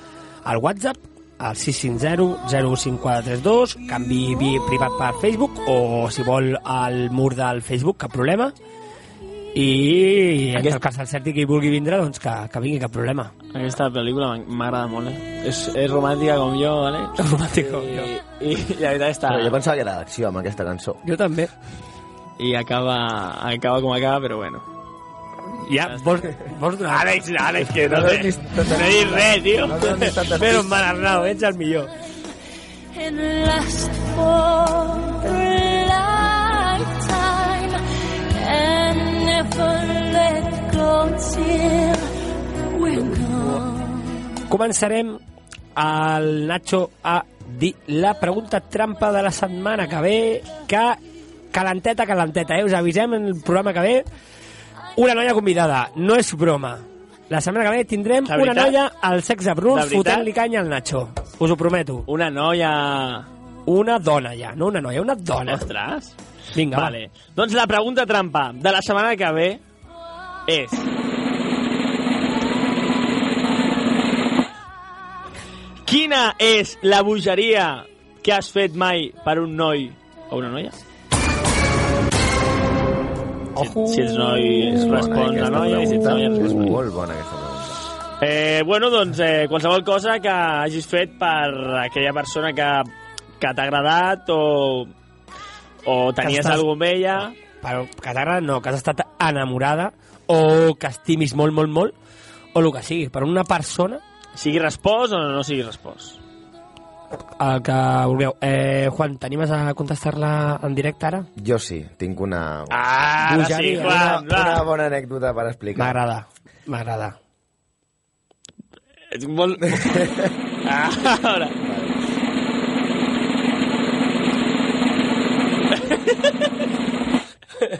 Speaker 1: al WhatsApp al 650-05432, canvi vi- privat per Facebook o, si vol, al mur del Facebook, cap problema. I en el cas del Certi qui vulgui vindre, doncs que, que vingui, cap problema.
Speaker 2: Aquesta pel·lícula m'en- m'agrada molt, eh? És, és romàntica com jo, vale?
Speaker 1: Romàntica com jo.
Speaker 2: I, i la veritat està...
Speaker 3: Però jo pensava que era d'acció amb aquesta cançó.
Speaker 1: Jo també.
Speaker 2: I acaba, acaba com acaba, però bueno.
Speaker 1: Ja, vols, vols donar...
Speaker 2: Àlex, Àlex, que no, no, no, no he dit res, tio.
Speaker 1: Però en Arnau, ets el millor.
Speaker 5: and last for a lifetime and never let go till we're gone.
Speaker 1: Començarem el Nacho a dir la pregunta trampa de la setmana que ve, que calenteta, calenteta, eh? Us avisem en el programa que ve. Una noia convidada, no és broma. La setmana que ve tindrem
Speaker 2: De
Speaker 1: una
Speaker 2: veritat?
Speaker 1: noia al sexe
Speaker 2: De
Speaker 1: brut
Speaker 2: veritat?
Speaker 1: fotent-li canya al Nacho. Us ho prometo.
Speaker 2: Una noia...
Speaker 1: Una dona ja, no una noia, una dona.
Speaker 2: Ostres.
Speaker 1: Vinga, va.
Speaker 2: Vale. Doncs la pregunta trampa de la setmana que ve és... Quina és la bogeria que has fet mai per un noi o una noia?
Speaker 1: Ojo.
Speaker 2: Si ets noi, es
Speaker 3: Uh.
Speaker 2: respon la noia, i si ets noia, es respon. Molt bona aquesta pregunta. Eh, bueno, doncs, eh, qualsevol cosa que hagis fet per aquella persona que, que t'ha agradat o, o
Speaker 1: Que
Speaker 2: tenies
Speaker 1: estàs-
Speaker 2: alguna amb ella...
Speaker 1: Però que t'agrada, no, que has estat enamorada o que estimis molt, molt, molt, o el que sigui, per una persona
Speaker 2: Sigui respost o no sigui respost.
Speaker 1: el que vulgueu. Eh, Juan, t'animes a contestar-la en directe ara?
Speaker 3: Jo sí, tinc una...
Speaker 2: Ah, ara sí,
Speaker 1: Bogeria.
Speaker 2: Juan,
Speaker 3: una,
Speaker 2: va.
Speaker 3: una bona anècdota per explicar.
Speaker 1: M'agrada, m'agrada.
Speaker 2: Ets molt... Ah, ara.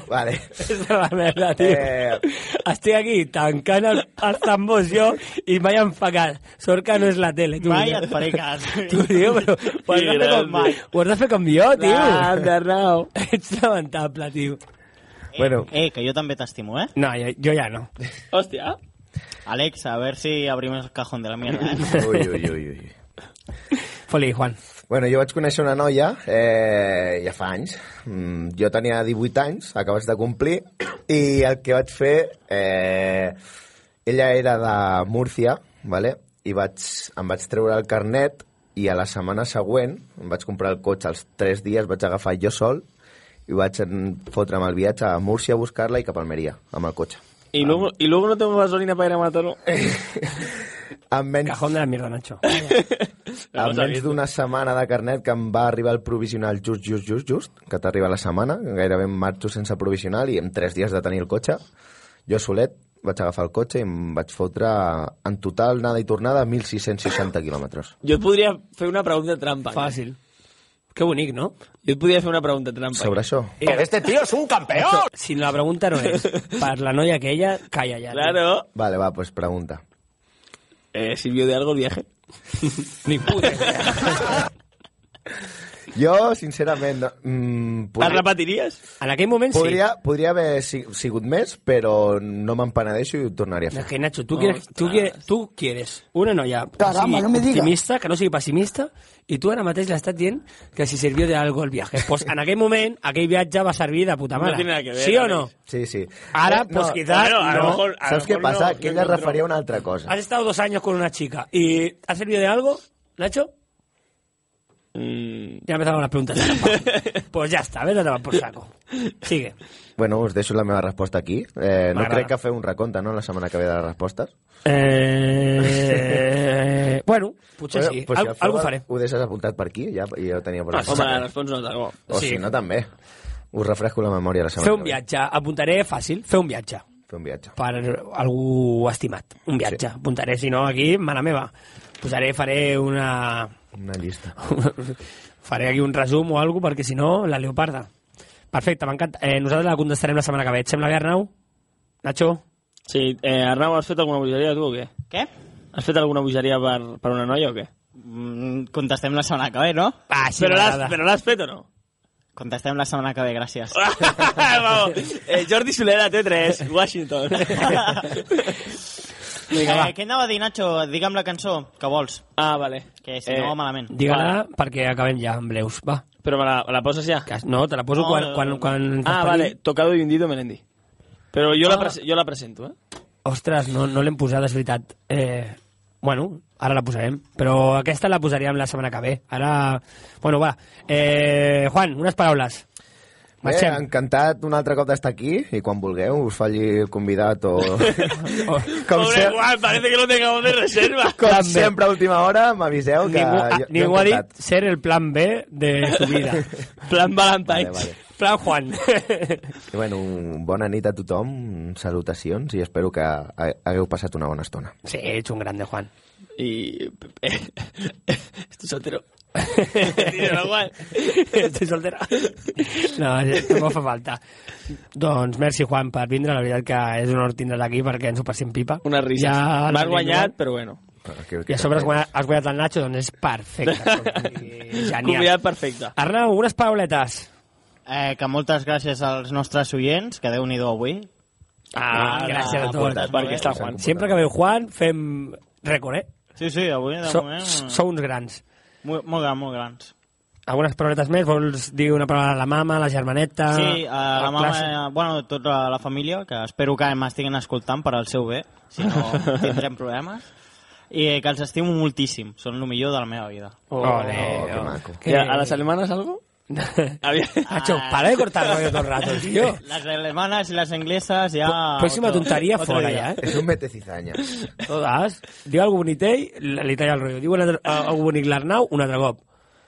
Speaker 3: Vale.
Speaker 1: És la merda, tio. Eh... Estic aquí tancant el, els tambors jo i mai em fa cas. Sort que no és la tele, tu. eh.
Speaker 4: Mai et faré cas.
Speaker 1: Tu, eh, tio, però ho has, de fer com,
Speaker 4: grande.
Speaker 1: ho has de fer com jo, tio.
Speaker 4: Grande,
Speaker 1: Arnau. Ets lamentable, tio.
Speaker 3: Bueno.
Speaker 4: Eh, que jo també t'estimo, eh?
Speaker 1: No, jo, jo ja no.
Speaker 2: Hòstia.
Speaker 4: Alex, a ver si abrimos el cajón de la mierda. eh?
Speaker 3: Ui, ui, ui, ui.
Speaker 1: Foli, Juan.
Speaker 3: Bueno, jo vaig conèixer una noia eh, ja fa anys. Mm, jo tenia 18 anys, acabats de complir, i el que vaig fer... Eh, ella era de Múrcia, vale? i vaig, em vaig treure el carnet i a la setmana següent em vaig comprar el cotxe. Els 3 dies vaig agafar jo sol i vaig en- fotre'm el viatge a Múrcia a buscar-la i cap a Almeria amb el cotxe.
Speaker 2: Y luego, y luego no tengo gasolina para ir a matarlo.
Speaker 3: Amb menys...
Speaker 1: Cajón de la mierda, Nacho.
Speaker 3: A menys d'una setmana de carnet que em va arribar el provisional just, just, just, just, que t'arriba la setmana, gairebé em marxo sense provisional i en tres dies de tenir el cotxe, jo solet vaig agafar el cotxe i em vaig fotre en total, nada i tornada, 1.660 quilòmetres.
Speaker 2: Yo et podria fer una pregunta trampa.
Speaker 1: Fàcil. Que bonic, no?
Speaker 2: Jo et podria fer una pregunta trampa.
Speaker 3: Sobre això.
Speaker 1: Este tío es un campeón. Si la pregunta no es para la novia aquella, calla ya.
Speaker 2: Claro.
Speaker 3: Vale, va, pues pregunta.
Speaker 2: Eh, ¿Sirvió de algo el viaje?
Speaker 1: Ni puta
Speaker 3: Jo, sincerament... No, mm,
Speaker 2: ¿Las repetirías?
Speaker 1: En aquell moment sí.
Speaker 3: podria, podria haver si- sigut més, però no me'n penedeixo i ho tornaria a
Speaker 1: Es
Speaker 3: fer.
Speaker 1: que Nacho, tú quieres, tú quieres, tú quieres una novia que
Speaker 3: Caramba,
Speaker 1: sigui
Speaker 3: no me diga.
Speaker 1: optimista, que no sigui pessimista, i tu ara mateix l'estàs dient que si sirvió de algo el viatge. Pues en aquell moment, aquell viatge va servir de puta
Speaker 2: No
Speaker 1: mare.
Speaker 2: tiene nada que ver,
Speaker 1: sí o
Speaker 2: Alex.
Speaker 1: no?
Speaker 3: Sí, sí. Eh,
Speaker 1: Ara, pues, quizás
Speaker 2: Bueno, a lo
Speaker 1: no.
Speaker 2: mejor- a lo
Speaker 3: Saps què
Speaker 2: mejor
Speaker 3: passa?
Speaker 2: no,
Speaker 3: que
Speaker 2: no
Speaker 3: ella es
Speaker 2: encontró.
Speaker 3: referia a una altra cosa.
Speaker 1: Has estado dos años con una chica y ¿has servido de algo, Nacho?
Speaker 2: Mm,
Speaker 1: Ya empezaron las preguntas. pues ya está, vete a tomar por saco. Sigue.
Speaker 3: Bueno, us deixo la meva resposta aquí. Eh, no
Speaker 1: M'agrada.
Speaker 3: crec que feu un recompte, no?, la setmana que ve de les respostes.
Speaker 1: Eh, bueno, potser sí.
Speaker 3: pues
Speaker 1: Al,
Speaker 3: feu,
Speaker 1: algo faré.
Speaker 3: Ho deixes apuntat per aquí, ja, i ja ho tenia per
Speaker 2: Ah,
Speaker 3: aquí.
Speaker 2: home, ara respons una altra cosa.
Speaker 3: O si
Speaker 1: Sí.
Speaker 3: no, també. Us refresco la memòria la setmana
Speaker 1: Fer un viatge, apuntaré fàcil, fer un viatge
Speaker 3: que ve. Fer un viatge.
Speaker 1: per algú estimat. Un viatge. Apuntaré, si no, aquí, mala meva. Posaré, faré una...
Speaker 3: Una llista.
Speaker 1: faré aquí un resum o alguna perquè si no, la leoparda. Perfecte, m'encanta. Eh, nosaltres la contestarem la setmana que ve. Et sembla bé, Arnau? Nacho?
Speaker 2: Sí, eh, Arnau, has fet alguna bogeria tu o què?
Speaker 4: Què?
Speaker 2: Has fet alguna bogeria per, per una noia o què?
Speaker 4: Mm, contestem la setmana que ve, no?
Speaker 1: Ah,
Speaker 2: però l'has però l'has fet o no?
Speaker 4: Contestem la setmana que ve, gràcies.
Speaker 1: Ah,
Speaker 2: Vamos. Eh, Jordi Solera, T3, Washington.
Speaker 1: Vinga, va.
Speaker 4: eh, què anava a dir, Nacho? Digue'm la cançó que vols.
Speaker 2: ah, vale.
Speaker 4: Que si
Speaker 1: Eh,
Speaker 4: no, malament.
Speaker 1: Digue-la perquè acabem ja amb Bleus, va.
Speaker 2: Però me la, me la poses ja?
Speaker 1: Que- No, te la poso
Speaker 4: No,
Speaker 1: quan...
Speaker 4: no,
Speaker 1: quan,
Speaker 4: no.
Speaker 1: quan
Speaker 2: Ah, vale. Tocado y hundido Melendi. Però jo, la,
Speaker 1: Ah.
Speaker 2: pres jo la presento, eh?
Speaker 1: Ostres, no, no l'hem posat, és veritat. Eh, bueno, ara la posarem. Però aquesta la posaríem la setmana que ve. Ara... Bueno, va. Eh, Juan, unes paraules.
Speaker 3: Bé,
Speaker 1: Marxem.
Speaker 3: encantat un altre cop d'estar aquí i quan vulgueu us falli el convidat o...
Speaker 1: Oh,
Speaker 3: com
Speaker 2: Pobre
Speaker 3: se...
Speaker 2: Juan, parece que lo tengamos de reserva.
Speaker 3: Com
Speaker 1: També.
Speaker 3: sempre, a última hora, m'aviseu que...
Speaker 1: ningú ah,
Speaker 3: jo- jo
Speaker 1: ningú ha dit
Speaker 3: encantat.
Speaker 1: ser el plan B de tu vida.
Speaker 2: Plan Valentine's.
Speaker 3: Vale, vale.
Speaker 1: plan Juan.
Speaker 3: I, bueno, bona nit a tothom, salutacions i espero que ha- hagueu passat una bona estona.
Speaker 1: sí, ets un grande, Juan.
Speaker 2: Y... eh, Estoy soltero. Dímelo, Juan.
Speaker 1: Estoy soltera. No, no fa falta. Doncs merci, Juan, per vindre. La veritat que és un honor tindre't aquí perquè ens ho passem pipa.
Speaker 2: Una risa.
Speaker 1: Ja
Speaker 2: M'has
Speaker 1: l'hem
Speaker 2: guanyat,
Speaker 1: jugat.
Speaker 2: però bueno.
Speaker 1: I a sobre has guanyat, has guanyat el Nacho, doncs és perfecte. Doncs, Genial.
Speaker 2: Convidat perfecte.
Speaker 1: Arnau, unes pauletes.
Speaker 4: Eh, que moltes gràcies als nostres oients, que déu-n'hi-do avui.
Speaker 1: Ah, gràcies a tots.
Speaker 2: Perquè està Juan.
Speaker 1: Sempre que veu Juan, fem rècord, eh?
Speaker 4: Sí, sí, avui de
Speaker 1: So,
Speaker 4: moment... eh.
Speaker 1: sou uns grans.
Speaker 4: Molt, molt gran, molt grans.
Speaker 1: Algunes parauletes més? Vols dir una paraula a la mama, a la germaneta?
Speaker 4: Sí, a la,
Speaker 1: a
Speaker 4: mama,
Speaker 1: Ah, classe?
Speaker 4: eh, bueno, tota la família, que espero que m'estiguin escoltant per al seu bé, si no tindrem problemes, i que els estimo moltíssim, són el millor de la meva vida.
Speaker 1: Ole,
Speaker 3: Oh, que maco.
Speaker 2: ¿Y a, a las alemanas algo? Había...
Speaker 1: Nacho,
Speaker 4: Ah.
Speaker 1: para de cortar el rollo todo el rato, tío.
Speaker 4: Les alemanes i les angleses ja...
Speaker 1: Pr- Próxima
Speaker 4: Ah, otro-
Speaker 1: tontería
Speaker 4: otro
Speaker 1: fuera
Speaker 4: dia.
Speaker 1: ya, ¿eh?
Speaker 3: És un mete cizaña.
Speaker 1: Todas. Diu algo bonito i li talla el rollo. Diu un altre- algo bonic l'Arnau, un altre cop.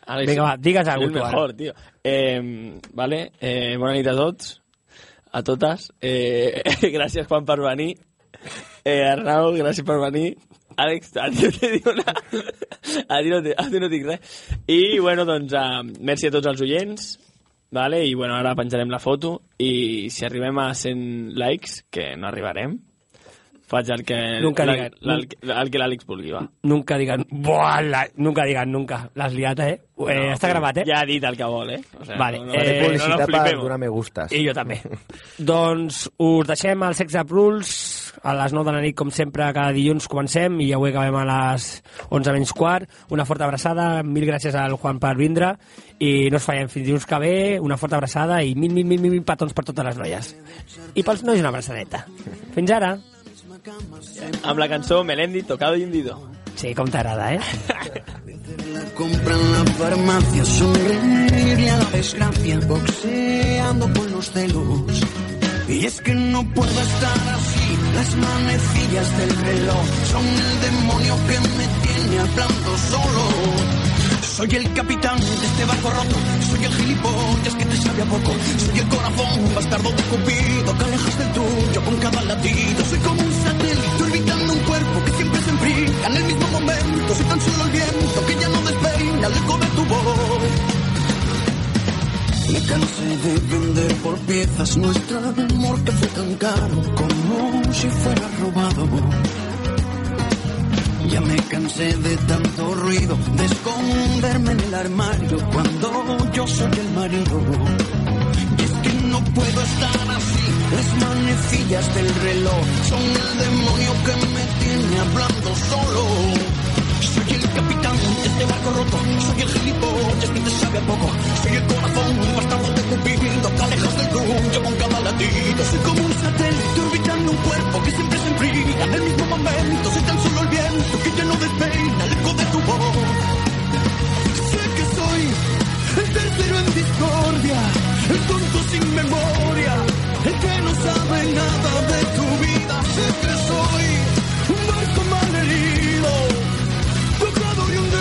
Speaker 2: Alex,
Speaker 1: Vinga, va, digues algo
Speaker 2: el
Speaker 1: tu ara.
Speaker 2: mejor, tío. Eh, vale, eh, bona nit a tots, a totes. Eh, gràcies, Juan, per venir. Eh, Arnau, gràcies per venir. Àlex, a ti no te dic una... A ti no, te, a ti no dic res. I, bueno, doncs, uh, merci a tots els oients. Vale, I bueno, ara penjarem la foto i si arribem a 100 likes, que no arribarem, faig el que
Speaker 1: Nunca
Speaker 2: la-
Speaker 1: digan.
Speaker 2: la- el que- el que l'Àlex vulgui, va.
Speaker 1: Nunca digan, buah, la- nunca digan, nunca. Las liatas, ¿eh? eh
Speaker 2: No,
Speaker 1: está
Speaker 2: però
Speaker 1: grabat, ¿eh?
Speaker 2: Ja ha dit el que vol, eh? O sea,
Speaker 1: Vale,
Speaker 2: no, no,
Speaker 1: eh,
Speaker 2: no, no,
Speaker 1: publicitat
Speaker 2: no
Speaker 1: per
Speaker 2: flipem.
Speaker 1: donar
Speaker 3: me gustas.
Speaker 1: I jo també. doncs us deixem al Sex Up Rules a les 9 de la nit, com sempre, cada dilluns comencem i avui acabem a les 11 menys quart. Una forta abraçada, mil gràcies al Juan per vindre i no us fallem fins dilluns que ve, una forta abraçada i mil, mil, mil, mil, mil petons per totes les noies. I pels nois una abraçadeta. Fins ara.
Speaker 2: Amb la cançó Melendi, tocado y hundido.
Speaker 1: Sí, com t'agrada, eh?
Speaker 7: Compran la farmacia, sonreír a la desgracia, boxeando con los celos. Y es que no puedo estar así, las manecillas del reloj son el demonio que me tiene hablando solo. Soy el capitán de este barco roto, soy el gilipollas que te sabe a poco, soy el corazón bastardo de Cupido que alejas del tuyo con cada latido. Soy como un satélite orbitando un cuerpo que siempre se enfría en el mismo momento, soy tan solo el viento que ya no despeina el eco de tu voz. Me cansé de vender por piezas nuestro amor que fue tan caro como si fuera robado. Ya me cansé de tanto ruido, de esconderme en el armario cuando yo soy el marido. Y es que no puedo estar así, las manecillas del reloj son el demonio que me tiene hablando solo. Soy el capitán de este barco roto, soy el gilipollas que te sabe a poco. Soy el corazón bastardo de Cupido, te alejas del tuyo con cada latido. Soy como un satélite orbitando un cuerpo que siempre se enfría en el mismo momento. Soy tan solo el viento que ya no despeina el eco de tu voz. Sé que soy el tercero en discordia, el tonto sin memoria, el que no sabe nada de tu vida. Sé que soy un barco malherido, tocado y hundido.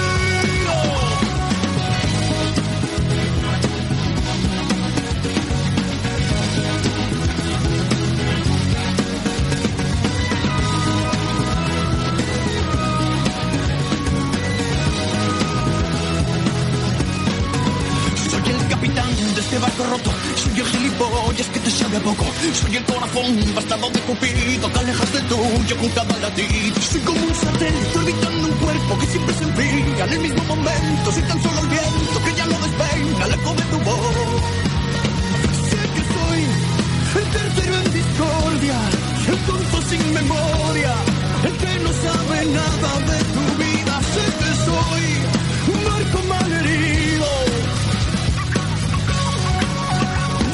Speaker 7: Soy el capitán de este barco roto, soy el gilipollas que te sabe a poco. Soy el corazón bastardo de Cupido que alejas del tuyo con cada latido. Soy como un satélite orbitando un cuerpo que siempre se enfría en el mismo momento. Soy tan solo el viento que ya lo despeina el eco de tu voz. Sé que soy el tercero en discordia, el tonto sin memoria, el que no sabe nada de tu vida. Sé que soy un barco malherido.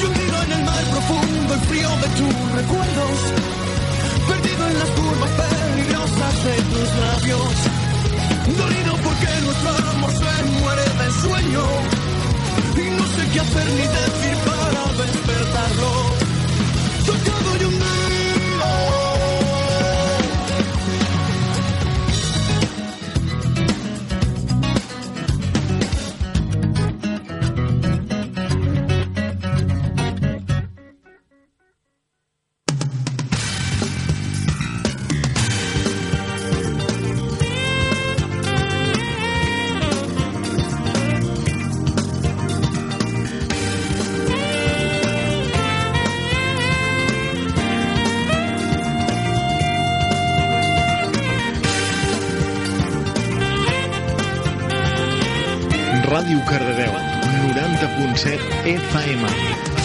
Speaker 7: Yo hundido en el mar profundo y frío de tus recuerdos, perdido en las curvas peligrosas de tus labios, dolido porque nuestro amor se muere de sueño y no sé qué hacer ni decir para despertarlo. Tocado y hundido.
Speaker 5: Ràdio Cardedeu, 90.7 FM.